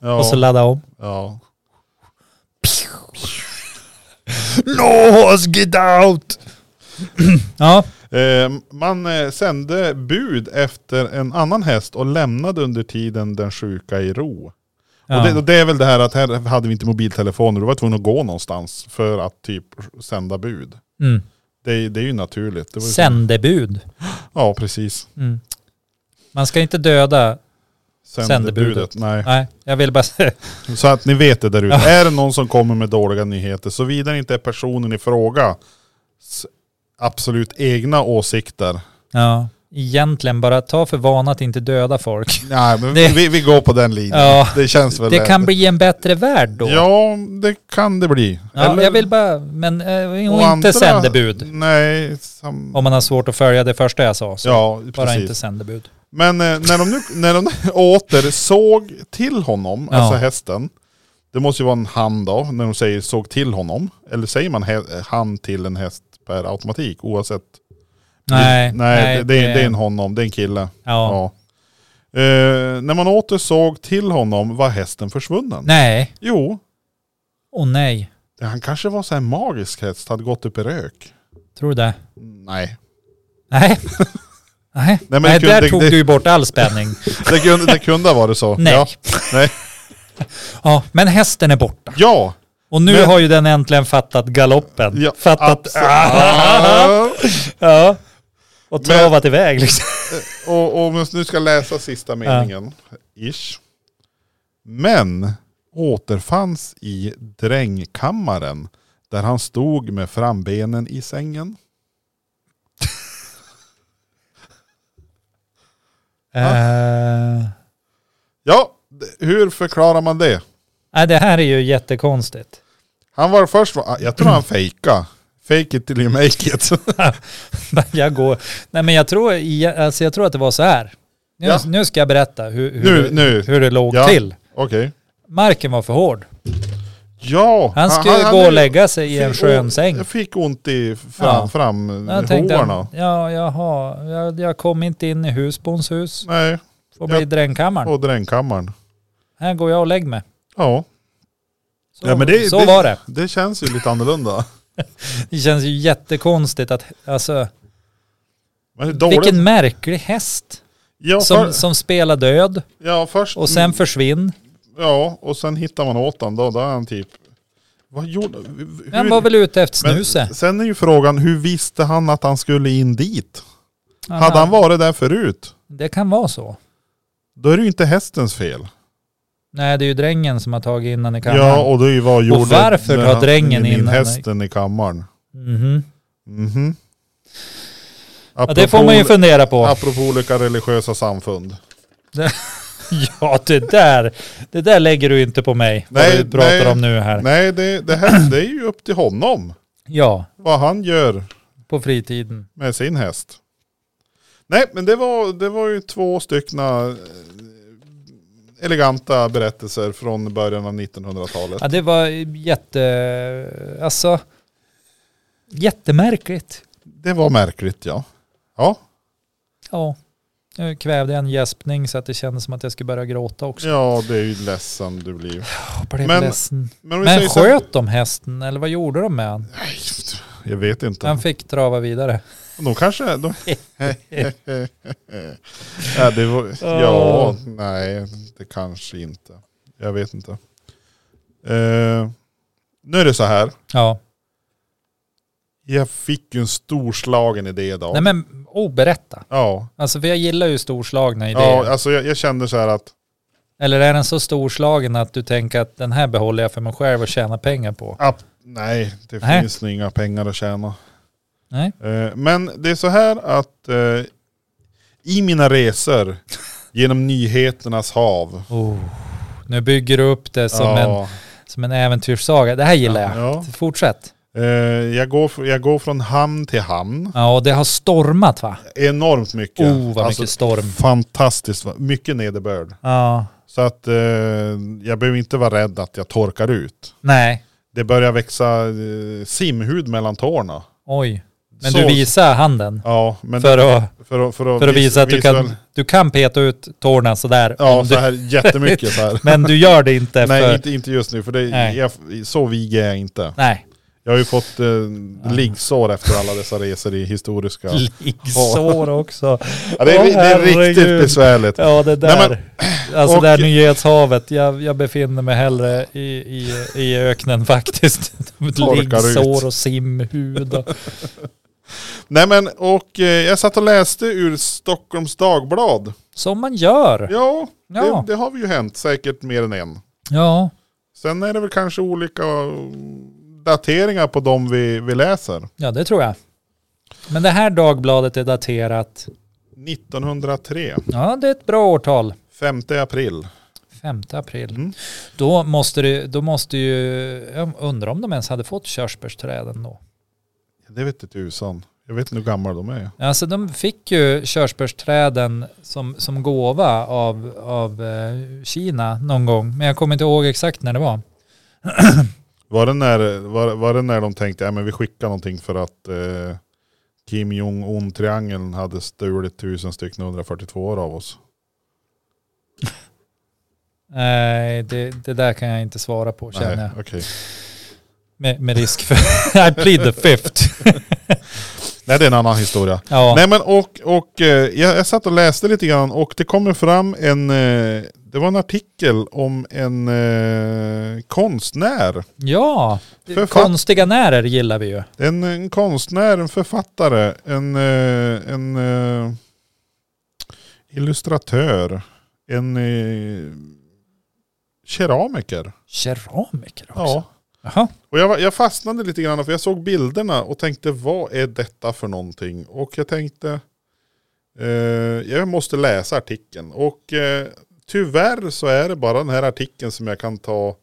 Speaker 2: Ja,
Speaker 1: och så ladda om.
Speaker 2: ja.
Speaker 3: No, horse, get out.
Speaker 1: [CLEARS THROAT] Ja,
Speaker 2: Eh, man eh, sände bud efter en annan häst och lämnade under tiden den sjuka i ro.
Speaker 1: ja.
Speaker 2: Och det, och det är väl det här att här hade vi inte mobiltelefoner, du var tvungen att gå någonstans för att typ sända bud.
Speaker 1: Mm.
Speaker 2: Det, det är ju naturligt. Det var ju så-
Speaker 1: Sändebud.
Speaker 2: Ja, precis.
Speaker 1: Mm. Man ska inte döda. Sändebudet.
Speaker 2: Sändebudet. Nej.
Speaker 1: Nej, jag vill bara säga.
Speaker 2: Så att ni vet det där ute.
Speaker 1: Ja.
Speaker 2: Är det någon som kommer med dåliga nyheter, såvida det inte är personen i fråga s- absolut egna åsikter.
Speaker 1: Ja, egentligen bara ta för vana att inte döda folk.
Speaker 2: Nej, men
Speaker 1: Det-
Speaker 2: vi, vi går på den linjen.
Speaker 1: Ja.
Speaker 2: Det känns väl
Speaker 1: Det
Speaker 2: lätt.
Speaker 1: kan bli en bättre värld då.
Speaker 2: Ja, det kan det bli.
Speaker 1: Ja,
Speaker 2: Eller-
Speaker 1: jag vill bara, men eh,
Speaker 2: och
Speaker 1: och inte
Speaker 2: andra-
Speaker 1: sändebud.
Speaker 2: Nej, sam...
Speaker 1: Om man har svårt att följa det första jag sa. Så
Speaker 2: ja
Speaker 1: bara
Speaker 2: precis.
Speaker 1: inte sändebud.
Speaker 2: Men eh, när de nu när de [LAUGHS] åter såg till honom,
Speaker 1: Ja.
Speaker 2: alltså hästen. Det måste ju vara en hand då, när de säger såg till honom. Eller säger man hä- hand till en häst per automatik oavsett?
Speaker 1: Nej,
Speaker 2: nej, det, det, är- det är en honom, det är en kille. Ja.
Speaker 1: ja.
Speaker 2: Eh, när man åter såg till honom var hästen försvunnen.
Speaker 1: Nej,
Speaker 2: Jo,
Speaker 1: åh nej.
Speaker 2: han kanske var så här magisk häst, hade gått upp i rök.
Speaker 1: Tror du det?
Speaker 2: Nej.
Speaker 1: Nej.
Speaker 2: [LAUGHS]
Speaker 1: Nej,
Speaker 2: men
Speaker 1: nej
Speaker 2: det kunde-
Speaker 1: där
Speaker 2: det-
Speaker 1: tog
Speaker 2: det-
Speaker 1: du ju bort all
Speaker 2: [LAUGHS]
Speaker 1: spänning.
Speaker 2: Det kunde, det kunde ha varit så.
Speaker 1: Nej.
Speaker 2: Ja. Nej.
Speaker 1: [LAUGHS] Ja, men hästen är borta.
Speaker 2: ja.
Speaker 1: Och nu
Speaker 2: Men-
Speaker 1: har ju den äntligen fattat galoppen.
Speaker 2: Ja, Ah.
Speaker 1: fattat...
Speaker 2: abso-
Speaker 1: [LAUGHS] Ja. Och
Speaker 2: Men-
Speaker 1: travat iväg liksom.
Speaker 2: Och, och om jag nu ska läsa sista meningen. Ish. Men återfanns i drängkammaren där han stod med frambenen i sängen.
Speaker 1: Eh,
Speaker 2: Ja, d- hur förklarar man det?
Speaker 1: Nej, det här är ju jättekonstigt.
Speaker 2: Han var först, ah, jag tror han fejka. Fake it till you make it.
Speaker 1: [LAUGHS] jag går... Nej, men jag tror, i- alltså, jag tror att det var så här. Nu,
Speaker 2: Ja.
Speaker 1: nu ska jag berätta hur, hur,
Speaker 2: [LAUGHS] Nu,
Speaker 1: det-
Speaker 2: nu.
Speaker 1: hur det låg
Speaker 2: Ja.
Speaker 1: till.
Speaker 2: Okej.
Speaker 1: Marken var för hård.
Speaker 2: Ja.
Speaker 1: Han skulle gå och lägga sig i en
Speaker 2: fick
Speaker 1: skön
Speaker 2: ont-
Speaker 1: säng.
Speaker 2: Jag fick ont i fram,
Speaker 1: Ja.
Speaker 2: fram
Speaker 1: Jag tänkte,
Speaker 2: hovarna.
Speaker 1: ja jaha, jag, jag kom inte in i husbons hus.
Speaker 2: Nej,
Speaker 1: Får bli
Speaker 2: Ja.
Speaker 1: drängkammaren.
Speaker 2: på drängkammaren.
Speaker 1: Här går jag och lägger mig.
Speaker 2: Ja,
Speaker 1: Så,
Speaker 2: Ja, men det-
Speaker 1: så
Speaker 2: det-
Speaker 1: var det.
Speaker 2: det känns ju lite annorlunda.
Speaker 1: Det känns ju jättekonstigt att, alltså,
Speaker 2: Men hur dåligt.
Speaker 1: vilken märklig häst
Speaker 2: ja, för, Mm.
Speaker 1: som, som spelar död
Speaker 2: ja, först.
Speaker 1: och sen försvinn.
Speaker 2: Ja, och sen hittar man åt honom då. Där är han typ... Vad gjorde... Hur,
Speaker 1: Den var väl ute efter
Speaker 2: Men
Speaker 1: snuset.
Speaker 2: sen är ju frågan, hur visste han att han skulle in dit? Hade
Speaker 1: Aha,
Speaker 2: han varit där förut,
Speaker 1: Det kan vara så.
Speaker 2: då är det ju inte hästens fel.
Speaker 1: Nej, det är ju drängen som har tagit innan i kammaren.
Speaker 2: Ja, och det är ju vad gjorde...
Speaker 1: varför
Speaker 2: när
Speaker 1: har
Speaker 2: han-
Speaker 1: drängen
Speaker 2: in
Speaker 1: in den?
Speaker 2: hästen i kammaren?
Speaker 1: Mhm.
Speaker 2: Mhm.
Speaker 1: ja, det får man ju fundera på.
Speaker 2: Apropå olika religiösa samfund.
Speaker 1: [LAUGHS] Ja, det där, det där lägger du inte på mig.
Speaker 2: Nej,
Speaker 1: vad du pratar
Speaker 2: nej.
Speaker 1: om nu här.
Speaker 2: Nej, det, det, här, det är ju upp till honom.
Speaker 1: Ja,
Speaker 2: Vad han gör
Speaker 1: på fritiden.
Speaker 2: med sin häst. Nej, men det var, det var ju två styckna eh, eleganta berättelser från början av 1900-talet.
Speaker 1: Ja, det var jätte... Alltså... Jättemärkligt.
Speaker 2: Det var märkligt, ja. Ja,
Speaker 1: Ja. Nu kvävde jag en gäspning så att det kändes som att jag skulle börja gråta också.
Speaker 2: ja det är ju ledsen du blir.
Speaker 1: Jag blev
Speaker 2: Men-
Speaker 1: ledsen.
Speaker 2: om vi
Speaker 1: Men
Speaker 2: säger så här-
Speaker 1: sköt de hästen eller vad gjorde de med han?
Speaker 2: Nej, jag vet inte.
Speaker 1: Han fick trava vidare.
Speaker 2: De kanske... De... ja, det var... ja, nej, det kanske inte. Jag vet inte. Eh, nu är det så här.
Speaker 1: Ja.
Speaker 2: Jag fick ju en storslagen idé idag.
Speaker 1: Nej men, oh berätta.
Speaker 2: Ja,
Speaker 1: Alltså för jag gillar ju storslagna idéer.
Speaker 2: ja alltså jag, jag kände så här att
Speaker 1: Eller är den så storslagen att du tänker att den här behåller jag för mig själv och tjänar pengar på?
Speaker 2: app, nej, det
Speaker 1: Nej.
Speaker 2: finns nog inga pengar att tjäna.
Speaker 1: Nej.
Speaker 2: Eh, men det är så här att eh, i
Speaker 1: [LAUGHS]
Speaker 2: mina resor genom nyheternas hav.
Speaker 1: Oh. Nu bygger du upp det som, en, som en äventyrssaga. Det här gillar jag.
Speaker 2: Ja.
Speaker 1: Fortsätt.
Speaker 2: Eh, jag, går, fr- jag går från hamn till hamn.
Speaker 1: Ja, och det har stormat va?
Speaker 2: Enormt mycket. Alltså,
Speaker 1: Oh, vad mycket storm.
Speaker 2: Fantastiskt, va- mycket nederbörd.
Speaker 1: Ja.
Speaker 2: Så att eh, jag behöver inte vara rädd att jag torkar ut.
Speaker 1: Nej,
Speaker 2: Det börjar växa eh, simhud mellan tårna.
Speaker 1: oj. Men
Speaker 2: Så-
Speaker 1: du visar handen
Speaker 2: Ja, men
Speaker 1: för att,
Speaker 2: För att, för att,
Speaker 1: för att visa att du
Speaker 2: visuell-
Speaker 1: kan, du kan peta ut tårna sådär.
Speaker 2: Ja,
Speaker 1: om
Speaker 2: så
Speaker 1: du,
Speaker 2: här jättemycket så här.
Speaker 1: [LAUGHS] men du gör det inte för...
Speaker 2: [LAUGHS] Nej, inte, inte just nu, för det,
Speaker 1: Nej.
Speaker 2: jag, så vig är jag inte.
Speaker 1: Nej.
Speaker 2: Jag har ju fått eh, liggsår efter alla dessa resor i historiska...
Speaker 1: Liggsår också.
Speaker 2: Ja, det, är, ri- det är
Speaker 1: Åh,
Speaker 2: riktigt
Speaker 1: herregud.
Speaker 2: besvärligt.
Speaker 1: Ja, det där.
Speaker 2: Nej,
Speaker 1: alltså
Speaker 2: och-
Speaker 1: det här nyhetshavet. Jag, jag befinner mig hellre i, i, i öknen [LAUGHS] faktiskt.
Speaker 2: Torkar ut.
Speaker 1: Liggsår och simhud. Och,
Speaker 2: Nej men och eh, jag satt och läste ur Stockholms Dagblad.
Speaker 1: Som man gör.
Speaker 2: Ja,
Speaker 1: Ja.
Speaker 2: Det, det har vi ju hänt säkert mer än en.
Speaker 1: Ja,
Speaker 2: Sen är det väl kanske olika mm, dateringar på de vi, vi läser.
Speaker 1: ja det tror jag. Men det här dagbladet är daterat,
Speaker 2: 1903,
Speaker 1: ja det är ett bra årtal.
Speaker 2: 5 april.
Speaker 1: 5 april.
Speaker 2: Mm.
Speaker 1: Då, måste det, då måste ju, jag undrar om de ens hade fått körsbärsträden då.
Speaker 2: Det vet inte tusan. Jag vet inte hur gamla de är.
Speaker 1: Alltså de fick ju körsbärsträden som, som gåva av, av eh, Kina någon gång. Men jag kommer inte ihåg exakt när det var.
Speaker 2: Var det när, var, var det när de tänkte att men vi skickar någonting för att eh, Kim Jong-Un-triangeln hade stulit tusen stycken 142 år av oss?
Speaker 1: Nej, Eh, det, det där kan jag inte svara på känner jag.
Speaker 2: Nej, okej.
Speaker 1: Med, med risk för... [LAUGHS] I plead the fifth.
Speaker 2: Nej, det är en annan historia.
Speaker 1: Ja.
Speaker 2: Nej men och, och eh, jag, jag satt och läste lite grann och det kommer fram en, eh, det var en artikel om en eh, konstnär.
Speaker 1: ja.
Speaker 2: Författ-
Speaker 1: Konstiga närer gillar vi ju.
Speaker 2: En, en konstnär, en författare, en, eh, en eh, illustratör, en eh, keramiker.
Speaker 1: Keramiker också.
Speaker 2: Ja.
Speaker 1: Jaha.
Speaker 2: Och jag, var- jag fastnade lite grann för jag såg bilderna och tänkte vad är detta för någonting? Och jag tänkte eh, jag måste läsa artikeln. Och eh, tyvärr så är det bara den här artikeln som jag kan ta,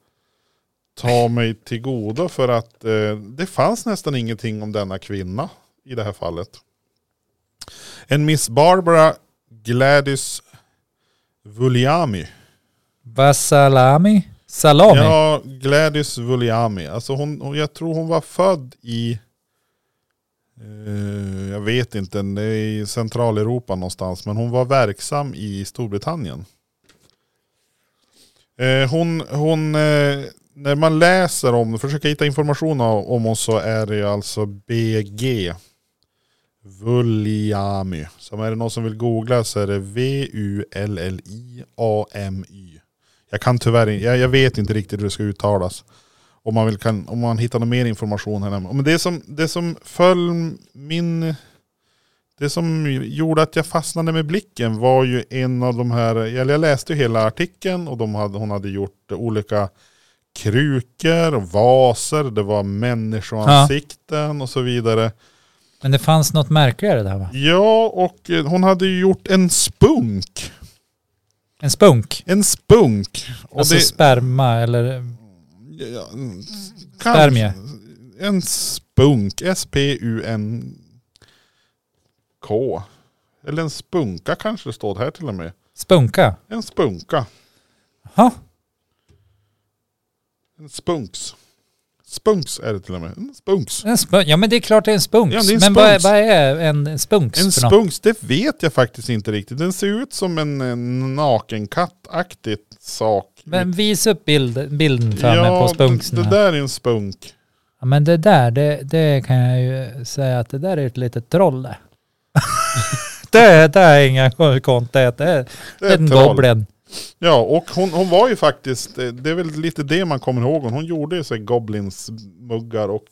Speaker 2: ta mig till godo för att eh, det fanns nästan ingenting om denna kvinna i det här fallet. En Miss Barbara Gladys Vulliami.
Speaker 1: Vasalami? Salami?
Speaker 2: Ja, Gladys Vulliami. Alltså hon, hon, jag tror hon var född i, eh, jag vet inte, det är i Centraleuropa någonstans. Men hon var verksam i Storbritannien. Eh, hon, hon eh, när man läser om, försöker hitta information om om hon så är det alltså BG. Vulliami. Så är det någon som vill googla så är det V-U-L-L-I-A-M-Y. Jag kan tyvärr inte, jag, jag vet inte riktigt hur det ska uttalas. Om man, vill, kan, om man hittar någon mer information här. Men det som, det som föll min... Det som gjorde att jag fastnade med blicken var ju en av de här, eller jag läste ju hela artikeln och de hade, hon hade gjort olika krukor, och vaser, det var människoansikten och så vidare.
Speaker 1: Men det fanns något märkligare där va?
Speaker 2: Ja, och eh, hon hade ju gjort en spunk.
Speaker 1: En spunk?
Speaker 2: En spunk. Och
Speaker 1: alltså
Speaker 2: det-
Speaker 1: sperma eller...
Speaker 2: Ja, mm,
Speaker 1: Spermie.
Speaker 2: kanske- En spunk. S-P-U-N-K. Eller en spunka kanske det står här till och med.
Speaker 1: Spunka?
Speaker 2: En spunka.
Speaker 1: Jaha.
Speaker 2: En spunks. Spunks är det till och med. En spunks.
Speaker 1: En spunk. Ja men det är klart det är en spunk.
Speaker 2: Ja, det är en
Speaker 1: men vad är,
Speaker 2: spunks.
Speaker 1: vad är en spunks
Speaker 2: En
Speaker 1: för något?
Speaker 2: spunks, det vet jag faktiskt inte riktigt. Den ser ut som en, en nakenkatt-aktigt sak.
Speaker 1: Men visa upp bild, bilden för mig på
Speaker 2: ja, det,
Speaker 1: spunksen.
Speaker 2: det
Speaker 1: här.
Speaker 2: där är en spunk.
Speaker 1: Ja, men det där, det, det kan jag ju säga att det där är ett litet troll
Speaker 2: [LAUGHS]
Speaker 1: det. det. Det är inga konton, det är
Speaker 2: Det är
Speaker 1: en
Speaker 2: ett troll.
Speaker 1: goblin.
Speaker 2: Ja, och hon, hon var ju faktiskt, eh, det är väl lite det man kommer ihåg. Hon gjorde ju så här goblinsmuggar och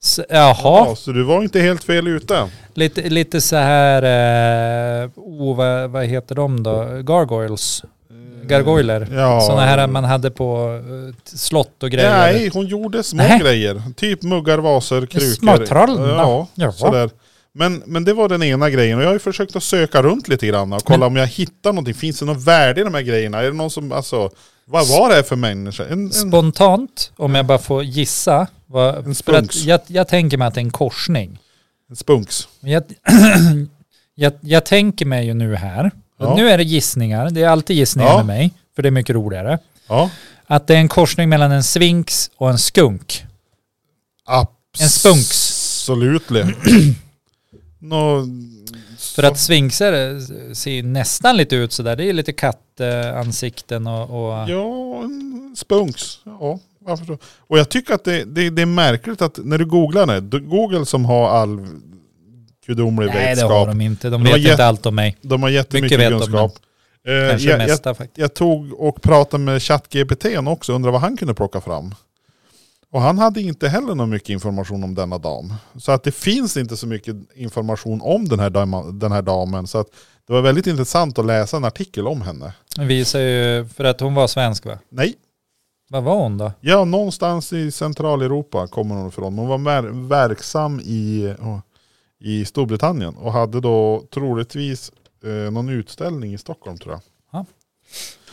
Speaker 1: Så, jaha,
Speaker 2: Ja, så du var inte helt fel ute.
Speaker 1: lite, lite så här, eh, oh, vad, vad heter de då? Gargoyles, gargoyler.
Speaker 2: Eh, Ja.
Speaker 1: Sådana här man hade på eh, slott och grejer.
Speaker 2: Nej, hon gjorde små
Speaker 1: Nej.
Speaker 2: grejer. Typ muggar, vaser, krukor.
Speaker 1: Småtrollen,
Speaker 2: Ja,
Speaker 1: ja.
Speaker 2: sådär. Men, men det var den ena grejen. Och jag har ju försökt att söka runt lite grann och kolla om jag hittar någonting. Finns det något värde i de här grejerna? Är det någon som, alltså, vad var det här för människa? En, en,
Speaker 1: Spontant, om jag bara får gissa, vad,
Speaker 2: En
Speaker 1: för att
Speaker 2: spunks.
Speaker 1: jag, jag tänker mig att det är en korsning.
Speaker 2: en spunks.
Speaker 1: Men Jag, [CLEARS THROAT] jag, jag tänker mig ju nu här,
Speaker 2: Ja.
Speaker 1: nu är det gissningar, det är alltid gissningar
Speaker 2: Ja.
Speaker 1: med mig, för det är mycket roligare,
Speaker 2: Ja.
Speaker 1: att det är en korsning mellan en svinx och en skunk.
Speaker 2: Abs-
Speaker 1: En spunks. [CLEARS THROAT]
Speaker 2: Absolutely. Nå,
Speaker 1: För att svinxar eh, ser nästan lite ut sådär, det är lite kattansikten och... och
Speaker 2: Ja, en spunks. Ja, varför så? Och jag tycker att det, det, det är märkligt att när du googlar det, du- Google som har all gudomlig
Speaker 1: nej, det har
Speaker 2: vetskap.
Speaker 1: de inte, de
Speaker 2: Det var
Speaker 1: vet inte
Speaker 2: jätte-
Speaker 1: allt om mig.
Speaker 2: De har jättemycket
Speaker 1: Mycket vet de,
Speaker 2: kunskap. Eh, jag,
Speaker 1: Kanske det
Speaker 2: jag,
Speaker 1: mesta faktiskt.
Speaker 2: jag tog och pratade med ChatGPT också, undrar vad han kunde plocka fram. Och han hade inte heller någon mycket information om denna dam. Så att det finns inte så mycket information om den här, dam, den här damen. Så att det var väldigt intressant att läsa en artikel om henne.
Speaker 1: Visar ju, för att hon var svensk va?
Speaker 2: Nej,
Speaker 1: Vad var hon då?
Speaker 2: ja någonstans i Centraleuropa kommer hon ifrån. Hon var mer- verksam i, åh, i Storbritannien och hade då troligtvis eh, någon utställning i Stockholm tror jag.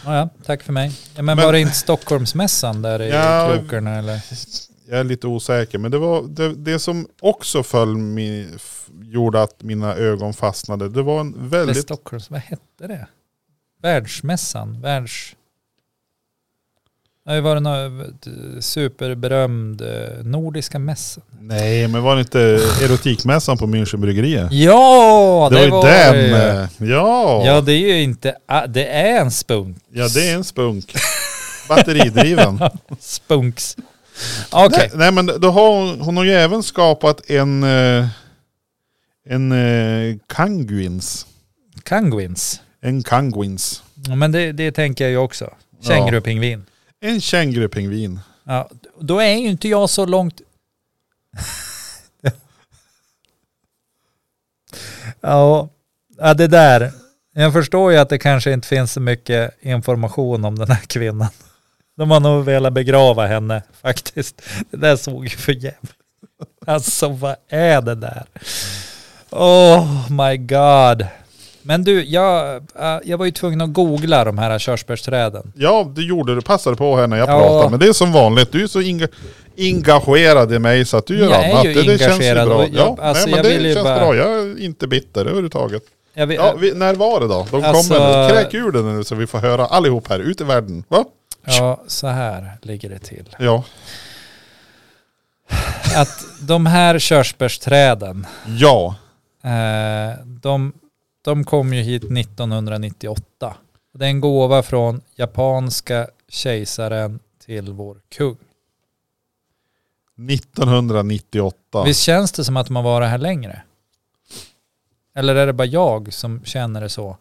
Speaker 1: Ja, ja, tack för mig. Ja, men,
Speaker 2: Men-
Speaker 1: var det inte Stockholmsmässan där i
Speaker 2: [LAUGHS] Ja,
Speaker 1: krokarna eller?
Speaker 2: Jag är lite osäker, men det var det, det som också föll min, f, gjorde att mina ögon fastnade. Det var en
Speaker 1: eller
Speaker 2: väldigt...
Speaker 1: Stockholms, vad hette det? Världsmässan, världs... Ja, Det var den här superberömd eh, nordiska mässan.
Speaker 2: Nej, men var det inte erotikmässan på Münchenbryggeriet?
Speaker 1: Ja,
Speaker 2: det,
Speaker 1: det,
Speaker 2: var ju
Speaker 1: det
Speaker 2: den! eh, Ja.
Speaker 1: Ja, det är ju inte... ah, Det är en spunk.
Speaker 2: ja, det är en spunk. Batteridriven.
Speaker 1: Spunks. Okej.
Speaker 2: Nej, nej, men då har hon, hon har ju även skapat en... eh, En eh, kanguins.
Speaker 1: Kanguins.
Speaker 2: En kanguins.
Speaker 1: Ja, men det, det tänker jag ju också. Kängurupingvin.
Speaker 2: En kängurupingvin.
Speaker 1: Ja, då är ju inte jag så långt... [LAUGHS] ja, ja, det där. Jag förstår ju att det kanske inte finns så mycket information om den här kvinnan. De har nog velat begrava henne faktiskt. Det där såg ju för jävligt. Alltså vad är det där? Oh my god. Men du, jag, äh, jag var ju tvungen att googla de här körsbärsträden.
Speaker 2: Ja, det gjorde du. Passade på här när jag
Speaker 1: Ja.
Speaker 2: pratade. Men det är som vanligt. Du är så inga, engagerad i mig så att du gör
Speaker 1: Jag är
Speaker 2: annat.
Speaker 1: ju
Speaker 2: det, det känns ju
Speaker 1: engagerad
Speaker 2: bra.
Speaker 1: och jag-
Speaker 2: ja,
Speaker 1: alltså,
Speaker 2: nej, men
Speaker 1: jag vill
Speaker 2: det
Speaker 1: ju
Speaker 2: känns
Speaker 1: bara-
Speaker 2: bra. Jag är inte bitter överhuvudtaget.
Speaker 1: Jag vill-
Speaker 2: Ja, vi, när var det då? De
Speaker 1: Alltså-
Speaker 2: kommer nu. Kräk ur den nu så vi får höra allihop här ute i världen. Va?
Speaker 1: ja, så här ligger det till.
Speaker 2: Ja.
Speaker 1: att de här körsbärsträden,
Speaker 2: Ja.
Speaker 1: eh, de, de kom ju hit 1998. Det är en gåva från japanska kejsaren till vår kung.
Speaker 2: 1998.
Speaker 1: Visst känns det som att man varit här längre? Eller är det bara jag som känner det så?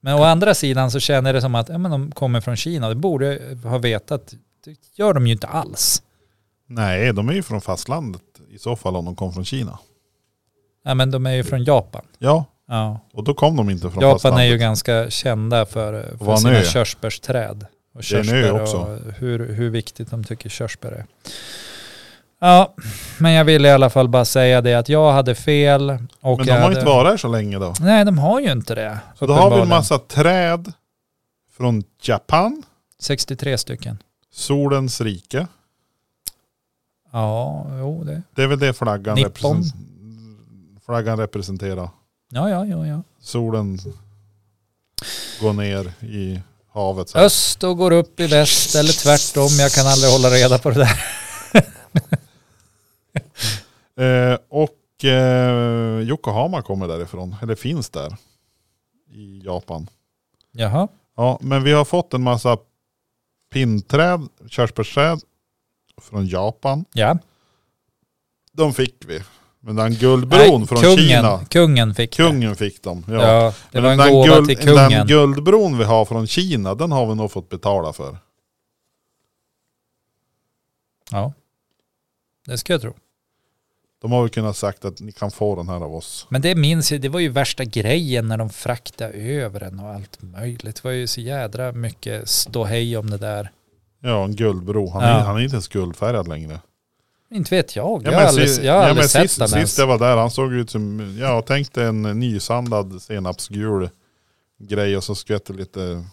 Speaker 1: Men å andra sidan så känner jag det som att ja, men de kommer från Kina. Det borde jag ha vetat. Det gör de ju inte alls.
Speaker 2: Nej, de är ju från fastlandet i så fall om de kom från Kina.
Speaker 1: Ja, men de är ju från Japan.
Speaker 2: Ja,
Speaker 1: Ja.
Speaker 2: och då kom de inte från
Speaker 1: Japan
Speaker 2: fastlandet.
Speaker 1: är ju ganska kända för, för
Speaker 2: Vad
Speaker 1: sina
Speaker 2: nu?
Speaker 1: körsbärsträd. Och
Speaker 2: Det är nu
Speaker 1: körsbär
Speaker 2: också.
Speaker 1: och hur, hur viktigt de tycker körsbär är. Ja, men jag ville i alla fall bara säga det att jag hade fel. Och
Speaker 2: Men de
Speaker 1: jag
Speaker 2: har
Speaker 1: hade...
Speaker 2: inte varit här så länge då.
Speaker 1: Nej, de har ju inte det.
Speaker 2: Så då har vi en
Speaker 1: uppenbarligen.
Speaker 2: massa träd från Japan,
Speaker 1: 63 stycken.
Speaker 2: solens rike.
Speaker 1: Ja, jo det.
Speaker 2: Det är väl det flaggan,
Speaker 1: Nippon.
Speaker 2: represen- flaggan representerar.
Speaker 1: Ja, ja, ja, ja.
Speaker 2: Solen går ner i havet. Så. här.
Speaker 1: Öst och går upp i väst eller tvärtom. Jag kan aldrig hålla reda på det där.
Speaker 2: Eh, och eh, Yokohama kommer därifrån, eller finns där i Japan.
Speaker 1: Jaha.
Speaker 2: Ja, men vi har fått en massa pinträd, körsbärsträd från Japan.
Speaker 1: Ja.
Speaker 2: De fick vi. Men den guldbron
Speaker 1: Nej,
Speaker 2: från
Speaker 1: kungen,
Speaker 2: Kina,
Speaker 1: Kungen fick det.
Speaker 2: kungen fick dem. Ja.
Speaker 1: Ja, det
Speaker 2: Men
Speaker 1: var en
Speaker 2: den,
Speaker 1: gåva
Speaker 2: guld,
Speaker 1: till kungen.
Speaker 2: den guldbron vi har från Kina, den har vi nog fått betala för.
Speaker 1: Ja, det ska jag tro.
Speaker 2: De har väl kunnat sagt att ni kan få den här av oss.
Speaker 1: Men det minns jag, det var ju värsta grejen när de fraktade över den och allt möjligt. Det var ju så jädra mycket ståhej om det där.
Speaker 2: Ja, en guldbro. Han,
Speaker 1: Ja.
Speaker 2: är, han är inte ens guldfärgad längre.
Speaker 1: Inte vet jag,
Speaker 2: Ja,
Speaker 1: jag har
Speaker 2: men
Speaker 1: aldrig,
Speaker 2: si-
Speaker 1: jag har
Speaker 2: ja,
Speaker 1: aldrig
Speaker 2: men
Speaker 1: sett
Speaker 2: sist,
Speaker 1: den ens.
Speaker 2: Sist jag var där, han såg ut som, ja tänk dig en nysandad senapsgul grej och så skvätt det lite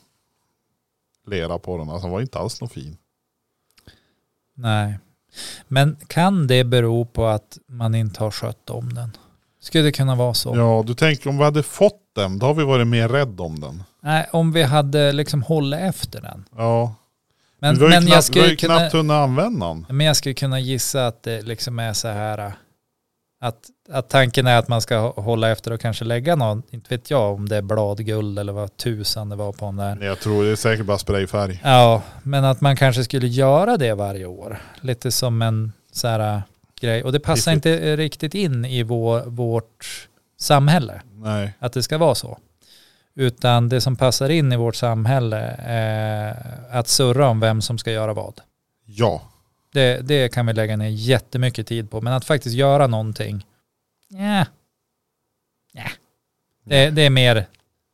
Speaker 2: lera på den. Alltså han var inte alls någon fin.
Speaker 1: Nej. Men kan det bero på att man inte har skött om den? Skulle det kunna vara så?
Speaker 2: Ja, du tänker om vi hade fått den, då har vi varit mer rädd om den.
Speaker 1: Nej, om vi hade liksom hållit efter den.
Speaker 2: Ja,
Speaker 1: Men,
Speaker 2: vi har ju,
Speaker 1: men, jag
Speaker 2: knappt, vi har
Speaker 1: skulle
Speaker 2: ju
Speaker 1: kunna,
Speaker 2: knappt hunnit använda den.
Speaker 1: men jag skulle kunna gissa att det liksom är så här äh, att, att tanken är att man ska hå- hålla efter och kanske lägga någon, inte vet jag om det är bladguld eller vad tusan det var på den där.
Speaker 2: Nej, Jag tror det är säkert bara sprayfärg.
Speaker 1: Ja, men att man kanske skulle göra det varje år. Lite som en så här äh, grej. Och det passar
Speaker 2: Riktigt.
Speaker 1: inte eh, riktigt in i vår, vårt samhälle,
Speaker 2: Nej.
Speaker 1: att det ska vara så. Utan det som passar in äh, i vårt samhälle är att surra om vem som ska göra vad.
Speaker 2: Ja.
Speaker 1: Det, det kan vi lägga ner jättemycket tid på. Men att faktiskt göra någonting, ja. ja. Det, det är mer,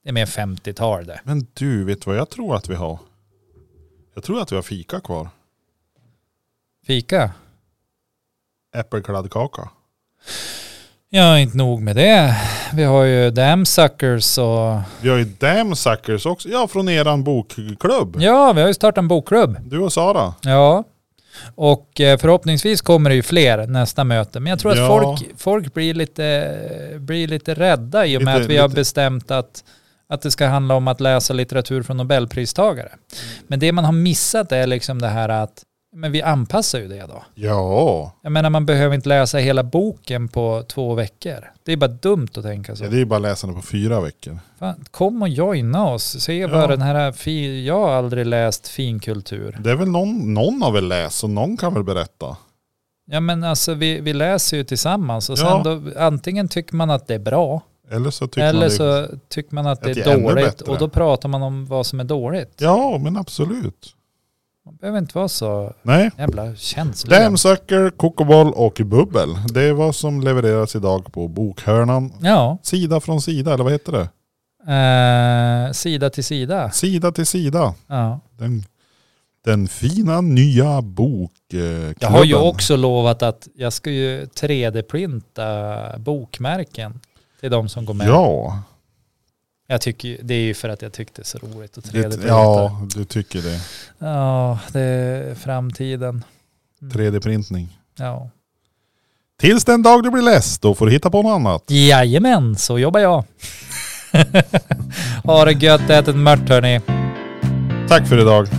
Speaker 1: det är mer 50-tal det.
Speaker 2: Men du, vet vad jag tror att vi har? Jag tror att vi har fika kvar.
Speaker 1: Fika?
Speaker 2: Äppelkladdkaka.
Speaker 1: Ja, inte nog med det. Vi har ju Damn Suckers och...
Speaker 2: Vi har ju damn suckers också. Ja, från eran bokklubb.
Speaker 1: Ja, vi har ju startat en bokklubb.
Speaker 2: Du och Sara.
Speaker 1: Ja. Och eh, förhoppningsvis kommer det ju fler nästa möte. Men jag tror
Speaker 2: Ja.
Speaker 1: att folk, folk blir, lite, blir lite rädda i och med
Speaker 2: Lite-
Speaker 1: att vi har
Speaker 2: lite-
Speaker 1: bestämt att, att det ska handla om att läsa litteratur från nobelpristagare. Men det man har missat är liksom det här att men vi anpassar ju det då.
Speaker 2: Ja.
Speaker 1: Jag menar man behöver inte läsa hela boken på två veckor. Det är bara dumt att tänka så.
Speaker 2: ja. Det är bara läsande på fyra veckor.
Speaker 1: Fan, kom och joina oss. Se vad
Speaker 2: Ja.
Speaker 1: den här, fi- jag har aldrig läst finkultur.
Speaker 2: Det är väl någon, någon har väl läst och någon kan väl berätta.
Speaker 1: Ja men alltså vi, vi läser ju tillsammans och sen
Speaker 2: Ja.
Speaker 1: då, antingen tycker man att det är bra
Speaker 2: Eller så tycker
Speaker 1: eller
Speaker 2: man det.
Speaker 1: så tycker man att det
Speaker 2: att
Speaker 1: är
Speaker 2: det är ännu
Speaker 1: dåligt
Speaker 2: bättre.
Speaker 1: och då pratar man om vad som är dåligt.
Speaker 2: Ja, men absolut.
Speaker 1: Man behöver inte vara så
Speaker 2: Nej.
Speaker 1: jävla känslig.
Speaker 2: Damn sucker, kokoboll och bubbel. Det är vad som levereras idag på Bokhörnan.
Speaker 1: Ja,
Speaker 2: Sida från sida, eller vad heter det?
Speaker 1: eh, sida till sida.
Speaker 2: Sida till sida.
Speaker 1: Ja.
Speaker 2: Den, den fina nya bokklubben.
Speaker 1: Jag har ju också lovat att jag ska ju 3D-printa bokmärken till de som går med.
Speaker 2: Ja,
Speaker 1: Jag tycker, ju- det är ju för att jag tyckte det är så roligt att 3D-printa.
Speaker 2: det, ja, du tycker det.
Speaker 1: ja, det är framtiden.
Speaker 2: 3D-printning.
Speaker 1: Ja.
Speaker 2: Tills den dag du blir less, då får du hitta på något annat.
Speaker 1: Jajamän, så jobbar jag. [LAUGHS] ha det gött, ät en mört hörni.
Speaker 2: Tack för idag.